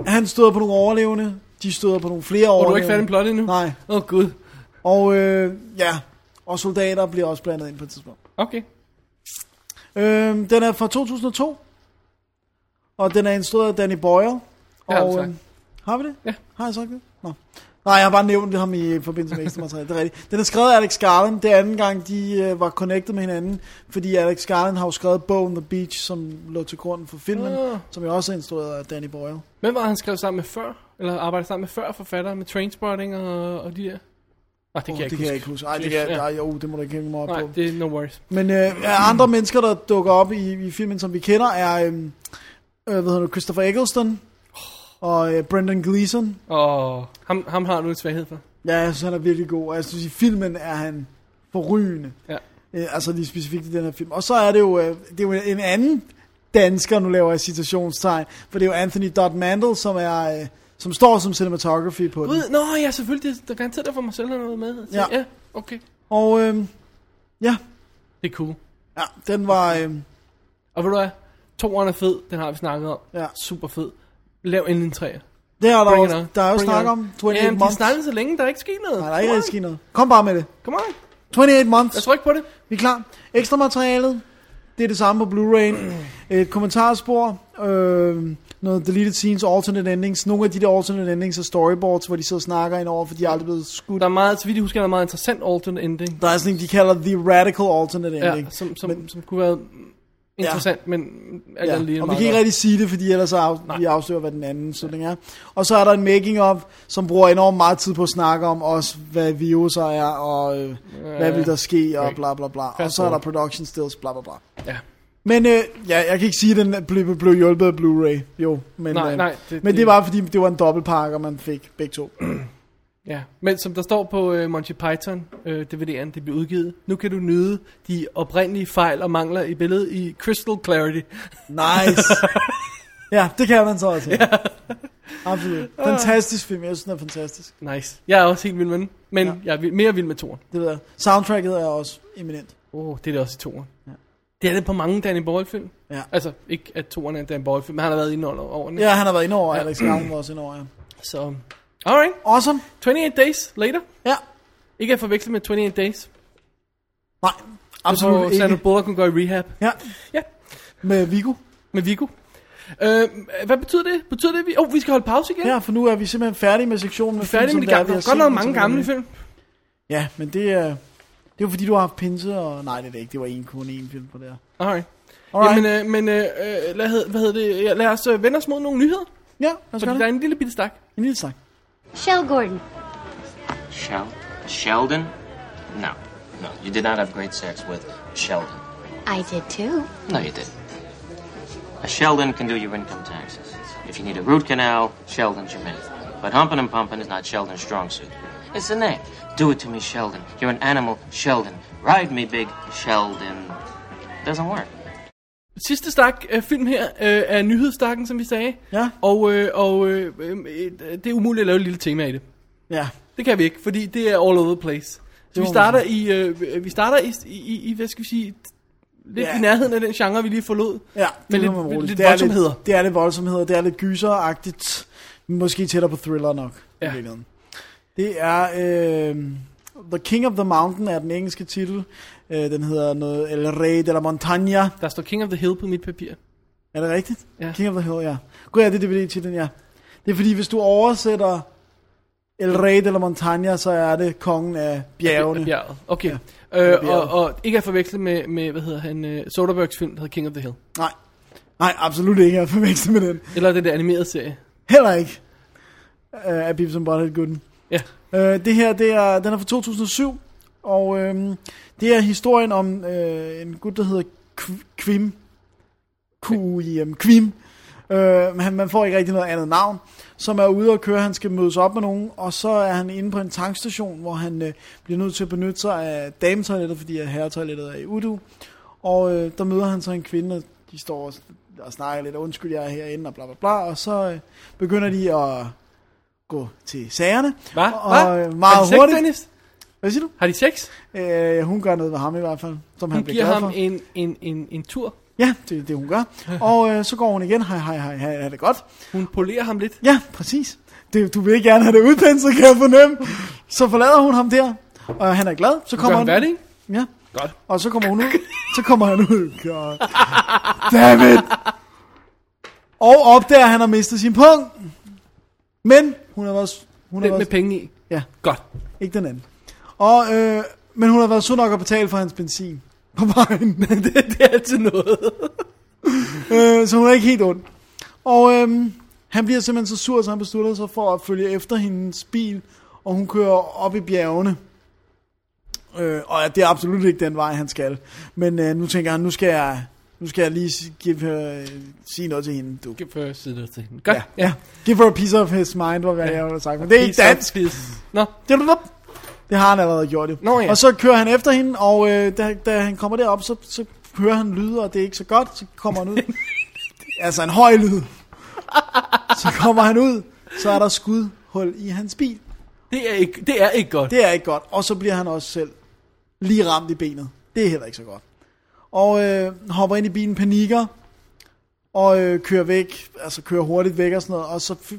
B: Han støder på nogle overlevende, de støder på nogle flere
A: Og
B: overlevende.
A: du er ikke færdig med plottet endnu?
B: Nej.
A: Åh, oh, gud.
B: Og øh, ja, og soldater bliver også blandet ind på et tidspunkt.
A: Okay.
B: Øhm, den er fra 2002. Og den er instrueret af Danny Boyle.
A: Det har
B: og,
A: vi sagt.
B: øhm, har vi det?
A: Ja.
B: Har jeg sagt det? Nå. Nej, jeg har bare nævnt ham i forbindelse med ekstra materiale. Det er rigtigt. Den er skrevet af Alex Garland. Det er anden gang, de øh, var connected med hinanden. Fordi Alex Garland har jo skrevet bogen The Beach, som lå til grunden for filmen.
A: Ah.
B: Som jo også er instrueret af Danny Boyle.
A: Hvem var han skrevet sammen med før? Eller arbejdede sammen med før forfatter med Trainspotting og, og de der? Ah, det kan,
B: Oh,
A: jeg,
B: det
A: ikke
B: kan jeg
A: huske.
B: ikke huske. Ej, det kan jeg, ej, jo, det må du ikke hænge mig op
A: Nej,
B: på.
A: det er no worries.
B: Men øh, af
A: Mm.
B: andre mennesker, der dukker op i, i filmen, som vi kender, er øh, øh, hvad hedder det, Christopher Eggleston og øh, Brendan Gleeson.
A: Og ham, ham har du en svaghed for.
B: Ja, jeg synes, han er virkelig god. Og jeg synes, i filmen er han forrygende.
A: Ja.
B: Øh, altså lige specifikt i den her film. Og så er det jo, øh, det er jo en anden dansker, nu laver jeg citationstegn, for det er jo Anthony Dodd Mandel, som er... Øh, som står som cinematography på den.
A: Gud, nå ja, selvfølgelig. Det, der er garanteret, der får mig selv noget med. Så,
B: Ja.
A: ja. okay.
B: Og øhm, ja,
A: Det er cool.
B: ja, den var... Øhm,
A: Og ved du hvad? Toeren er fed, den har vi snakket om.
B: Ja.
A: Super fed. Lav endelig en træer.
B: det er der,
A: Bring it
B: også,
A: on.
B: der er jo
A: Bring it
B: snak
A: on.
B: om 28
A: Jamen, de
B: Months.
A: snakkede så længe, der er ikke sket noget.
B: Nej, der er ikke rigtig sket noget. Kom bare med det.
A: Kom on.
B: 28 Months.
A: Lad os rykke på det.
B: Vi er klar. Ekstra materialet. Det er det samme på Blu-ray. Et kommentarspor. Øh, noget deleted scenes, alternate endings. Nogle af de der alternate endings er storyboards, hvor de sidder og snakker ind over, for de er aldrig blevet skudt.
A: Der er meget, så vidt jeg husker, der er meget interessant alternate ending.
B: Der er sådan en, de kalder The Radical Alternate Ending.
A: Ja, som, som, men, som kunne være interessant, men alt andet lige
B: Ja,
A: er
B: og vi
A: meget
B: kan ikke
A: godt.
B: rigtig sige det, fordi ellers af, vi afslører, hvad den anden slutning er. Og så er der en making of, som bruger enormt meget tid på at snakke om også, hvad viruser er, og øh, hvad vil der ske, og
A: Right.
B: bla bla bla. Og
A: Fast
B: så er der
A: forward.
B: production stills, bla bla bla.
A: Ja.
B: Men øh, ja, jeg kan ikke sige, at den blev, blev hjulpet af Blu-ray. Jo, men,
A: Nej,
B: øh,
A: nej, det-
B: men det
A: det-
B: var, fordi det var en dobbeltpakke, og man fik begge to.
A: Ja, men som der står på øh, Monty Python øh, DVD'en, det bliver udgivet. Nu kan du nyde de oprindelige fejl og mangler i billedet i Crystal Clarity.
B: Nice! ja, det kan man så også. Ja. Absolut. Fantastisk film, jeg synes, den er fantastisk.
A: Nice. Jeg er også helt vild med den, men
B: Ja.
A: ja. jeg er vild, mere vild med toren.
B: Det ved jeg. Soundtracket er også eminent.
A: Åh, oh, det er det også i toren. Ja. Det er det på mange Danny Boyle-film.
B: Ja.
A: Altså, ikke at toren er en Danny Boyle-film, men han har været inde under årene.
B: Ja, han har været inde over, Alex Gavn var også inde over, ja.
A: Så, um, alright.
B: Awesome.
A: 28 Days Later.
B: Ja.
A: Ikke at forveksle med 28 Days.
B: Nej,
A: Absolut
B: absolut
A: hvor Sandra
B: ikke.
A: Bullock kunne gå i rehab
B: Ja.
A: Ja.
B: Med Vigo.
A: med Vigo. Øh, hvad betyder det? Betyder det, at vi... Åh, oh, vi skal holde pause igen.
B: Ja, for nu er vi simpelthen færdige med sektionen. Med
A: Vi er færdige
B: film,
A: med de
B: som det er,
A: gamle. Der
B: vi
A: er
B: har
A: godt
B: set
A: nok
B: dem,
A: mange
B: som vi
A: gamle
B: har-
A: film.
B: Ja, men det er... Det er jo fordi, du har haft pinse, og... Nej, det er det ikke. Det var en kun en film på det her.
A: Alright.
B: Alright.
A: Jamen, øh, men øh, øh, lad, hed- hvad hedder det? Ja, lad os øh, vende os mod nogle nyheder.
B: Ja, lad os
A: Fordi
B: gøre
A: der
B: det.
A: er en lille bitte stak.
B: En lille sang.
F: Shell Gordon.
G: Shel- Sheldon? No, no, you did not have great sex with Sheldon.
F: I did too.
G: No, you didn't. A Sheldon can do your income taxes. If you need a root canal, Sheldon's your man. But humping and pumping is not Sheldon's strong suit. It's the name. Do it to me, Sheldon. You're an animal, Sheldon. Ride me, big Sheldon. Doesn't work.
A: Sidste stak øh, film her øh, er nyhedsstakken, som vi sagde.
B: Ja.
A: Og, øh, og øh, øh, øh, det er umuligt at lave et lille tema i det.
B: Ja.
A: Det kan vi ikke, fordi det er all over the place. Så vi
B: må man
A: starter, i, øh, vi starter i, i, i, hvad skal vi sige, lidt
B: Ja.
A: ja. i nærheden af den genre, vi lige forlod.
B: Ja,
A: med
B: det
A: lidt,
B: kan man roligt.
A: lidt
B: det er
A: voldsomheder.
B: Lidt, det er lidt voldsomheder, det er lidt gyseragtigt, men måske tættere på thriller nok. Ja.
A: Ja.
B: I virkeligheden. det er øh, The King of the Mountain er den engelske titel. Øh, den hedder noget El Rey de la Montaña.
A: Der står King of the Hill på mit papir.
B: Er det rigtigt?
A: Ja.
B: King of the Hill, ja. Gud, ja, det er DVD-titlen, ja. Det er fordi, hvis du oversætter El Rey de la Montaña, så er det kongen af bjergene. Ja.
A: Bjerget. Okay.
B: er
A: Øh, og,
B: bjerget.
A: og ikke at forveksle med, med hvad hedder han, øh, Soderberghs film, der hedder King of the Hill.
B: Nej, nej, absolut ikke at forveksle med den.
A: Eller den der animerede serie.
B: Heller ikke øh, af Bibson Butthead Gooden.
A: Ja.
B: Øh, det her, det er, den er fra 2007, og øhm, det er historien om øh, en gut, der hedder Qu- Quim. Q-I-M. Quim. Øh, han, man får ikke rigtig noget andet navn, som er ude og køre, han skal mødes op med nogen, og så er han inde på en tankstation, hvor han øh, bliver nødt til at benytte sig af dametoilettet, fordi at herretoilettet er i Udu. Og øh, der møder han så en kvinde, og de står og, og snakker lidt, undskyld, jeg er herinde, og bla bla bla, og så øh, begynder de at gå til sagerne.
A: Hvad?
B: Og øh,
A: Har de
B: meget
A: sex,
B: hurtigt.
A: Dennis?
B: Hvad siger du?
A: Har de sex?
B: Øh, hun gør noget ved ham i hvert fald, som han
A: Hun
B: bliver
A: giver
B: glad
A: ham
B: for.
A: en, en, en, en tur.
B: Ja, det er det, hun gør. Og øh, så går hun igen, hej, hej, hej, hej, er det godt?
A: Hun polerer ham lidt.
B: Ja, præcis. Det, du vil gerne have det udpenset, kan jeg fornemme. Så forlader hun ham der, og han er glad. Så
A: Gør
B: kommer
A: ham
B: han,
A: værdig?
B: ja,
A: Godt.
B: og så kommer hun ud. Så kommer han ud. God. Damn it. Og opdager, at han har mistet sin pung. Men hun har været... Hun har
A: Den med
B: været
A: penge i.
B: ja,
A: Godt.
B: ikke den anden. Og, øh, men hun har været sød nok at betale for hans benzin på vejen.
A: det, det er altid noget.
B: øh, så hun er ikke helt ond. Og øhm, han bliver simpelthen så sur, så han beslutter sig for at følge efter hendes bil, og hun kører op i bjergene. Øh, og det er absolut ikke den vej, han skal. Men øh, nu tænker han, nu skal jeg, nu skal jeg lige s- give her, sige noget til hende. Du.
A: Giv for side til hende. Godt.
B: Ja, ja. Give her a piece of his mind, var hvad jeg har sagt. Men det er ikke dansk.
A: Nå,
B: Det har han allerede gjort, jo.
A: Nå ja.
B: Og så kører han efter hende, og øh, da, da han kommer derop, så, så hører han lyde, og det er ikke så godt. Så kommer han ud. altså en høj lyd. Så kommer han ud, så er der skudhul i hans bil.
A: det er ikke, det er ikke godt.
B: Det er ikke godt. Og så bliver han også selv lige ramt i benet. Det er heller ikke så godt. Og øh, hopper ind i bilen, panikker, og øh, kører væk, altså kører hurtigt væk og sådan noget, og så f-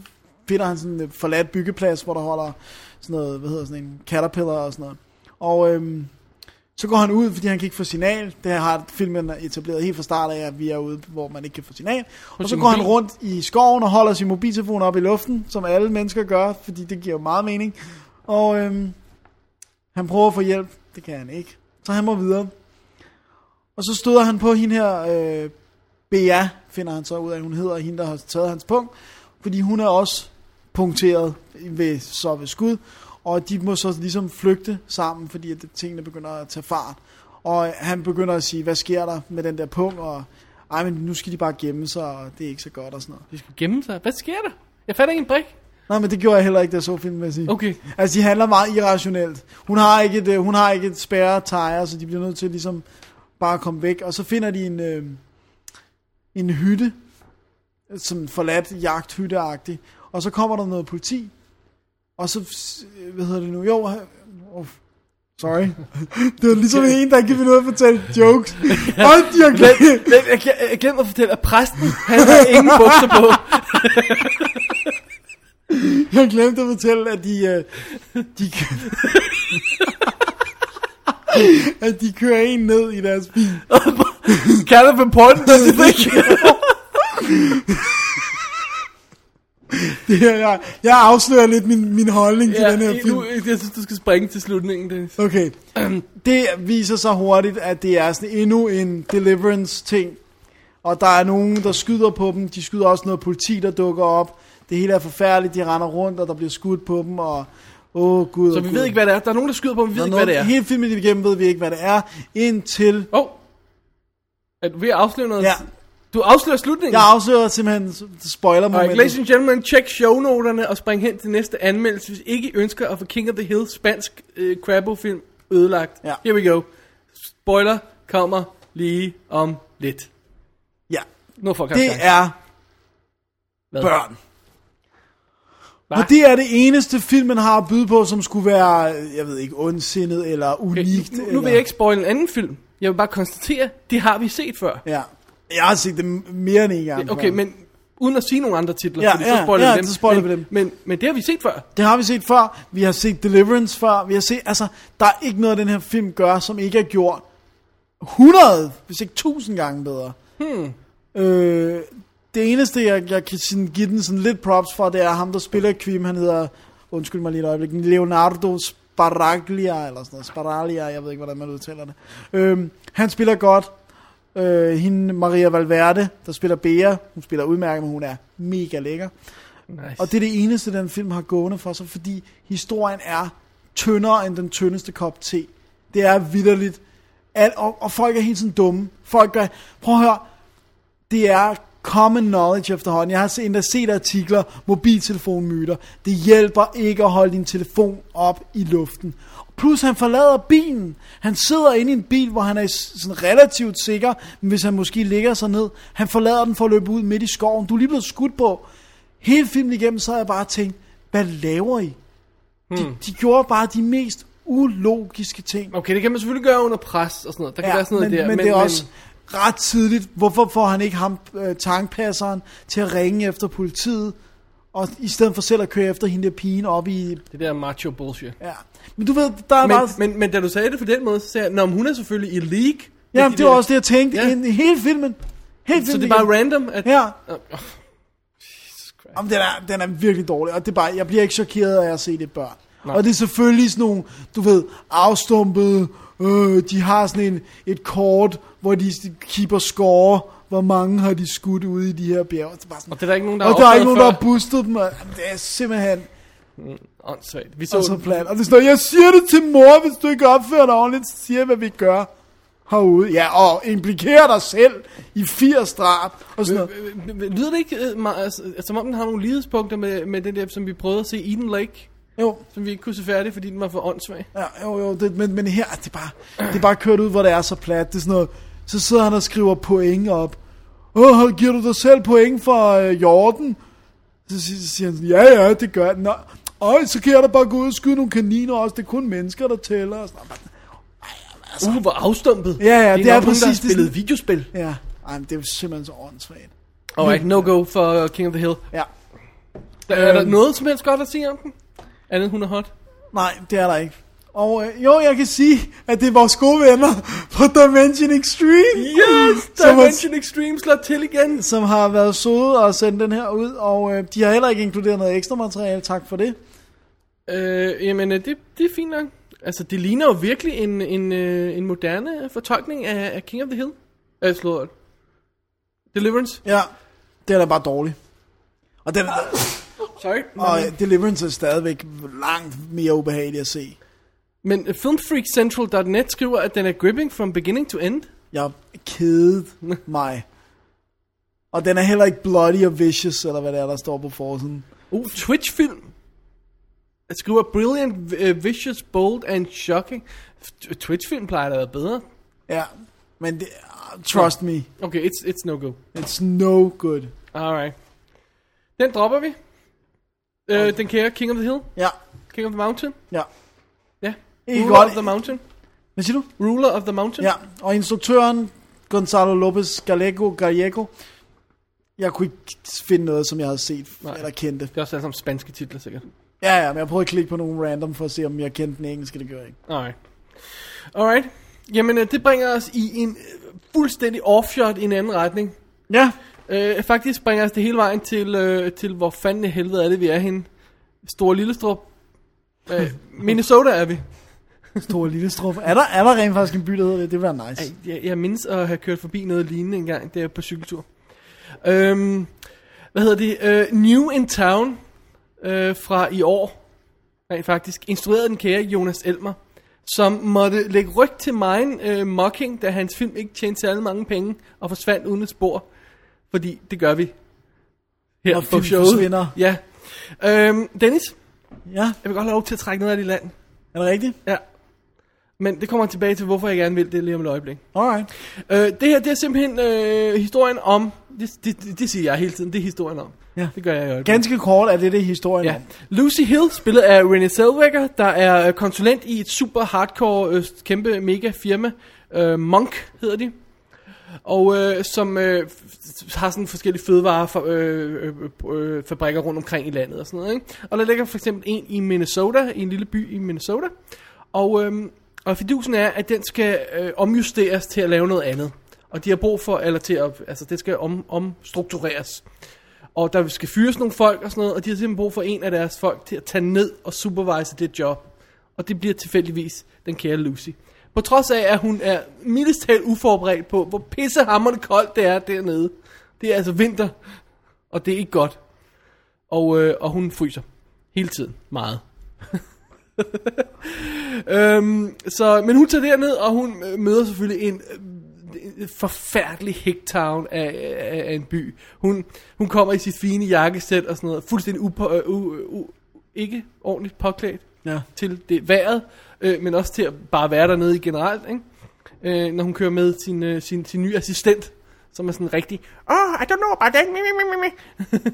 B: finder han sådan en forladt byggeplads, hvor der holder sådan noget, hvad hedder sådan en, caterpillar og sådan noget. Og øh, så går han ud, fordi han kan ikke få signal. Det har filmen etableret helt fra start af, at vi er ude, hvor man ikke kan få signal. og så
A: sin
B: går han
A: mobil.
B: rundt i skoven og holder sin mobiltelefon op i luften, som alle mennesker gør, fordi det giver jo meget mening. Og øhm, han prøver at få hjælp. Det kan han ikke. Så han må videre. Og så støder han på hende her, øh, Bea, finder han så ud af, hun hedder hende, der har taget hans punkt. Fordi hun er også punkteret ved, så ved skud. Og de må så ligesom flygte sammen, fordi at det- tingene begynder at tage fart. Og han begynder at sige, hvad sker der med den der punkt? Og ej, men nu skal de bare gemme sig, og det er ikke så godt og sådan noget.
A: De skal gemme sig. Hvad sker der? Jeg fatter ikke en brik.
B: Nej, men det gjorde jeg heller ikke, da jeg så filmen, vil jeg sige.
A: Okay.
B: Altså, de handler meget irrationelt. Hun har ikke et, øh, hun har ikke et spærre tire, så de bliver nødt til ligesom bare at komme væk. Og så finder de en, øh, en hytte, sådan forladt jagthytteagtig. Og så kommer der noget politi, og så, øh, hvad hedder det nu, jo, oh, sorry. Det var ligesom en, der ikke ville noget at fortælle jokes. Og de har glemt,
A: Men jeg, jeg, jeg glemte at fortælle, at præsten, han har ingen bukser på.
B: Jeg glemte at fortælle, at de... Øh, de at de kører en ned i deres bil.
A: Kind of important, don't you think?
B: Det her, jeg, jeg afslører lidt min, min holdning til den her film.
A: nu, jeg synes, du skal springe til slutningen, Dennis.
B: Okay. Det viser sig hurtigt, at det er sådan endnu en deliverance-ting. Og der er nogen, der skyder på dem. De skyder også noget politi, der dukker op. Det hele er forfærdeligt. De render rundt, og der bliver skudt på dem. Og, åh, Gud.
A: Så vi ved ikke, hvad det er. Der er nogen, der skyder på, men vi ved ikke, hvad det er.
B: Hele filmen igennem ved vi ikke, hvad det er. Indtil
A: Åh. Oh. Er du ved at afsløre noget?
B: Ja.
A: Du afslører slutningen.
B: Jeg afslører simpelthen spoiler
A: Alright, ladies
B: momentet.
A: and gentlemen, check shownoterne og spring hen til næste anmeldelse, hvis ikke I ønsker at få King of the Hill spansk øh, crabo-film ødelagt.
B: Ja.
A: Here we go. Spoiler kommer lige om lidt. Når folk har
B: Det
A: chance.
B: er
A: Hvad?
B: børn.
A: Hva?
B: Og det er det eneste film, man har at byde på, som skulle være, jeg ved ikke, ondsindet eller
A: Okay,
B: unikt.
A: nu, nu
B: eller...
A: vil jeg ikke spoil en anden film. Jeg vil bare konstatere, det har vi set før.
B: Ja. Jeg har set det mere end en gang.
A: Okay,
B: før.
A: men uden at sige nogle andre titler,
B: Ja,
A: fordi så
B: ja,
A: spoiler
B: ja,
A: vi dem.
B: så spoiler
A: men,
B: vi dem.
A: Men, men det har vi set før.
B: Det har vi set før. Vi har set Deliverance før. Vi har set, altså, der er ikke noget, den her film gør, som ikke er gjort 100, hvis ikke 1000 gange bedre. Hmm. Øh, det eneste, jeg, jeg kan sådan, give den sådan lidt props for, det er ham, der spiller Quim. Han hedder, undskyld mig lige et øjeblik, Leonardo Sparaglia, eller sådan noget. Sparaglia, jeg ved ikke, hvordan man udtaler det. Øh, han spiller godt. Øh, hende, Maria Valverde, der spiller Bea. Hun spiller udmærket, men hun er mega lækker.
A: Nice.
B: Og det er det eneste, den film har gående for sig, fordi historien er tyndere end den tyndeste kop te. Det er vidderligt. Al, og, og folk er helt sådan dumme. Folk gør, prøv at høre, det er common knowledge efterhånden. Jeg har se- endda set artikler, mobiltelefonmyter. Det hjælper ikke at holde din telefon op i luften. Plus han forlader bilen. Han sidder inde i en bil, hvor han er s- sådan relativt sikker, men hvis han måske ligger sig ned. Han forlader den for at løbe ud midt i skoven. Du er lige blevet skudt på. Hele filmen igennem, så har jeg bare tænkt, hvad laver I? De, de gjorde bare de mest ulogiske ting.
A: Hmm. Okay, det kan man selvfølgelig gøre under pres og sådan noget. Der kan være sådan noget
B: men,
A: der.
B: Men, men det er også ret tidligt. Hvorfor får han ikke ham, øh, tankpasseren, til at ringe efter politiet, og i stedet for selv at køre efter hende der pigen op i...
A: Det der macho bullshit.
B: Ja. Men du ved, der er
A: Men,
B: bare...
A: men, men da du sagde det på den måde, så sagde jeg, "Nå, men hun er selvfølgelig i league. med
B: Jamen,
A: de
B: det var
A: der-
B: også det, jeg tænkte
A: Ja.
B: ja. i hele filmen. Hele filmen
A: Så det er bare
B: igennem.
A: random, at...
B: Ja.
A: Åh, åh,
B: Jamen, den, er, den er virkelig dårlig, og det er bare, jeg bliver ikke chokeret af at se det børn. Nej. Og det er selvfølgelig sådan nogle, du ved, afstumpede, øh, de har sådan en, et kort, hvor de s- keeper score, hvor mange har de skudt ude i de her bjerge. Det er bare sådan,
A: Og det er der ikke nogen, der
B: og
A: har
B: der er ikke
A: opdaget
B: nogen, der har
A: før.
B: boostet dem. og- Jamen, det er simpelthen
A: Åndssvagt. Vi
B: så, så
A: så...
B: plat. Og det står, jeg siger det til mor, hvis du ikke opfører dig ordentligt, så siger jeg, hvad vi gør herude. Ja, og implikerer dig selv i 80 drab og sådan noget.
A: Øh, øh, Lyder det ikke, øh, meget- altså, som om den har nogle lighedspunkter med, med den der, som vi prøvede at se Eden Lake?
B: Jo,
A: Som vi ikke kunne se færdig, fordi den var for åndssvag.
B: Ja, jo, jo, det, men, men her, det er, bare, det er bare kørt ud, hvor det er så plat. Det er sådan noget, så sidder han og skriver point op. Åh, giver du dig selv point for øh, Jorden? Så si- så siger han sådan, ja, ja, det gør jeg. Nå, øj, så kan jeg da bare gå ud og skyde nogle kaniner også. Det er kun mennesker, der tæller. Og sådan, noget.
A: Uh, hvor afstumpet.
B: Altså- Ja, ja, det er
A: nok nogen, der har
B: præcis det
A: spillet
B: sådan-
A: videospil.
B: ja, ej, men det er jo simpelthen så åndssvagt.
A: Alright, no go for King of the Hill.
B: Ja,
A: Er, er der
B: Øhm.
A: noget som helst godt at sige om den? Andet hun er hot?
B: nej, det er der ikke. Og øh, jo, jeg kan sige, at det er vores gode venner fra Dimension Extreme.
A: Yes!
B: Som har-
A: Dimension Extreme slår til igen.
B: som har været søde og sendt den her ud, og øh, de har heller ikke inkluderet noget ekstra materiale, tak for det.
A: Øh, jamen, øh, det, det er fint nok. Altså, det ligner jo virkelig en, en, øh, en moderne fortolkning af, af King of the Hill. Øh, slået. Deliverance.
B: Ja, det er da bare dårligt. Og, den,
A: Sorry.
B: og øh, Deliverance er stadigvæk langt mere ubehagelig at se.
A: Men øh, filmfreakcentral.net skriver, at den er gripping from beginning to end.
B: Jeg kedede mig. Og den er heller ikke bloody og vicious, eller hvad det er, der står på forsiden.
A: Uh, Twitch-film. Jeg skriver, brilliant, uh, vicious, bold and shocking. T- Twitch-film plejer da at være bedre.
B: Ja, men det, ah, trust me,
A: Okay, it's, it's no go.
B: it's no good.
A: Alright. Den dropper vi. Uh, den kære King of the Hill.
B: Ja,
A: King of the Mountain.
B: ja.
A: Ja.
B: Ikke
A: Ruler
B: godt.
A: of the Mountain.
B: Hvad siger du?
A: Ruler of the Mountain.
B: Ja, og instruktøren Gonzalo Lopez Gallego Gallego. Jeg kunne ikke finde noget, som jeg havde set
A: Nej.
B: Nej. eller kendte.
A: Det er også alle sammen spanske titler, sikkert.
B: Ja, ja, men jeg prøvede at klikke på nogle random for at se, om jeg kendte den engelske, det gør jeg ikke.
A: Alright. Alright. Jamen, øh, det bringer os i en øh, fuldstændig offshot i en anden retning.
B: Ja,
A: Øh, faktisk bringer os det hele vejen til, øh, til hvor fanden i helvede er det, vi er henne. Store Lillestrup. Øh, Minnesota er vi.
B: Store Lillestrup. Er der, er der rent faktisk en by, der hedder det? Det ville være nice.
A: Ej, Jeg, jeg mindes at have kørt forbi noget lignende engang, der på cykeltur. Øhm, hvad hedder det? Øh, New in Town øh, fra i år, rent faktisk, instruerede den kære Jonas Elmer, som måtte lægge ryg til mine øh, mocking, da hans film ikke tjente særlig mange penge og forsvandt uden et spor. Fordi det gør vi her
B: Når
A: på
B: film
A: showet.
B: forsvinder.
A: Ja. Øhm, Dennis,
B: Ja,
A: jeg vil godt have lov til at trække noget af det land.
B: er det rigtigt?
A: Ja. Men det kommer jeg tilbage til, hvorfor jeg gerne vil det lige om et øjeblik.
B: Alright.
A: Øh, det her, det er simpelthen øh, historien om Det, det, det, det siger jeg hele tiden. Det er historien om.
B: Ja.
A: Det gør jeg i øjeblikket.
B: Ganske kort er det det historien ja.
A: Ja.
B: om.
A: Lucy Hill, spillet af Renée Zellweger, der er øh, konsulent i et super hardcore, øh, kæmpe mega firma. Øh, Monk hedder de. Og øh, som øh, f- har sådan forskellige fødevarefabrikker øh, øh, fabrikker rundt omkring i landet og sådan noget. Ikke? Og der ligger for eksempel en i Minnesota, i en lille by i Minnesota. Og, øh, og fidusen er, at den skal øh, omjusteres til at lave noget andet. Og de har brug for, eller til at, altså det skal om, omstruktureres. Og der skal fyres nogle folk og sådan noget, og de har simpelthen brug for en af deres folk til at tage ned og supervise det job. Og det bliver tilfældigvis den kære Lucy. På trods af, at hun er mildest talt uforberedt på, hvor pissehammerende koldt det er dernede. Det er altså vinter, og det er ikke godt. Og, øh, og hun fryser hele tiden meget. øhm, så, men hun tager derned, og hun øh, møder selvfølgelig en øh, forfærdelig hicktown af, af, af en by. Hun, hun kommer i sit fine jakkesæt og sådan noget, fuldstændig upå, øh, u, u, ikke ordentligt påklædt
B: Ja.
A: til det vejret, øh, men også til at bare være dernede i generelt, ikke? Øh, når hun kører med sin, øh, sin, sin nye assistent, som er sådan rigtig, oh, I don't know about that, mi, mi, mi, mi,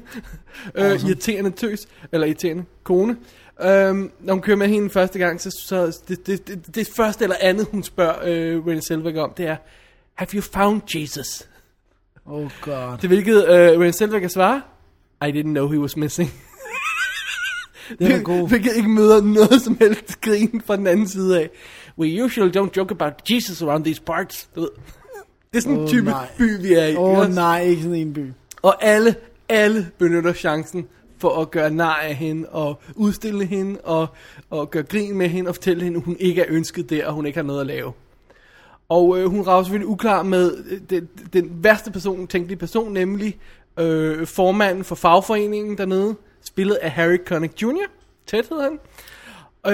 A: mi. øh, irriterende tøs, eller irriterende kone. Øhm, når hun kører med hende første gang, så, så det, det, det, det første eller andet, hun spørger øh, Renée Zellweger om, det er, have you found Jesus?
B: Oh god.
A: Til hvilket øh, Renée Zellweger svarer, I didn't know he was missing.
B: Det er da god.
A: Hvilket ikke møder noget som helst grin fra den anden side af. We usually don't joke about Jesus around these parts. Du ved. Det er sådan en
B: Åh,
A: type
B: nej.
A: by, vi er i.
B: Åh oh,
A: ikke?
B: nej, ikke sådan en by.
A: Og alle, alle benytter chancen for at gøre nar af hende, og udstille hende, og, og gøre grin med hende, og fortælle hende, at hun ikke er ønsket der, og hun ikke har noget at lave. Og øh, hun rager selvfølgelig uklar med øh, den, den værste person, tænkelige person, nemlig øh, formanden for fagforeningen dernede, spillet af Harry Connick Jr., tæt hedder han.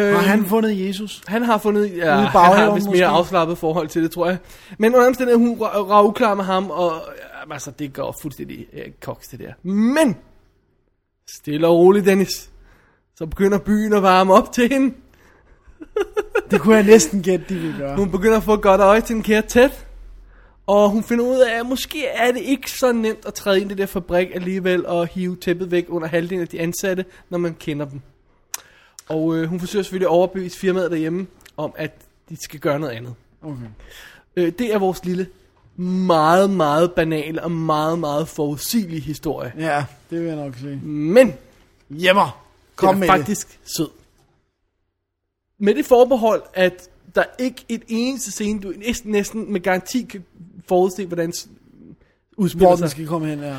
A: Øh,
B: Har han fundet Jesus?
A: han har fundet, ja, han har
B: baghaven
A: vist mere
B: måske.
A: afslappet forhold til det, tror jeg. Men under omstændigheden, hun ra- rager uklar med ham, og ja, altså, det går fuldstændig ja, koks, det der. Men, stille og roligt, Dennis, så begynder byen at varme op til hende.
B: Det kunne jeg næsten gætte, de ville gøre.
A: Hun begynder at få et godt øje til den kære tæt. Og hun finder ud af, at måske er det ikke så nemt at træde ind i det der fabrik alligevel og hive tæppet væk under halvdelen af de ansatte, når man kender dem. Og øh, hun forsøger selvfølgelig at overbevise firmaet derhjemme om, at de skal gøre noget andet.
B: Okay.
A: Øh, det er vores lille, meget, meget banale og meget, meget forudsigelige historie.
B: Ja, det vil jeg nok sige.
A: Men
B: Hjemmer. Kom
A: den
B: med
A: er faktisk det. sød. Med det forbehold, at der ikke et eneste scene, du næsten, næsten med garanti kan forudse, hvordan s-
B: det.
A: udspiller
B: Hvor den
A: sig.
B: skal komme hen, ja.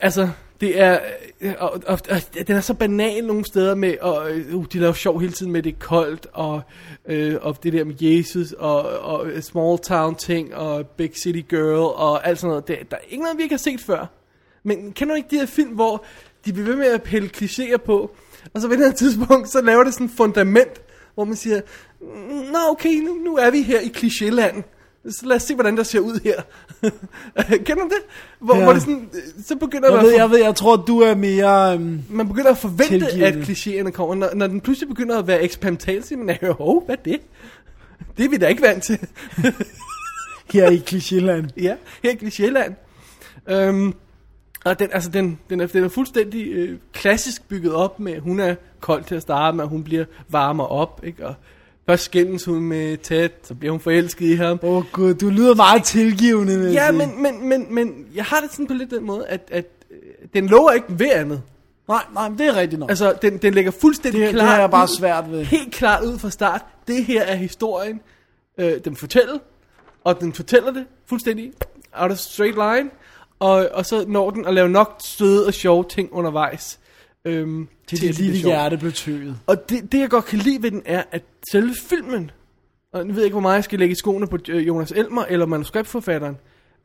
A: Altså, det er... øh, Og, og, og, den er så banal nogle steder med, og øh, uh, de laver sjov hele tiden med, at det er koldt, og, øh, og det der med Jesus, og, og øh, small town ting, og big city girl, og alt sådan noget. Det, der er ikke noget, vi ikke har set før. Men kender du ikke de her film, hvor de bliver ved med at pille klichéer på, og så ved et eller andet tidspunkt, så laver det sådan et fundament, hvor man siger, Nå okay, nu, nu er vi her i klichéland. Så lad os se, hvordan der ser ud her. kender du det? Hvor, ja.
B: Ja.
A: hvor det sådan, øh, så begynder
B: Jeg
A: der
B: ved,
A: at-
B: jeg ved, jeg tror, du er mere... Øhm,
A: man begynder at forvente,
B: Tilgive
A: at
B: det.
A: klichéerne kommer. Når, når den pludselig begynder at være eksperimental, så siger man, "Øh, hov, hvad er det? Det er vi da ikke vant til.
B: her i Klichéland.
A: ja, her i Sjælland. Øhm, og den, altså den, den, er, den er fuldstændig øh, klassisk bygget op med, hun er kold til at starte med, og hun bliver varmere op, ikke? Og først skændes hun med Ted, så bliver hun forelsket i ham.
B: Åh oh, gud, du lyder meget tilgivende. vil jeg
A: Ja,
B: sige.
A: men, men, men, men jeg har det sådan på lidt den måde, at, at øh, den lover ikke ved andet.
B: Nej, nej, men det er rigtigt nok. Altså,
A: Altså, den, den ligger fuldstændig
B: Det- det
A: klart
B: har jeg bare
A: ud-
B: svært ved.
A: Helt klart ud fra start. Det her er historien. Øh, den fortæller, og den fortæller det fuldstændig out of straight line. Og, og så når den at lave nok søde og sjove ting undervejs. Øhm,
B: til
A: at
B: dit
A: det
B: lille
A: bliver sjovt.
B: hjerte blev tøet.
A: Og det, det, jeg godt kan lide ved den, er, at selve filmen, og nu ved jeg ikke, hvor meget jeg skal lægge i skoene på øh, Jonas Elmer eller manuskriptforfatteren,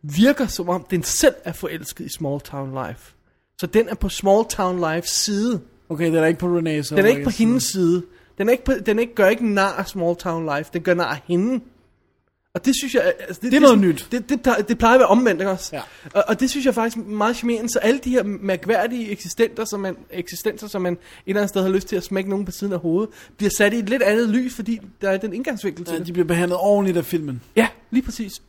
A: virker som om, den selv er forelsket i Small Town Life. Så den er på Small Town Lives side.
B: Okay, den er ikke på Renée's.
A: Den er ikke på hendes side. Den, er ikke på, den er ikke, gør ikke nar af Small Town Life. Den gør nar af hende. Og det synes jeg... Altså, det,
B: er noget
A: sådan-
B: nyt.
A: Det, det, plejer- det plejer at være omvendt, ikke også?
B: Ja.
A: Og, og, det synes jeg faktisk er meget charmerende. Så alle de her mærkværdige eksistenter, som man, eksistenser, som man et eller andet sted har lyst til at smække nogen på siden af hovedet, bliver sat i et lidt andet lys, fordi der er den indgangsvinkel til
B: Ja,
A: det.
B: de bliver behandlet ordentligt af filmen.
A: Ja, lige præcis.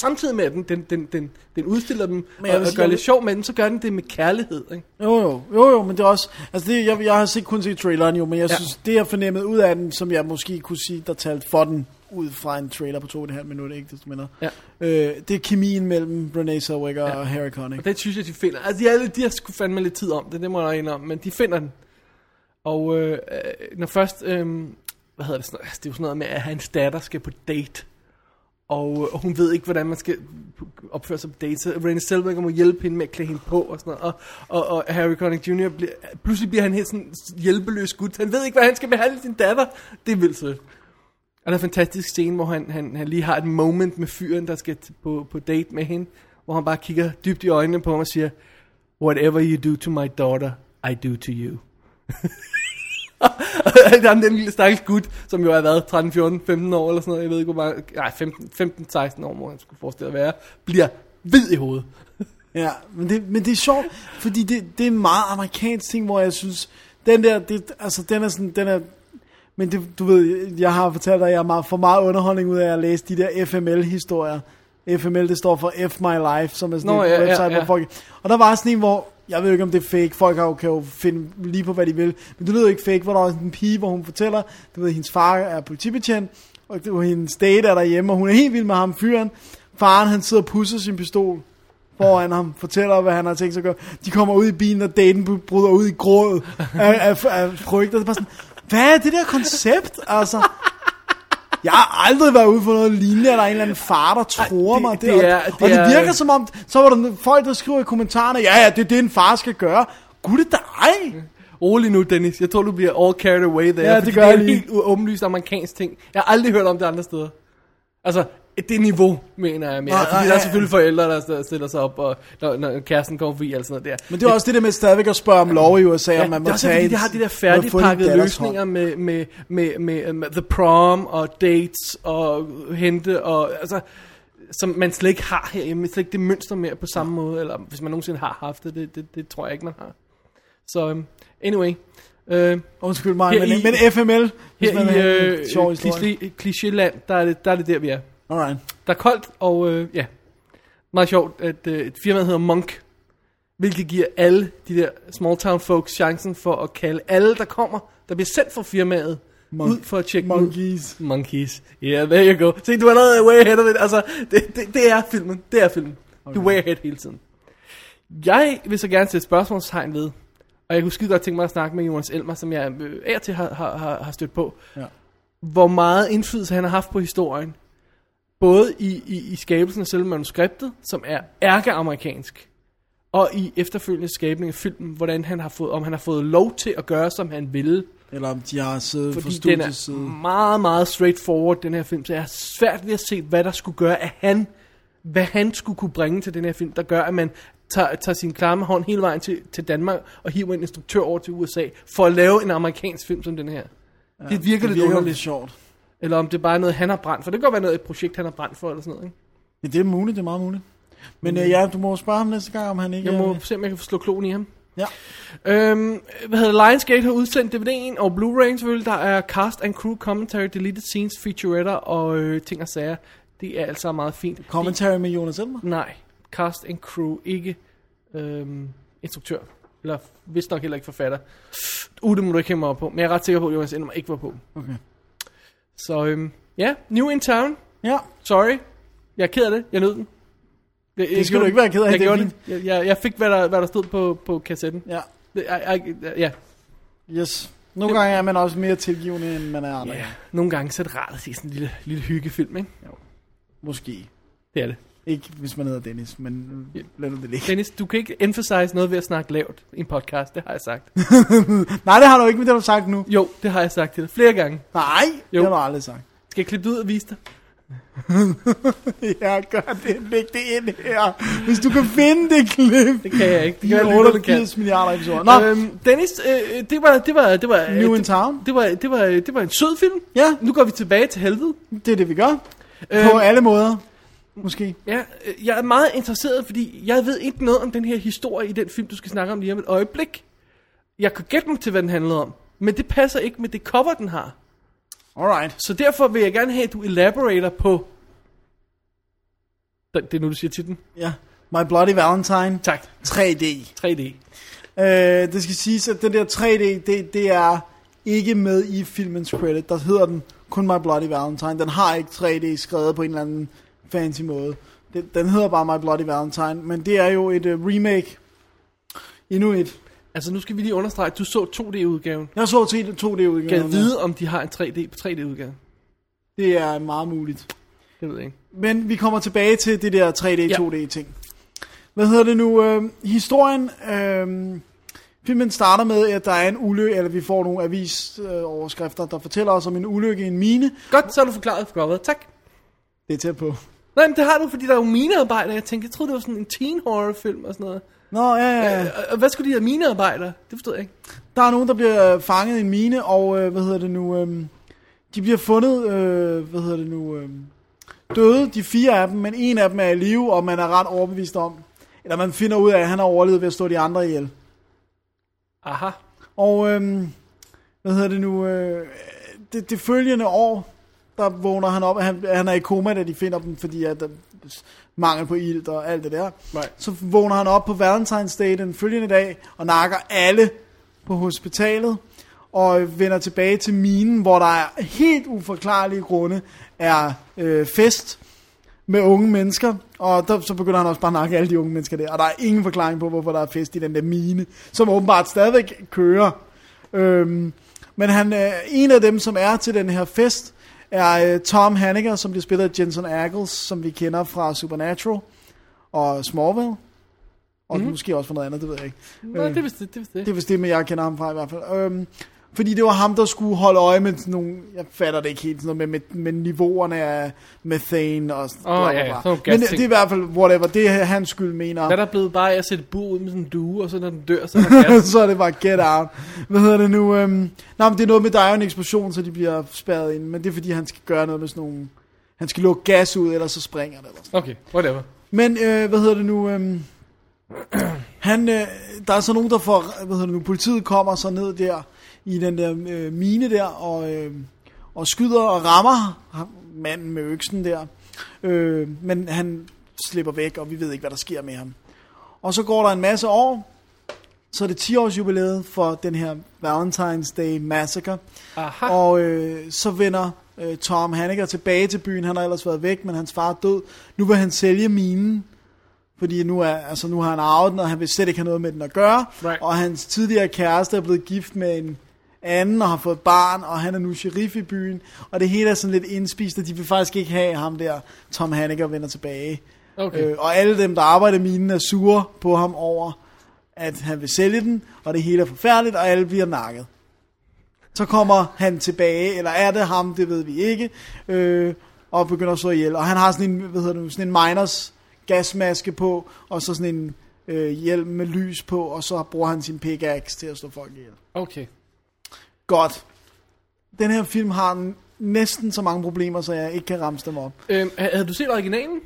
A: samtidig med at den, den, den, den, den udstiller dem
B: jeg
A: og,
B: vil
A: og
B: sige,
A: gør
B: jeg
A: lidt
B: vil-
A: sjov med den, så gør den det med kærlighed. Ikke?
B: Jo, jo, jo, jo, men det er også, altså det, jeg, jeg har set, kun set traileren jo, men jeg
A: Ja.
B: synes, det jeg fornemmede ud af den, som jeg måske kunne sige, der talte for den, ud fra en trailer på to og et halvt minut, ikke desto mindre,
A: Ja.
B: øh, det er kemien mellem Renee Zellweger ja. og Harry Connick.
A: Og den synes jeg, de finder. Altså, de, er, lidt- de har sgu fandme lidt tid om det, det må jeg indrømme, men de finder den. Og øh, øh, når først, øh, hvad hedder det, sådan, noget? altså, det er jo sådan noget med, at hans datter skal på date, og, øh, og hun ved ikke, hvordan man skal opføre sig på date, så Renée Zellweger må hjælpe hende med at klæde hende på, og sådan noget. Og, og, og Harry Connick Jr. Bliver, pludselig bliver han helt sådan hjælpeløs gut. Han ved ikke, hvad han skal behandle sin datter. Det er vildt sødt. Og der er en fantastisk scene, hvor han, han, han lige har et moment med fyren, der skal t- på, på date med hende, hvor han bare kigger dybt i øjnene på ham og siger, Whatever you do to my daughter, I do to you. der er den lille stakkels gut, som jo har været 13, 14, 15 år eller sådan noget, jeg ved ikke hvor mange, nej 15, 15 16 år, må han skulle forestille at være, bliver hvid i hovedet.
B: Ja, men det, men det er sjovt, fordi det, det er en meget amerikansk ting, hvor jeg synes, den der, det, altså den er sådan, den er, men det, du ved, jeg har fortalt dig, at jeg er meget, for meget underholdning ud af at læse de der FML-historier. FML, det står for F My Life, som er sådan
A: Nå,
B: Nå, en
A: ja, ja,
B: ja, website, ja,
A: ja.
B: hvor folk... Og der var sådan en, hvor, jeg ved ikke om det er fake, folk har jo- kan jo finde lige på, hvad de vil, men det lyder ikke fake, hvor der er sådan en pige, hvor hun fortæller, du ved, hendes far er politibetjent, og det, hendes date er derhjemme, og hun er helt vild med ham fyren. Faren, han sidder og pusser sin pistol foran ham, fortæller, hvad han har tænkt sig at gøre. De kommer ud i bilen, og daten bryder ud i gråd af, af, af frygt. Og det er bare sådan, hvad er det der koncept? Altså, jeg har aldrig været ude for noget lignende, eller en eller anden far, der tror
A: det-
B: mig.
A: det
B: og-
A: er-
B: og
A: det
B: det
A: er-
B: virker som om, så var der no- folk, der skriver i kommentarerne, ja, ja, det er det, en far skal gøre. Gud, det er dig.
A: Rolig nu, Dennis. Jeg tror, du bliver all carried away der.
B: Ja, det
A: fordi
B: gør
A: det er
B: jeg
A: en
B: lige.
A: helt åbenlyst amerikansk ting. Jeg har aldrig hørt om det andre steder. Altså, det niveau, mener jeg mere.
B: Nej,
A: fordi
B: nej,
A: der er
B: ja.
A: selvfølgelig forældre, der st- stiller sig op, og når, når kæresten kommer forbi og sådan noget der.
B: Men det er også det der med stadigvæk at spørge om lov i USA, ja, om man må
A: det er også
B: tage
A: fordi,
B: en-
A: de har de der
B: at få din
A: færdigpakkede
B: datters hånd.
A: løsninger med, med, med, med, med, The Prom og Dates og Hente og altså som man slet ikke har herhjemme, slet ikke det mønster mere på samme måde, eller hvis man nogensinde har haft det, det, det, det tror jeg ikke, man har. Så øhm, anyway, øh,
B: Undskyld mig,
A: Her
B: men,
A: i-
B: men FML, hvis man vil
A: her
B: have en
A: i øh,
B: sjov historie.
A: kliché- klichéland, der er, det, der er det der, vi er.
B: Alright.
A: Der er koldt, og øh, ja, meget sjovt, at øh, et firma hedder Monk, hvilket giver alle de der small town folks chancen for at kalde alle, der kommer, der bliver sendt fra firmaet, Monk.
B: Monk.
A: ud for at tjekke dem ud.
B: Monkeys.
A: Monkeys. Yeah, there you go. Se, du er allerede way ahead of it. Altså, det, det, det er filmen. Det er filmen. Okay. Du er way ahead hele tiden. Jeg vil så gerne sætte spørgsmålstegn ved, og jeg kunne skide godt tænke mig at snakke med Jonas Elmer, som jeg øh, af og til har, har, har, har stødt på.
B: Ja.
A: Hvor meget indflydelse han har haft på historien. Både i, i, i skabelsen af selve manuskriptet, som er ærkeamerikansk, og i efterfølgende skabning af filmen, hvordan han har fået, om han har fået lov til at gøre, som han ville.
B: Eller om de har siddet fra
A: Fordi den
B: studiets
A: er
B: side.
A: meget, meget straightforward, den her film. Så jeg har svært ved at se, hvad der skulle gøre, at han, hvad han skulle kunne bringe til den her film, der gør, at man tager, tager sin klamme hånd hele vejen til, til Danmark og hiver en instruktør over til USA for at lave en amerikansk film som den her. Ja, det virker lidt
B: Det virker lidt
A: underligt.
B: sjovt.
A: Eller om det bare er noget, han har brændt for. Det kan godt være noget, et projekt, han har brændt for, eller sådan noget. Ikke?
B: Ja, det er muligt, det er meget muligt. Men øh, ja, du må spørge ham næste gang, om han ikke... øh,
A: Jeg
B: er-
A: må se, om jeg kan få slå kloen i ham.
B: Øhm. Ja.
A: Øhm, hvad hedder det? Lionsgate har udsendt DVD'en og Blu-ray'en selvfølgelig. Der er cast and crew commentary, deleted scenes, featuretter og øh, ting og sager. Det er altså meget fint.
B: Commentary med Jonas Elmer.
A: Det- Nej, cast and crew, ikke øhm, instruktør. Eller vist nok heller ikke forfatter. Uh, det må du ikke hænge mig op på. Men jeg er ret sikker på, at Jonas Elmer ikke var på.
B: Okay.
A: Så øhm, ja, New in Town.
B: Ja,
A: Sorry. Jeg er ked af det. Jeg nød den. Jeg, det
B: skal du ikke være ked af,
A: Jeg,
B: det er
A: gjorde det. jeg, jeg, jeg fik, hvad der, hvad der stod på, på kassetten.
B: ja,
A: Det- I, I, ja,
B: yes. Nogle gange er man også mere tilgivende, end man er andre.
A: Ja, nogle gange så er det rart at se sådan en lille, lille hyggefilm, ikke?
B: Måske.
A: Det er det.
B: Ikke hvis man hedder Dennis, men øh,
A: Ja.
B: lad nu det ligge.
A: Dennis, du kan ikke emphasize noget ved at snakke lavt i en podcast, det har jeg sagt.
B: Nej, det har du ikke, men det har du sagt nu.
A: Jo, det har jeg sagt til dig flere gange.
B: Nej,
A: Jo.
B: det har du aldrig sagt.
A: Skal jeg klippe det ud og vise dig?
B: Ja, gør det. Læg det ind her. Hvis du kan finde det klip.
A: Det kan jeg ikke. Det
B: De
A: kan jeg
B: her
A: lytterne kan.
B: 88 milliarder episoder. Nå,
A: Øhm, Dennis, øh, det var, det var, det var, øh,
B: New in
A: det-
B: Town.
A: Det var, det var, det var en sød film.
B: Ja.
A: Nu går vi tilbage til helvede.
B: det er det, vi gør. På
A: Øhm,
B: alle måder. Måske.
A: Ja, øh, jeg er meget interesseret, fordi jeg ved ikke noget om den her historie i den film, du skal snakke om lige om et øjeblik. Jeg kunne gætte mig til, hvad den handlede om, men det passer ikke med det cover, den har.
B: Alright.
A: Så derfor vil jeg gerne have, at du elaborater på Det det er nu, du siger titlen.
B: Ja. My Bloody Valentine.
A: Tak.
B: 3D.
A: 3D.
B: Øh, det skal siges, at den der 3D, det, det er ikke med i filmens credit. Der hedder den kun My Bloody Valentine. Den har ikke 3D skrevet på en eller anden fancy måde. Den, den hedder bare My Bloody Valentine, men det er jo et uh, remake. Endnu et.
A: Altså, nu skal vi lige understrege, at du så 2D-udgaven.
B: Jeg så til 2D-udgaven.
A: Kan jeg vide, om de har en 3D på 3D-udgave?
B: Det er meget muligt.
A: Det ved jeg ikke.
B: Men vi kommer tilbage til det der 3D-2D-ting. Hvad hedder det nu? Øh, historien, øh, filmen starter med, at der er en ulykke, eller vi får nogle avisoverskrifter, der fortæller os om en ulykke i en mine.
A: Godt, så har du forklaret for godt. Tak.
B: Det er tæt på.
A: Nej, men det har du, fordi der er jo minearbejdere. Jeg tænkte, jeg troede, det var sådan en teen horror film og sådan noget.
B: Nå, ja, ja, ja.
A: Øh, og- og hvad skulle de have minearbejdere? Det forstod jeg ikke.
B: Der er nogen, der bliver øh, fanget i en mine, og øh, hvad hedder det nu? Øh, de bliver fundet, øh, hvad hedder det nu? Øh, døde, de fire af dem, men en af dem er i live, og man er ret overbevist om, eller man finder ud af, at han har overlevet ved at slå de andre ihjel.
A: Aha.
B: Og øhm, hvad hedder det nu? Øh, det, det følgende år, der vågner han op, han, han er i koma, da de finder dem, fordi at der mangel på ilt og alt det der.
A: Right.
B: Så vågner han op på Valentine's Day den følgende dag, og nakker alle på hospitalet, og øh, vender tilbage til minen, hvor der er helt uforklarlige grunde er øh, fest med unge mennesker, og der, så begynder han også bare at nakke alle de unge mennesker der, og der er ingen forklaring på, hvorfor der er fest i den der mine, som åbenbart stadigvæk kører. Øhm, men han, øh, en af dem, som er til den her fest, er øh, Tom Hanniger, som bliver spillet af Jensen Ackles, som vi kender fra Supernatural og Smallville, og mm-hmm. måske også fra noget andet, det ved jeg ikke.
A: Nå, det vidste det, vidste Øh. det.
B: Det er vist det, men jeg kender ham fra i hvert fald. Øhm, fordi det var ham, der skulle holde øje med sådan nogle, jeg fatter det ikke helt, sådan noget med, med, med niveauerne af methane og sådan
A: Åh, ja, ja, sådan nogle
B: Men det,
A: gasting.
B: det er i hvert fald, whatever, det er hans skyld, mener.
A: Hvad er der blevet bare af at sætte bur ud med sådan en due, og så når den dør, så er der gas?
B: så er det bare get out. Hvad hedder det nu? Øhm, nej, men det er noget med, der er jo en eksplosion, så de bliver spærret ind, men det er fordi, han skal gøre noget med sådan nogle, han skal lukke gas ud, ellers så springer det. Eller sådan. noget.
A: Okay, whatever.
B: Men, øh, hvad hedder det nu, øhm, han, øh, der er så nogen, der får, hvad hedder det nu, politiet kommer så ned der, i den der øh, mine der, og, øh, og skyder og rammer ham, manden med øksen der. Øh, men han slipper væk, og vi ved ikke, hvad der sker med ham. Og så går der en masse år, så er det 10 års jubilæet for den her Valentine's Day Massacre.
A: Aha.
B: Og øh, så vender øh, Tom Hanniger tilbage til byen. Han har ellers været væk, men hans far er død. Nu vil han sælge minen, fordi nu, er, altså, nu har han arvet den, og han vil slet ikke have noget med den at gøre.
A: Right.
B: Og hans tidligere kæreste er blevet gift med en anden og har fået barn, og han er nu sheriff i byen. Og det hele er sådan lidt indspist, og de vil faktisk ikke have ham der, Tom Hanniger vender tilbage.
A: Okay.
B: Øh, og alle dem, der arbejder i minen, er sure på ham over, at han vil sælge den, og det hele er forfærdeligt, og alle bliver nakket. Så kommer han tilbage, eller er det ham, det ved vi ikke, øh, og begynder at slå ihjel. Og han har sådan en, hvad hedder det, nu, sådan en miners gasmaske på, og så sådan en øh, hjelm med lys på, og så bruger han sin pickaxe til at slå folk ihjel.
A: Okay.
B: Godt. Den her film har n- næsten så mange problemer, så jeg ikke kan ramse dem op.
A: Øhm, ha- havde du set originalen?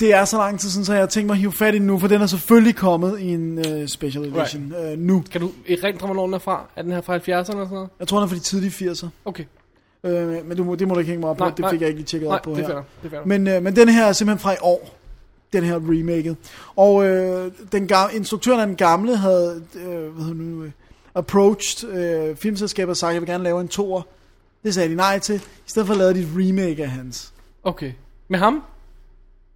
B: det er så lang tid siden, så jeg har tænkt mig at hive fat i den nu, for den er selvfølgelig kommet i en uh, special edition right. uh, nu.
A: Kan du erindre, hvornår den er fra? Er den her fra 70'erne og sådan noget?
B: Jeg tror, den er fra de tidlige 80'er.
A: Okay.
B: Uh, men du, må- det må du ikke hænge mig op på,
A: Nej,
B: det
A: nej.
B: fik jeg ikke lige tjekket
A: Nej,
B: op på
A: det
B: her.
A: er fair nok, det er fair nok.
B: men, uh, men den her er simpelthen fra i år, den her remaket. Og uh, den gamle, instruktøren af den gamle havde uh, hvad hedder det nu, uh, approached uh, filmselskabet og sagt, jeg vil gerne lave en toer. Det sagde de nej til. I stedet for lavede de et remake af hans.
A: Okay. Med ham?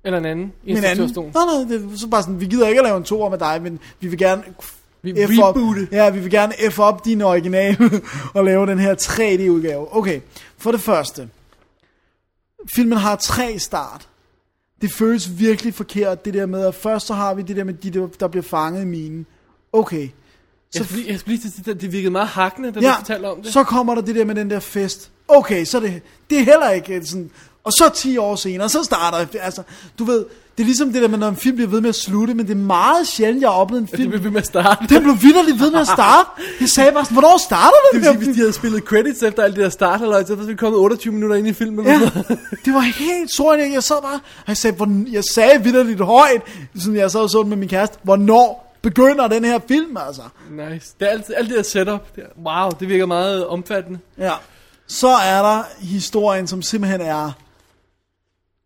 A: Eller en anden? I
B: Men anden,
A: instruktørstolen?
B: nej, nej, det er så bare sådan, vi gider ikke at lave en toer med dig, men vi vil gerne
A: Vi
B: F op,
A: reboote.
B: ja, vi vil gerne F op din original og lave den her 3D-udgave. Okay, for det første. Filmen har tre start. Det føles virkelig forkert, det der med, at først så har vi det der med de, der- der bliver fanget i minen. Okay.
A: Jeg skulle, lige- jeg skulle lige til at sige, at det virkede meget hakkende, da du fortalte om det.
B: så kommer der det der med den der fest. Okay, så er det, det er heller ikke øh, sådan... Og så 10 år senere, så starter... Altså, du ved, det er ligesom det der med, når en film bliver ved med at slutte, men det er meget sjældent, jeg har oplevet en
A: det
B: film...
A: blev vi med at starte.
B: Den blev vildt ved med at starte. Jeg sagde bare sådan, hvornår starter den
A: Det vil sige, hvis de havde spillet credits efter alt det der starter, eller så var vi kommet 28 minutter ind i filmen.
B: Ja, det var helt sort. Jeg jeg sad bare, og jeg sagde, hvordan, jeg sagde vidderligt højt, sådan jeg sad og så den med min kæreste, hvornår begynder den her film, altså?
A: Nice. Det er alt, alt det der setup. Der. Wow, det virker meget omfattende.
B: Ja. Så er der historien, som simpelthen er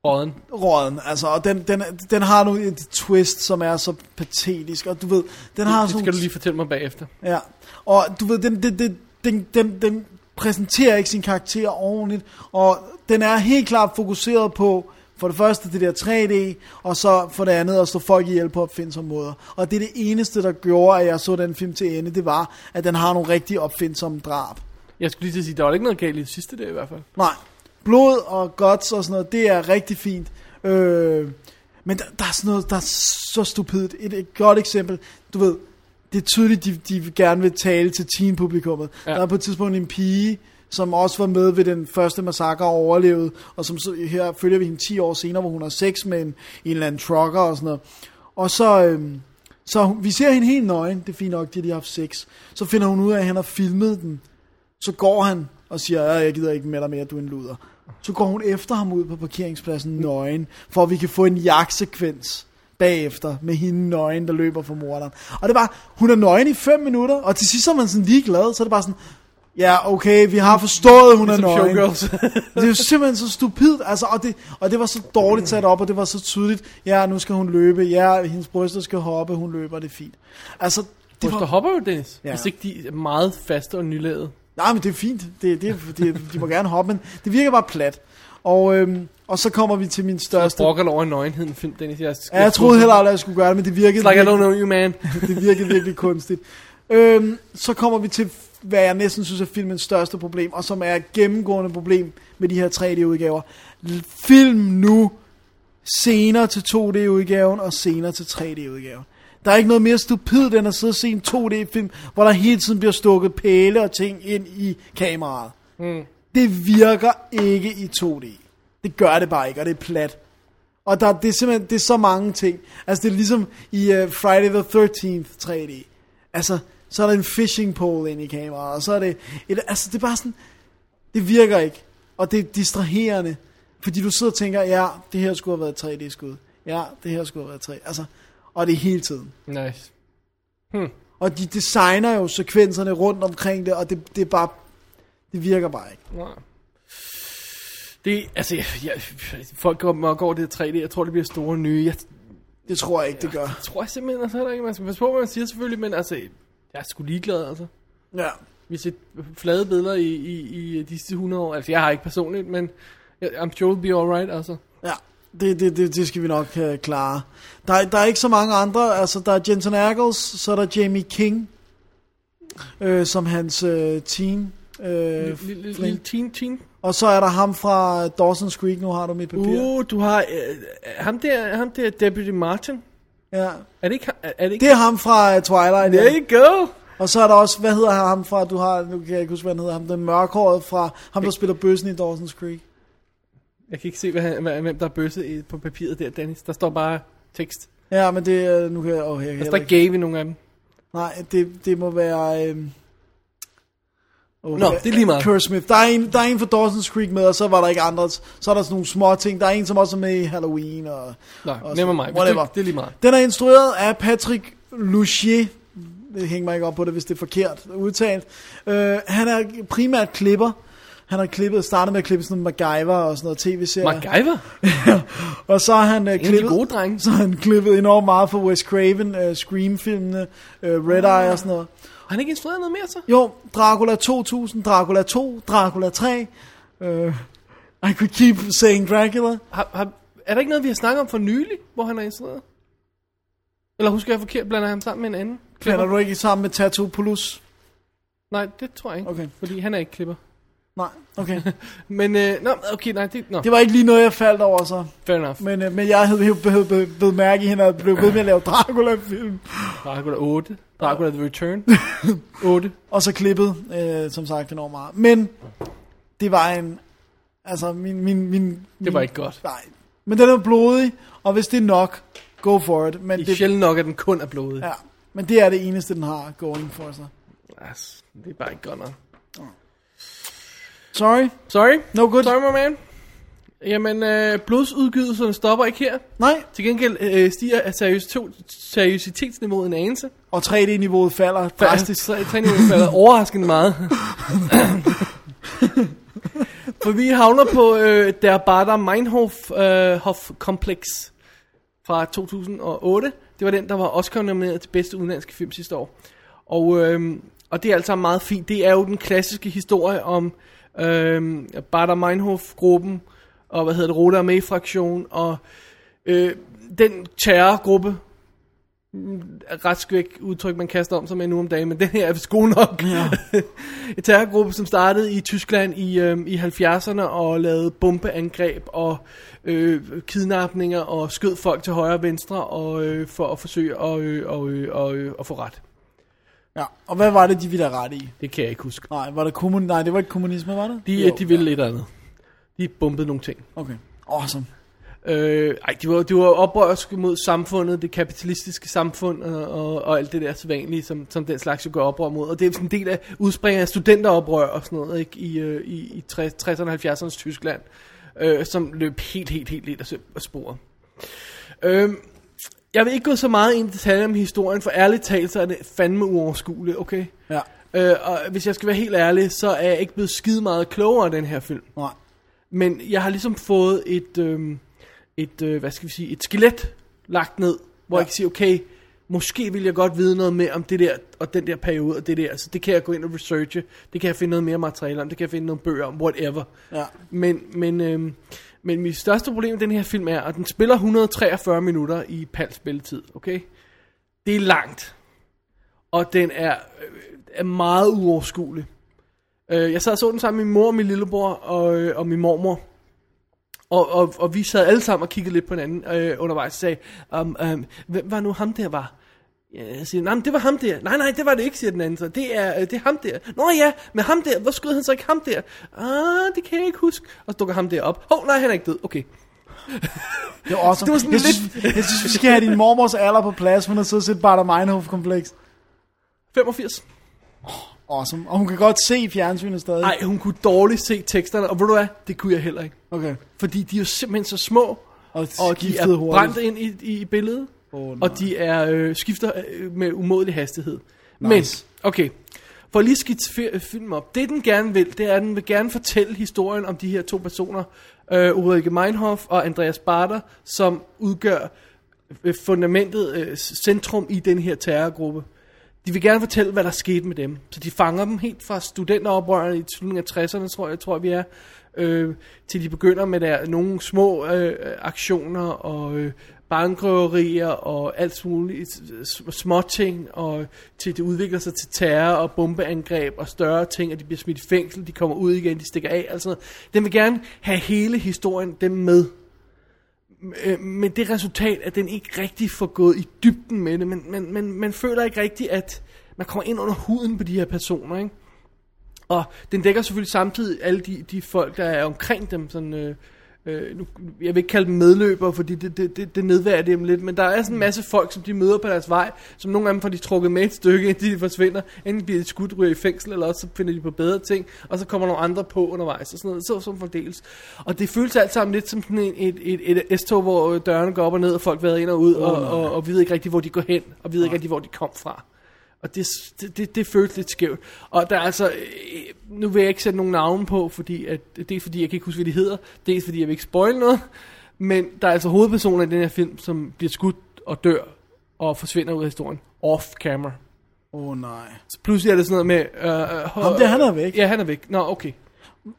A: Råden.
B: råden, altså, og den, den, den har nu et twist, som er så patetisk, og du ved, den har
A: Det
B: sådan
A: skal du lige fortælle mig bagefter.
B: Ja, og du ved, den, den, den, den, den, den præsenterer ikke sin karakter ordentligt, og den er helt klart fokuseret på, for det første det der 3D, og så for det andet at slå folk ihjel på opfindsomme måder. Og det er det eneste, der gjorde, at jeg så den film til ende, det var, at den har nogle rigtig opfindsomme drab.
A: Jeg skulle lige til at sige, der var ikke noget galt i det sidste der i hvert fald.
B: Nej, blod og guts og sådan noget, det er rigtig fint. Øh, men der, der er sådan noget, der er så stupidt. Et, et godt eksempel, du ved, det er tydeligt, de, de gerne vil tale til teenpublikummet.
A: Ja.
B: Ja. Der er på et tidspunkt en pige, som også var med ved den første massakre og overlevede, og som så, her følger vi hende 10 år senere, hvor hun har sex med en, en eller anden trucker og sådan noget. Og så, øhm, så hun- vi ser hende helt nøgen, det er fint nok, de har lige haft sex. Så finder hun ud af, at han har filmet den så går han og siger, "Ja, jeg gider ikke med dig mere, du er en luder. Så går hun efter ham ud på parkeringspladsen nøgen, for at vi kan få en jagtsekvens bagefter med hende nøgen, der løber for morderen. Og det var, hun er nøgen i 5 minutter, og til sidst så er man sådan ligeglad, så er det bare sådan, ja okay, vi har forstået, hun er
A: Som
B: nøgen.
A: showgirls.
B: Det er jo simpelthen så stupidt, altså, og, det, og det var så dårligt sat op, og det var så tydeligt, ja, nu skal hun løbe, ja, hendes bryster skal hoppe, hun løber, det er fint. Altså, det
A: Bryster
B: var,
A: hopper jo, Dennis. Ja.
B: Ja.
A: Hvis ikke de er meget faste og nylavede.
B: Nej, men det er fint. Det, det, det, de må gerne hoppe, men det virker bare plat. Og, øhm, og så kommer vi til min største...
A: Brokker over i nøgenheden film, Dennis. Jeg,
B: Ja, jeg troede heller aldrig, at jeg skulle gøre det, men det virkede,
A: It's like I don't know you, man.
B: det virkede virkelig kunstigt. Øhm, så kommer vi til, hvad jeg næsten synes er filmens største problem, og som er et gennemgående problem med de her 3D-udgaver. L- Film nu senere til 2D-udgaven og senere til 3D-udgaven. Der er ikke noget mere stupidt end at sidde og se en 2D-film, hvor der hele tiden bliver stukket pæle og ting ind i kameraet. Det virker ikke i 2D. Det gør det bare ikke, og det er plat. Og der, det er simpelthen det er så mange ting. Altså det er ligesom i uh, Friday the 13th 3D. Altså, så er der en fishing pole ind i kameraet, og så er det... Et, altså det er bare sådan... Det virker ikke. Og det er distraherende. Fordi du sidder og tænker, ja, det her skulle have været 3D-skud. Ja, det her skulle have været 3 Altså, og det er hele tiden.
A: Nice.
B: Og de designer jo sekvenserne rundt omkring det, og det, det er bare... Det virker bare ikke.
A: Det, altså, jeg, jeg, folk går mok over det 3D. Jeg tror, det bliver store nye. Jeg
B: Det tror jeg ikke, det gør.
A: tror simpelthen, altså heller ikke, man skal passe på, hvad man siger selvfølgelig, men altså, jeg er sgu ligeglad, altså.
B: Ja.
A: Vi har set flade billeder i, i, i øh, de sidste 100 år. Altså, jeg har ikke personligt, men I'm sure it'll be alright, altså.
B: Ja, det, det, det, det skal vi nok øh, klare. Der, er- der er ikke så mange andre. Altså, der er Jensen Ackles, så er der Jamie King, øh, som hans øh, teen. Øh,
A: Lille, lille,
B: fling.
A: lille teen, teen.
B: og så er der ham fra Dawson's Creek, nu har du mit papir.
A: Uh, du har, øh, ham der, ham der Deputy Martin.
B: Ja.
A: Er det ikke, ham- er, er det ikke?
B: Det er ham fra øh, Twilight.
A: There
B: Ja.
A: you go.
B: Og så er der også, hvad hedder ham fra, du har, nu kan jeg ikke huske, hvad han hedder, ham, den mørkhåret fra, ham der spiller bøssen i Dawson's Creek.
A: Jeg kan ikke se, hvad, han- hvad- hvem der er bøsse i- på papiret der, Dennis. Der står bare tekst.
B: Ja, men det, øh, nu kan jeg, åh,
A: Altså, Der
B: jeg kan heller
A: står
B: ikke.
A: ikke gave i nogen af dem.
B: Nej, det, det må være... Øh... Oh,
A: Nå, det er lige meget.
B: Kurt Smith. Der er, en, der er en fra Dawson's Creek med, og så var der ikke andre. Så er der sådan nogle små ting. Der er en, som også er med i Halloween. Og,
A: Nej, never
B: og sådan-
A: mind. Hvis
B: Whatever.
A: Det, det er lige meget.
B: Den er instrueret af Patrick Luchier. Det hænger mig ikke op på det, hvis det er forkert udtalt. Øh, han er primært klipper. Han har klippet, startet med at klippe sådan nogle MacGyver og sådan noget tv-serier.
A: MacGyver?
B: Og så har han øh,
A: de
B: klippet,
A: gode drenge.
B: så har han klippet enormt meget for Wes Craven, øh, Scream-filmene, øh, Red Eye og sådan noget.
A: Har han ikke instrueret noget mere så?
B: Jo, Dracula 2000, Dracula 2, Dracula 3. Uh, I could keep saying Dracula.
A: Har, har, er der ikke noget, vi har snakket om for nylig, hvor han har instrueret? Eller husker jeg forkert, blander ham sammen med en anden?
B: Blander
A: Klipper?
B: du ikke sammen med Tattoo Plus?
A: Nej, det tror jeg ikke.
B: Okay.
A: Fordi han er ikke klipper.
B: Nej, okay.
A: Men, øh, nå, okay, nej, det, nå,
B: Det var ikke lige noget, jeg faldt over så.
A: fair enough.
B: Men, øh, men jeg havde jo be- be- be- mærke i hende og blev ved med at lave Dracula-film.
A: Dracula 8. Dracula The Return. 8.
B: Og så klippet, øh, som sagt, enormt meget. Men det var en... Altså, min... min, min
A: Det var ikke godt.
B: Nej. Men den er blodig, og hvis det er nok, go for it. Men,
A: I
B: det,
A: sjældent nok, at den kun er blodet.
B: ja, men det er det eneste, den har going for sig.
A: Altså, det er bare ikke godt nok.
B: Sorry,
A: Sorry.
B: no good.
A: Sorry, my man. Jamen, øh, blodsudgydelserne stopper ikke her.
B: Nej,
A: Til gengæld øh, stiger seriøs to, seriøsitetsniveauet en anelse.
B: og 3D-niveauet falder drastisk.
A: Drastisk. Træningen falder overraskende meget. For vi havner på øh, Der Bader Meinhof øh, Hof Complex fra 2008. Det var den, der var Oscar nomineret til bedste udenlandske film sidste år. Og, øh, og det er altså meget fint. Det er jo den klassiske historie om øh, Bader Meinhof-gruppen, og hvad hedder det, Rote med fraktion og øh, den terrorgruppe, ret skvæk udtryk, man kaster om sig med nu om dagen, men den her er vist god nok. Ja. en terrorgruppe, som startede i Tyskland i, øh, i 70'erne og lavede bombeangreb og øh, kidnapninger og skød folk til højre og venstre og, øh, for at forsøge at, øh, og, øh, og, øh, at få ret.
B: Ja, og hvad var det, de ville have ret i?
A: Det kan jeg ikke huske.
B: Nej, var det kommun... Nej, det var ikke kommunisme, var det?
A: De,
B: Jo,
A: de ville lidt andet. De bombede nogle ting.
B: Okay, awesome.
A: Øh, ej, det var, det var oprørsk mod samfundet, det kapitalistiske samfund og, og, og alt det der sædvanlige, som, som den slags jo gør oprør mod. Og det er sådan en del af udspringer af studenteroprør og sådan noget, ikke? I, øh, i, i 60'erne og 70'ernes Tyskland, øh, som løb helt, helt, helt lidt af sø- af sporet. Øh, jeg vil ikke gå så meget ind i detaljer om historien, for ærligt talt, så er det fandme uoverskueligt, okay?
B: Ja,
A: Øh, og hvis jeg skal være helt ærlig, så er jeg ikke blevet skide meget klogere af den her film.
B: nej.
A: Men jeg har ligesom fået et, øh, et øh, hvad skal vi sige, et skelet lagt ned, hvor ja. jeg kan sige, okay, måske vil jeg godt vide noget mere om det der, og den der periode, og det der, så det kan jeg gå ind og researche, det kan jeg finde noget mere materiale om, det kan jeg finde nogle bøger om, whatever.
B: Ja.
A: Men, men, øh, men mit største problem med den her film er, at den spiller 143 minutter i pal spilletid, okay? Det er langt, og den er, øh, er meget uoverskuelig. Øh, jeg sad og så den sammen med min mor, min lillebror og, øh, og min mormor. Og, og, og vi sad alle sammen og kiggede lidt på hinanden øh, undervejs og sagde, um, um, hvem var nu ham der var? Ja, Jeg siger, nej, men det var ham der. Nej, nej, det var det ikke, siger den anden så. Det er, øh, det er ham der. Nå ja, men ham der, hvor skød han så ikke ham der? Ah, det kan jeg ikke huske. Og så dukker ham der op. Åh, oh, nej, han er ikke død. Okay.
B: Det var awesome.
A: Det var sådan
B: jeg,
A: lidt-
B: synes, jeg synes, vi skal have din mormors alder på plads, men at sidde og se et Bader Meinhof-kompleks.
A: 85.
B: Awesome. Og hun kan godt se fjernsynet stadig.
A: Nej, hun kunne dårligt se teksterne, og ved du hvad, det kunne jeg heller ikke.
B: Okay.
A: Fordi de er jo simpelthen så små,
B: Og,
A: og de er
B: skiftede
A: brændt ind i, i, i billedet,
B: Åh, nej.
A: og de er øh, skifter øh, med umådelig hastighed.
B: Nice.
A: Men, okay, for at lige skits fi- film op, det den gerne vil, det er, at den vil gerne fortælle historien om de her to personer, øh, Ulrike Meinhof og Andreas Barter, som udgør øh, fundamentet, øh, centrum i den her terrorgruppe. De vil gerne fortælle, hvad der skete med dem. Så de fanger dem helt fra studenteroprørerne i slutningen af 60'erne, tror jeg, tror jeg, vi er, øh, til de begynder med der, nogle små øh, aktioner og øh, bankrøverier og alt muligt s- småting, og til det udvikler sig til terror og bombeangreb og større ting, og de bliver smidt i fængsel, de kommer ud igen, de stikker af og sådan noget. Den vil gerne have hele historien dem med øh, men det resultat, at den ikke rigtig får gået i dybden med det. Men, men, men man føler ikke rigtigt, at man kommer ind under huden på de her personer, ikke? Og den dækker selvfølgelig samtidig alle de, de folk, der er omkring dem, sådan... Øh, Øh, nu, jeg vil ikke kalde dem medløbere, fordi det, det, det, det nedværdiger dem lidt, men der er sådan en masse folk, som de møder på deres vej, som nogle af dem får de trukket med et stykke, indtil de forsvinder. Enten bliver de skudt, ryger i fængsel, eller også så finder de på bedre ting, og så kommer nogle andre på undervejs, og sådan noget, så som fordeles. Og det føles alt sammen lidt som sådan en, et, et, et S-tog, hvor øh, dørene går op og ned, og folk vader ind og ud, og, og, og vi ved ikke rigtig, hvor de går hen, og vi ved ikke rigtig, hvor de kom fra. Og det, det, det, det føltes lidt skævt. Og der er altså, øh, nu vil jeg ikke sætte nogen navne på, fordi at, dels fordi jeg kan ikke huske, hvad de hedder, dels fordi jeg vil ikke spoil noget, men der er altså hovedpersoner i den her film, som bliver skudt og dør og forsvinder ud af historien. Off camera.
B: Åh oh, nej.
A: Så pludselig er det sådan noget med... Øh, øh,
B: Ham der, han er væk.
A: Ja, han er væk. Nå, okay.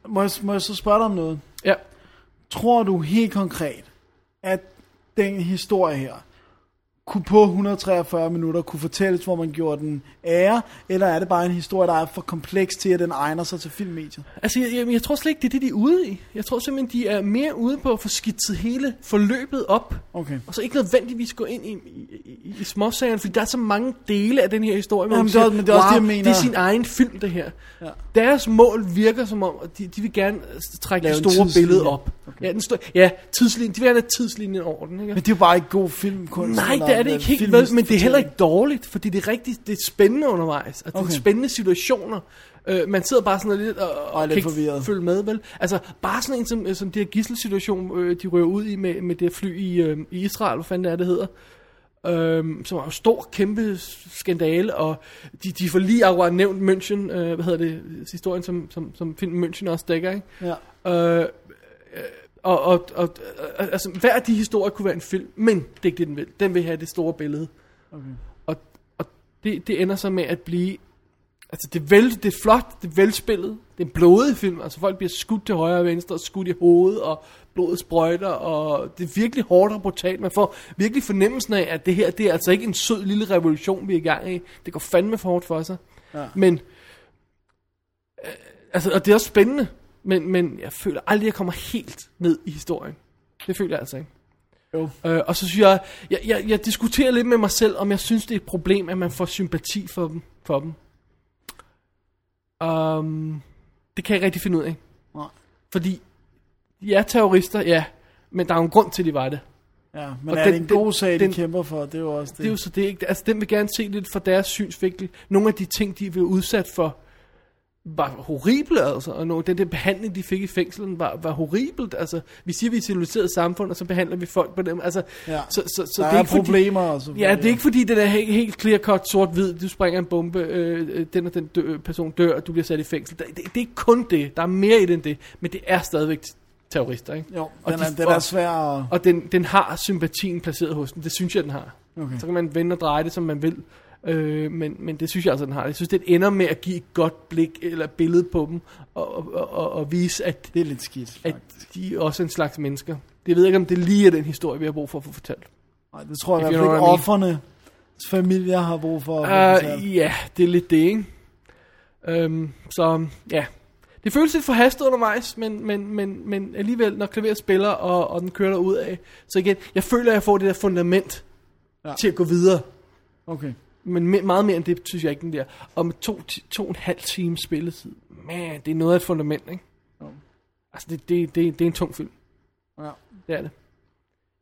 B: Må jeg, må jeg så spørge dig om noget?
A: Ja.
B: Tror du helt konkret, at den historie her, kunne på 143 minutter kunne fortælles, hvor man gjorde den ære, eller er det bare en historie, der er for kompleks til, at den egner sig til filmmediet?
A: Altså, jeg, jeg, jeg tror slet ikke, det er det, de er ude i. Jeg tror simpelthen, de er mere ude på at få skitset hele forløbet op,
B: Okay.
A: Og så ikke nødvendigvis gå ind i, i, i, i småsagerne, fordi der er så mange dele af den her historie, hvor
B: Jamen,
A: man
B: det er-
A: siger,
B: men det er også det, jeg mener."
A: det er sin egen film, det her. Ja. Deres mål virker som om, at de, de vil gerne øh, trække
B: Lave
A: det
B: en
A: store
B: tidslinje.
A: billede op. Okay. Ja, den stå, ja, tidslinjen. De vil gerne have tidslinjen over den, ikke?
B: Men det er jo bare ikke god filmkunst.
A: Nej,
B: eller
A: det er det ikke helt, vel,
B: filmfortælling.
A: men det er heller ikke dårligt, fordi det er rigtig det er spændende undervejs, og det er
B: Okay.
A: spændende situationer. Øh, man sidder bare sådan lidt og, og
B: er lidt
A: kan ikke
B: forvirret.
A: følge med, vel? Altså, bare sådan en som, øh, som det her gisselsituation, øh, de rører ud i med, med det fly i, øh, i Israel, hvad fanden det er, det hedder. Øhm, som var en stor, kæmpe skandale, og de, de får lige akkurat nævnt München, øh, hvad hedder det, historien, som, som, som filmen München også dækker, ikke?
B: Ja.
A: Øh, øh, og, og, og, og altså, hver af de historier kunne være en film, men det er ikke det, den vil. Den vil have det store billede. Okay. Og, og det, det ender så med at blive... Altså, det er, vel, det er flot, det er velspillet, det er en blodig film. Altså, folk bliver skudt til højre og venstre, og skudt i hovedet, og blodet sprøjter, og det er virkelig hårdt og brutalt. Man får virkelig fornemmelsen af, at det her, det er altså ikke en sød lille revolution, vi er i gang i. Det går fandme for hårdt for sig. Ja. Men Altså, og det er også spændende, men, men jeg føler aldrig, at jeg kommer helt ned i historien. Det føler jeg altså ikke. Jo. Øh, og så synes jeg jeg, jeg, jeg diskuterer lidt med mig selv, om jeg synes, det er et problem, at man får sympati for dem. For dem. Um, det kan jeg ikke rigtig finde ud af.
B: Nej.
A: Fordi, de er terrorister, ja, men der er jo en grund til, at de var det.
B: Ja, men
A: Og
B: er
A: den-
B: det en god
A: den-
B: sag,
A: den-
B: de kæmper for? Det er jo også det.
A: Det er jo så det, ikke? Altså, den vil gerne se lidt fra deres synsvinkel. Nogle af de ting, de blev udsat for, var horrible, altså. Og nogle, den der behandling, de fik i fængslen, var, var horribelt. Altså, vi siger, vi er et civiliseret samfund, og så behandler vi folk på dem. Altså,
B: Ja.
A: så, så, så
B: Der
A: det er,
B: er
A: ikke fordi-
B: problemer og så
A: Ja,
B: videre.
A: det er ikke fordi, den er helt, helt clear-cut sort-hvid. Du springer en bombe, øh, øh, den og den dø, person dør, og du bliver sat i fængsel. Det, det, det er ikke kun det. Der er mere i det end det. Men det er stadigvæk terrorister, ikke?
B: Jo,
A: Og
B: den,
A: de
B: er, den
A: får-
B: er svær at...
A: Og den, den har sympatien placeret hos den. Det synes jeg, den har.
B: Okay.
A: Så kan man vende og dreje det, som man vil. Øh, men, men det synes jeg altså, den har. Jeg synes, den ender med at give et godt blik eller billede på dem. Og, og, og- og, og vise, at,
B: Det er lidt skidt,
A: at
B: faktisk.
A: de er også en slags mennesker. Det ved jeg ikke, om det lige er den historie, vi har brug for at få fortalt.
B: Nej, det tror jeg i
A: If
B: hvert
A: you
B: fald ikke,
A: know what I
B: offerne familier har brug for. at få betalt.
A: Uh, ja, det er lidt det, ikke? Øhm, så ja. Det føles lidt forhastet undervejs, men, men, men, men alligevel, når klaveret spiller, og, og den kører ud af, så igen, jeg føler, at jeg får det der fundament ja.
B: Ja.
A: til at gå videre.
B: Okay.
A: Men me- meget mere end det, synes jeg ikke, den der. Og med to, ti- to og en halv time spilletid, man, det er noget af et fundament, ikke?
B: Jo.
A: Altså, det, det, det, det er en tung film.
B: Ja.
A: Det er det.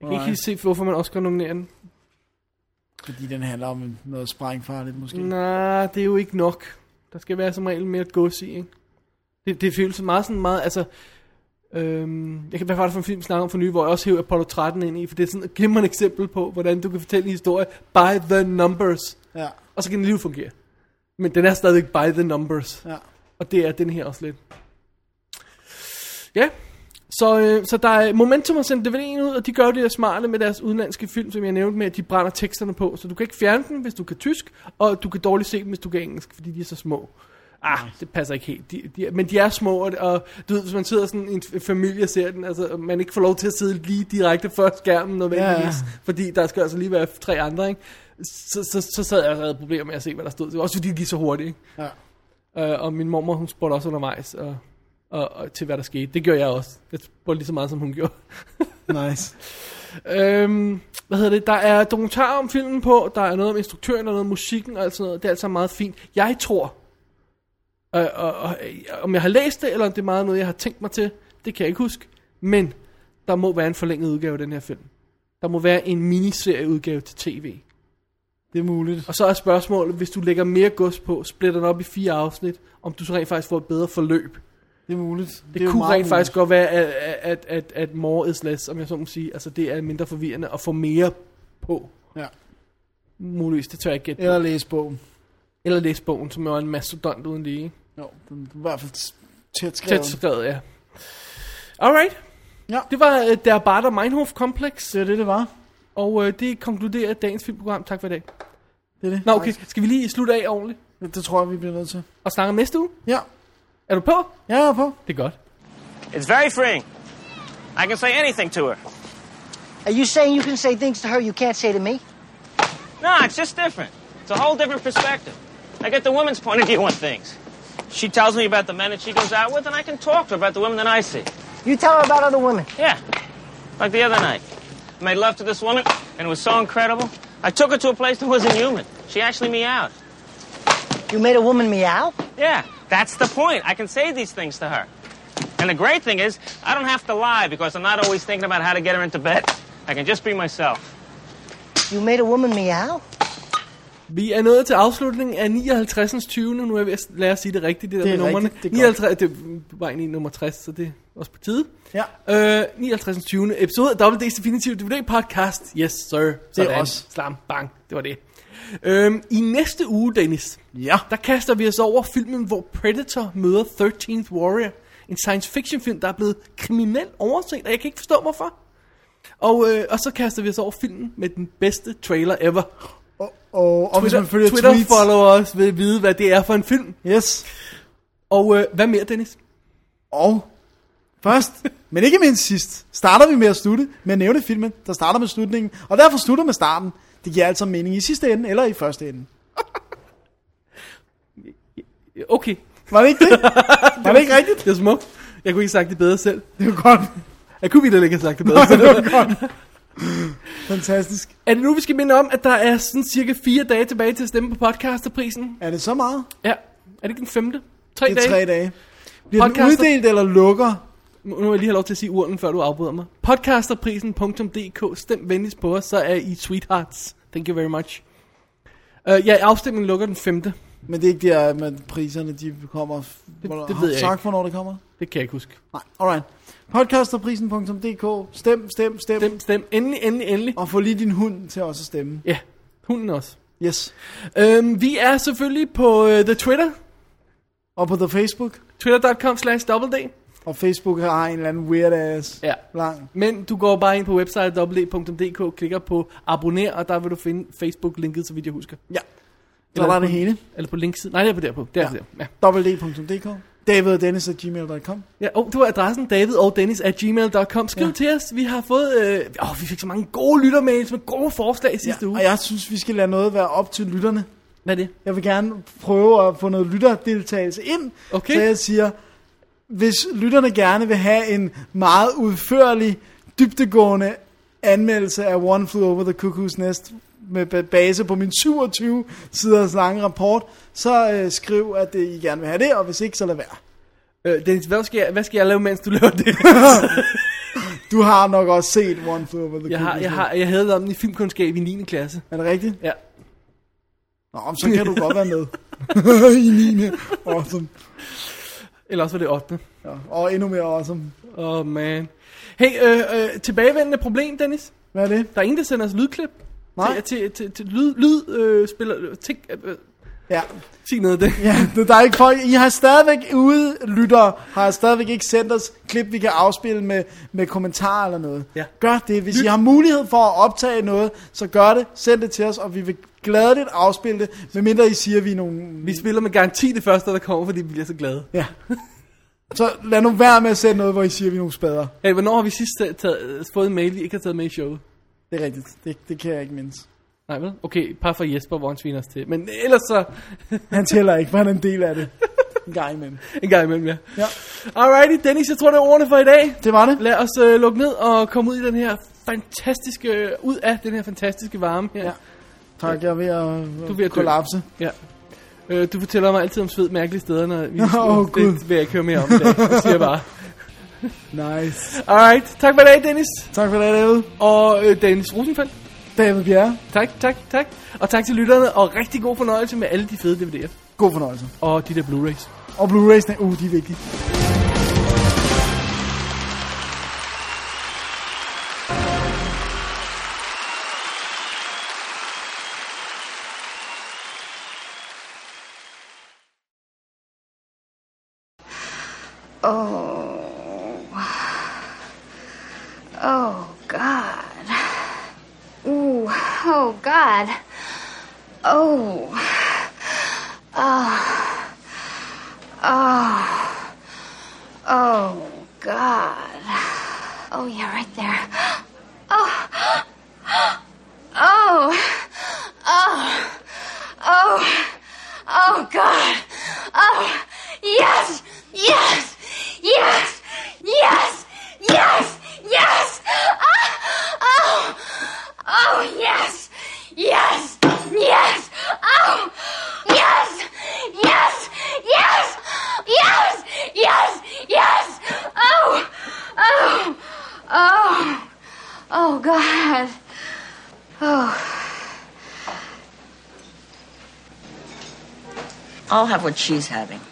A: Jeg kan
B: Nej.
A: ikke helt se, hvorfor man også kan nominere den.
B: Fordi den handler om noget sprængfarligt måske.
A: Nej, det er jo ikke nok. Der skal være som regel mere gods i, ikke? Det, det føles meget sådan meget, altså... Øhm, jeg kan hvad var det for en film, vi snakker om for nylig, hvor jeg også hæver Apollo 13 ind i, for det er sådan et glimrende eksempel på, hvordan du kan fortælle en historie by the numbers,
B: Ja,
A: og så kan den lige fungere. Men den er stadigvæk by the numbers,
B: ja.
A: og det er den her også lidt. Ja, så, øh, så der er Momentum har sendt DVD'en ud, og de gør jo det der smarte med deres udenlandske film, som jeg nævnte med, at de brænder teksterne på. Så du kan ikke fjerne dem, hvis du kan tysk, og du kan dårligt se dem, hvis du kan engelsk, fordi de er så små. Ah, det passer ikke helt. De, de, er- men de er små, og, og du ved, hvis man sidder sådan i en f- familie og ser den, altså man ikke får lov til at sidde lige direkte før skærmen nødvendigvis,
B: Ja, ja.
A: fordi der skal altså lige være tre andre, ikke? Så, så, så sad jeg og havde problemer med at se, hvad der stod. Også fordi de er så hurtige, ikke?
B: ja.
A: Øh, og min mormor, hun spurgte også undervejs og, og, og, til, hvad der skete. Det gjorde jeg også. Jeg spurgte lige så meget, som hun gjorde.
B: Nice.
A: øhm, hvad hedder det? Der er dokumentar om filmen på. Der er noget om instruktøren og noget om musikken og alt sådan noget. Det er altså meget fint. Jeg tror, øh, og, og, øh, om jeg har læst det, eller om det er meget noget, jeg har tænkt mig til, det kan jeg ikke huske. Men der må være en forlænget udgave af den her film. Der må være en miniserieudgave til tv.
B: Det er muligt.
A: Og så er spørgsmålet, hvis du lægger mere gods på, splitter den op i fire afsnit, om du så rent faktisk får et bedre forløb.
B: Det er muligt.
A: Det,
B: er
A: det
B: jo
A: kunne
B: meget
A: rent faktisk
B: muligt.
A: godt være, at, at, at, at more is less, om jeg så må sige. Altså, det er mindre forvirrende at få mere på.
B: Ja.
A: Muligvis, det tør jeg ikke gætte.
B: Eller læse bogen.
A: Eller læse bogen, som jo er en mastodont uden lige.
B: Jo, den er i hvert fald tæt skrevet.
A: Tæt skrevet, ja. Alright.
B: Ja.
A: Det var uh, Der Barter Meinhof Complex,
B: Det er det, det var.
A: og uh, det konkluderer dagens filmprogram. Tak for i dag.
B: Det er det.
A: Nå, okay. Skal vi lige slutte af ordentligt
B: Nice. Det tror jeg, vi bliver nødt til.
A: og snakke om næste uge?
B: Ja.
A: Er du på?
B: Ja, jeg er på.
A: Det er godt.
G: It's very freeing. I can say anything to her.
H: Are you saying you can say things to her you can't say to me?
G: No, it's just different. It's a whole different perspective. I get the woman's point of view on things. She tells me about the men that she goes out with, and I can talk to her about the women that I see.
H: You tell her about other women.
G: Yeah, like the other night. I made love to this woman, and it was so incredible. I took her to a place that wasn't human. She actually meowed.
H: You made a woman meow?
G: Yeah, that's the point. I can say these things to her. And the great thing is, I don't have to lie because I'm not always thinking about how to get her into bed. I can just be myself.
H: You made a woman meow?
A: Vi er nået til afslutningen af 59. 20. Nu er jeg ved at lære at sige det rigtigt, det der
B: Det er
A: med numrene.
B: rigtigt, det er
A: 59, det var egentlig nummer 60, så det er også på tide.
B: Ja.
A: Øh, 59. 20. episode af WD's Definitive DVD Podcast. Yes, sir. Sådan.
B: os.
A: Slam, bang. Det var det. Øhm, I næste uge, Dennis,
B: Ja.
A: der kaster vi os over filmen, hvor Predator møder 13th Warrior. En science fiction film, der er blevet kriminel overset, og jeg kan ikke forstå hvorfor. Og, øh, og så kaster vi os over filmen med den bedste trailer ever.
B: Og, og hvis man følger
A: Twitter
B: tweets.
A: followers vil vide, hvad det er for en film.
B: Yes.
A: Og øh, hvad mere, Dennis?
B: Og først, men ikke mindst sidst, starter vi med at slutte med at nævne filmen, der starter med slutningen, og derfor slutter med starten. Det giver altså mening i sidste ende eller i første ende.
A: Okay,
B: Var det ikke det? Var det ikke rigtigt?
A: det er smukt. Jeg kunne ikke have sagt det bedre selv.
B: Det var godt.
A: Jeg kunne virkelig ikke have sagt det bedre selv.
B: Det var godt. Fantastisk.
A: Er det nu, vi skal minde om, at der er sådan cirka fire dage tilbage til at stemme på podcasterprisen?
B: Er det så meget?
A: Ja. Er det ikke den femte? Tre
B: Det er
A: dage?
B: tre dage. Bliver den
A: Podcaster-
B: uddelt eller lukker?
A: Nu nu vil jeg lige have lov til at sige urnen, før du afbryder mig. Podcasterprisen.dk, stem venligst på os, så er I sweethearts. Thank you very much. Uh, ja, afstemningen lukker den 5. Det
B: Men det er ikke der, med priserne de kommer... Det,
A: det ved jeg
B: sagt,
A: ikke.
B: hvornår det kommer?
A: kan jeg ikke huske.
B: Nej, alright. Podcasterprisen.dk. Stem, stem, stem, stem.
A: Stem, stem. Endelig, endelig, endelig.
B: Og få lige din hund til også at stemme.
A: Ja, hunden også.
B: Yes.
A: Um, vi er selvfølgelig på uh, the Twitter.
B: Og på The Facebook.
A: Twitter.com slash dobbelt
B: Og Facebook har en eller anden weird ass
A: Ja.
B: lang.
A: Men du går bare ind på website www.dk, klikker på abonner, og der vil du finde Facebook-linket, så vidt jeg husker.
B: Ja. Så var det hele.
A: Eller på linksiden. Nej, det er på derpå. Det er ja.
B: Ja.
A: der. Ja.
B: www.dk. David og Dennis at gmail.com.
A: Ja, og det var adressen david og dennis at gmail.com. Skriv ja. til os. Vi har fået... Øh, åh, vi fik så mange gode lyttermails med gode forslag sidste
B: Ja,
A: ja, uge.
B: og jeg synes, vi skal lade noget være op til lytterne.
A: Hvad er det?
B: Jeg vil gerne prøve at få noget lytterdeltagelse ind.
A: Okay.
B: Så jeg siger, hvis lytterne gerne vil have en meget udførlig, dybtegående anmeldelse af One Flew Over the Cuckoo's Nest med ba- base på min 27 siders lange rapport, så øh, skriv, at øh, I gerne vil have det, og hvis ikke, så lad være.
A: Øh, Dennis, hvad skal, jeg, hvad skal jeg lave, mens du laver det?
B: Du har nok også set One Flew Over the
A: jeg, har,
B: Cuckoo's
A: jeg, har, jeg havde om den i filmkundskab i 9. klasse.
B: Nest. Er det rigtigt?
A: Ja.
B: Nå, men så kan du godt være med. I 9. Awesome.
A: Eller også var det 8.
B: Ja, og endnu mere awesome.
A: Åh, oh, man. Hey, øh, øh, tilbagevendende problem, Dennis.
B: Hvad er det?
A: Der er ingen, der sender os lydklip.
B: Nej.
A: Til, til, til, til lyd, lyd øh, spiller... Øh, ting, øh,
B: Ja,
A: sig noget af det.
B: ja det, der er ikke folk. I har stadigvæk ude, lyttere, har stadigvæk ikke sendt os klip, vi kan afspille med, med kommentarer eller noget.
A: Ja.
B: Gør det. Hvis I har mulighed for at optage noget, så gør det. Send det til os, og vi vil gladeligt afspille det, medmindre I siger, at vi er nogle...
A: Vi spiller med garanti det første, der kommer, fordi vi bliver så glade.
B: Ja. Så lad nu være med at sende noget, hvor I siger, at vi er nogle spader.
A: Hey, hvornår har vi sidst øh, taget, taget, fået en mail, vi ikke har taget med i showet?
B: Det er rigtigt. Det, det kan jeg ikke mindes.
A: Nej, vel? Okay, et par fra Jesper, hvor han sviner os til. Men ellers så
B: Han tæller ikke, for han er en del af det. En gang imellem.
A: en gang imellem, ja.
B: Ja.
A: Alrighty, Dennis, jeg tror, det er ordene for i dag.
B: Det var det.
A: Lad os øh, lukke ned og komme ud i den her fantastiske, øh, ud af den her fantastiske varme her.
B: Ja. Tak, jeg er ved at,
A: Du er ved at dø.
B: kollapse.
A: ja. Øh, du fortæller mig altid om sved mærkelige steder, når vi...
B: Åh, Gud.
A: det vil jeg ikke høre mere om i dag. Det siger jeg bare.
B: Nice.
A: Alright, tak for i dag, Dennis.
B: Tak for det, David.
A: Og øh, Dennis Rosenfeldt.
B: David Bjerre.
A: Tak, tak, tak. Og tak til lytterne, og rigtig god fornøjelse med alle de fede DVD'er.
B: God fornøjelse.
A: Og de der Blu-rays.
B: Og Blu-rays, uh, de er vigtige.
F: Oh, God. Ooh, oh, God. Oh. Ah. Oh. Oh. Oh, God. Oh, yeah, right there. Oh. Oh. Oh. Oh. Oh, God. Oh. Yes. Yes. Yes. Yes. Yes. Yes. Ah. Oh. Oh, yes. Yes. Yes. Oh. Yes. Yes. Yes. Yes. Yes. Yes. Oh. Oh. Oh. Oh, God. Oh.
H: I'll have what she's having.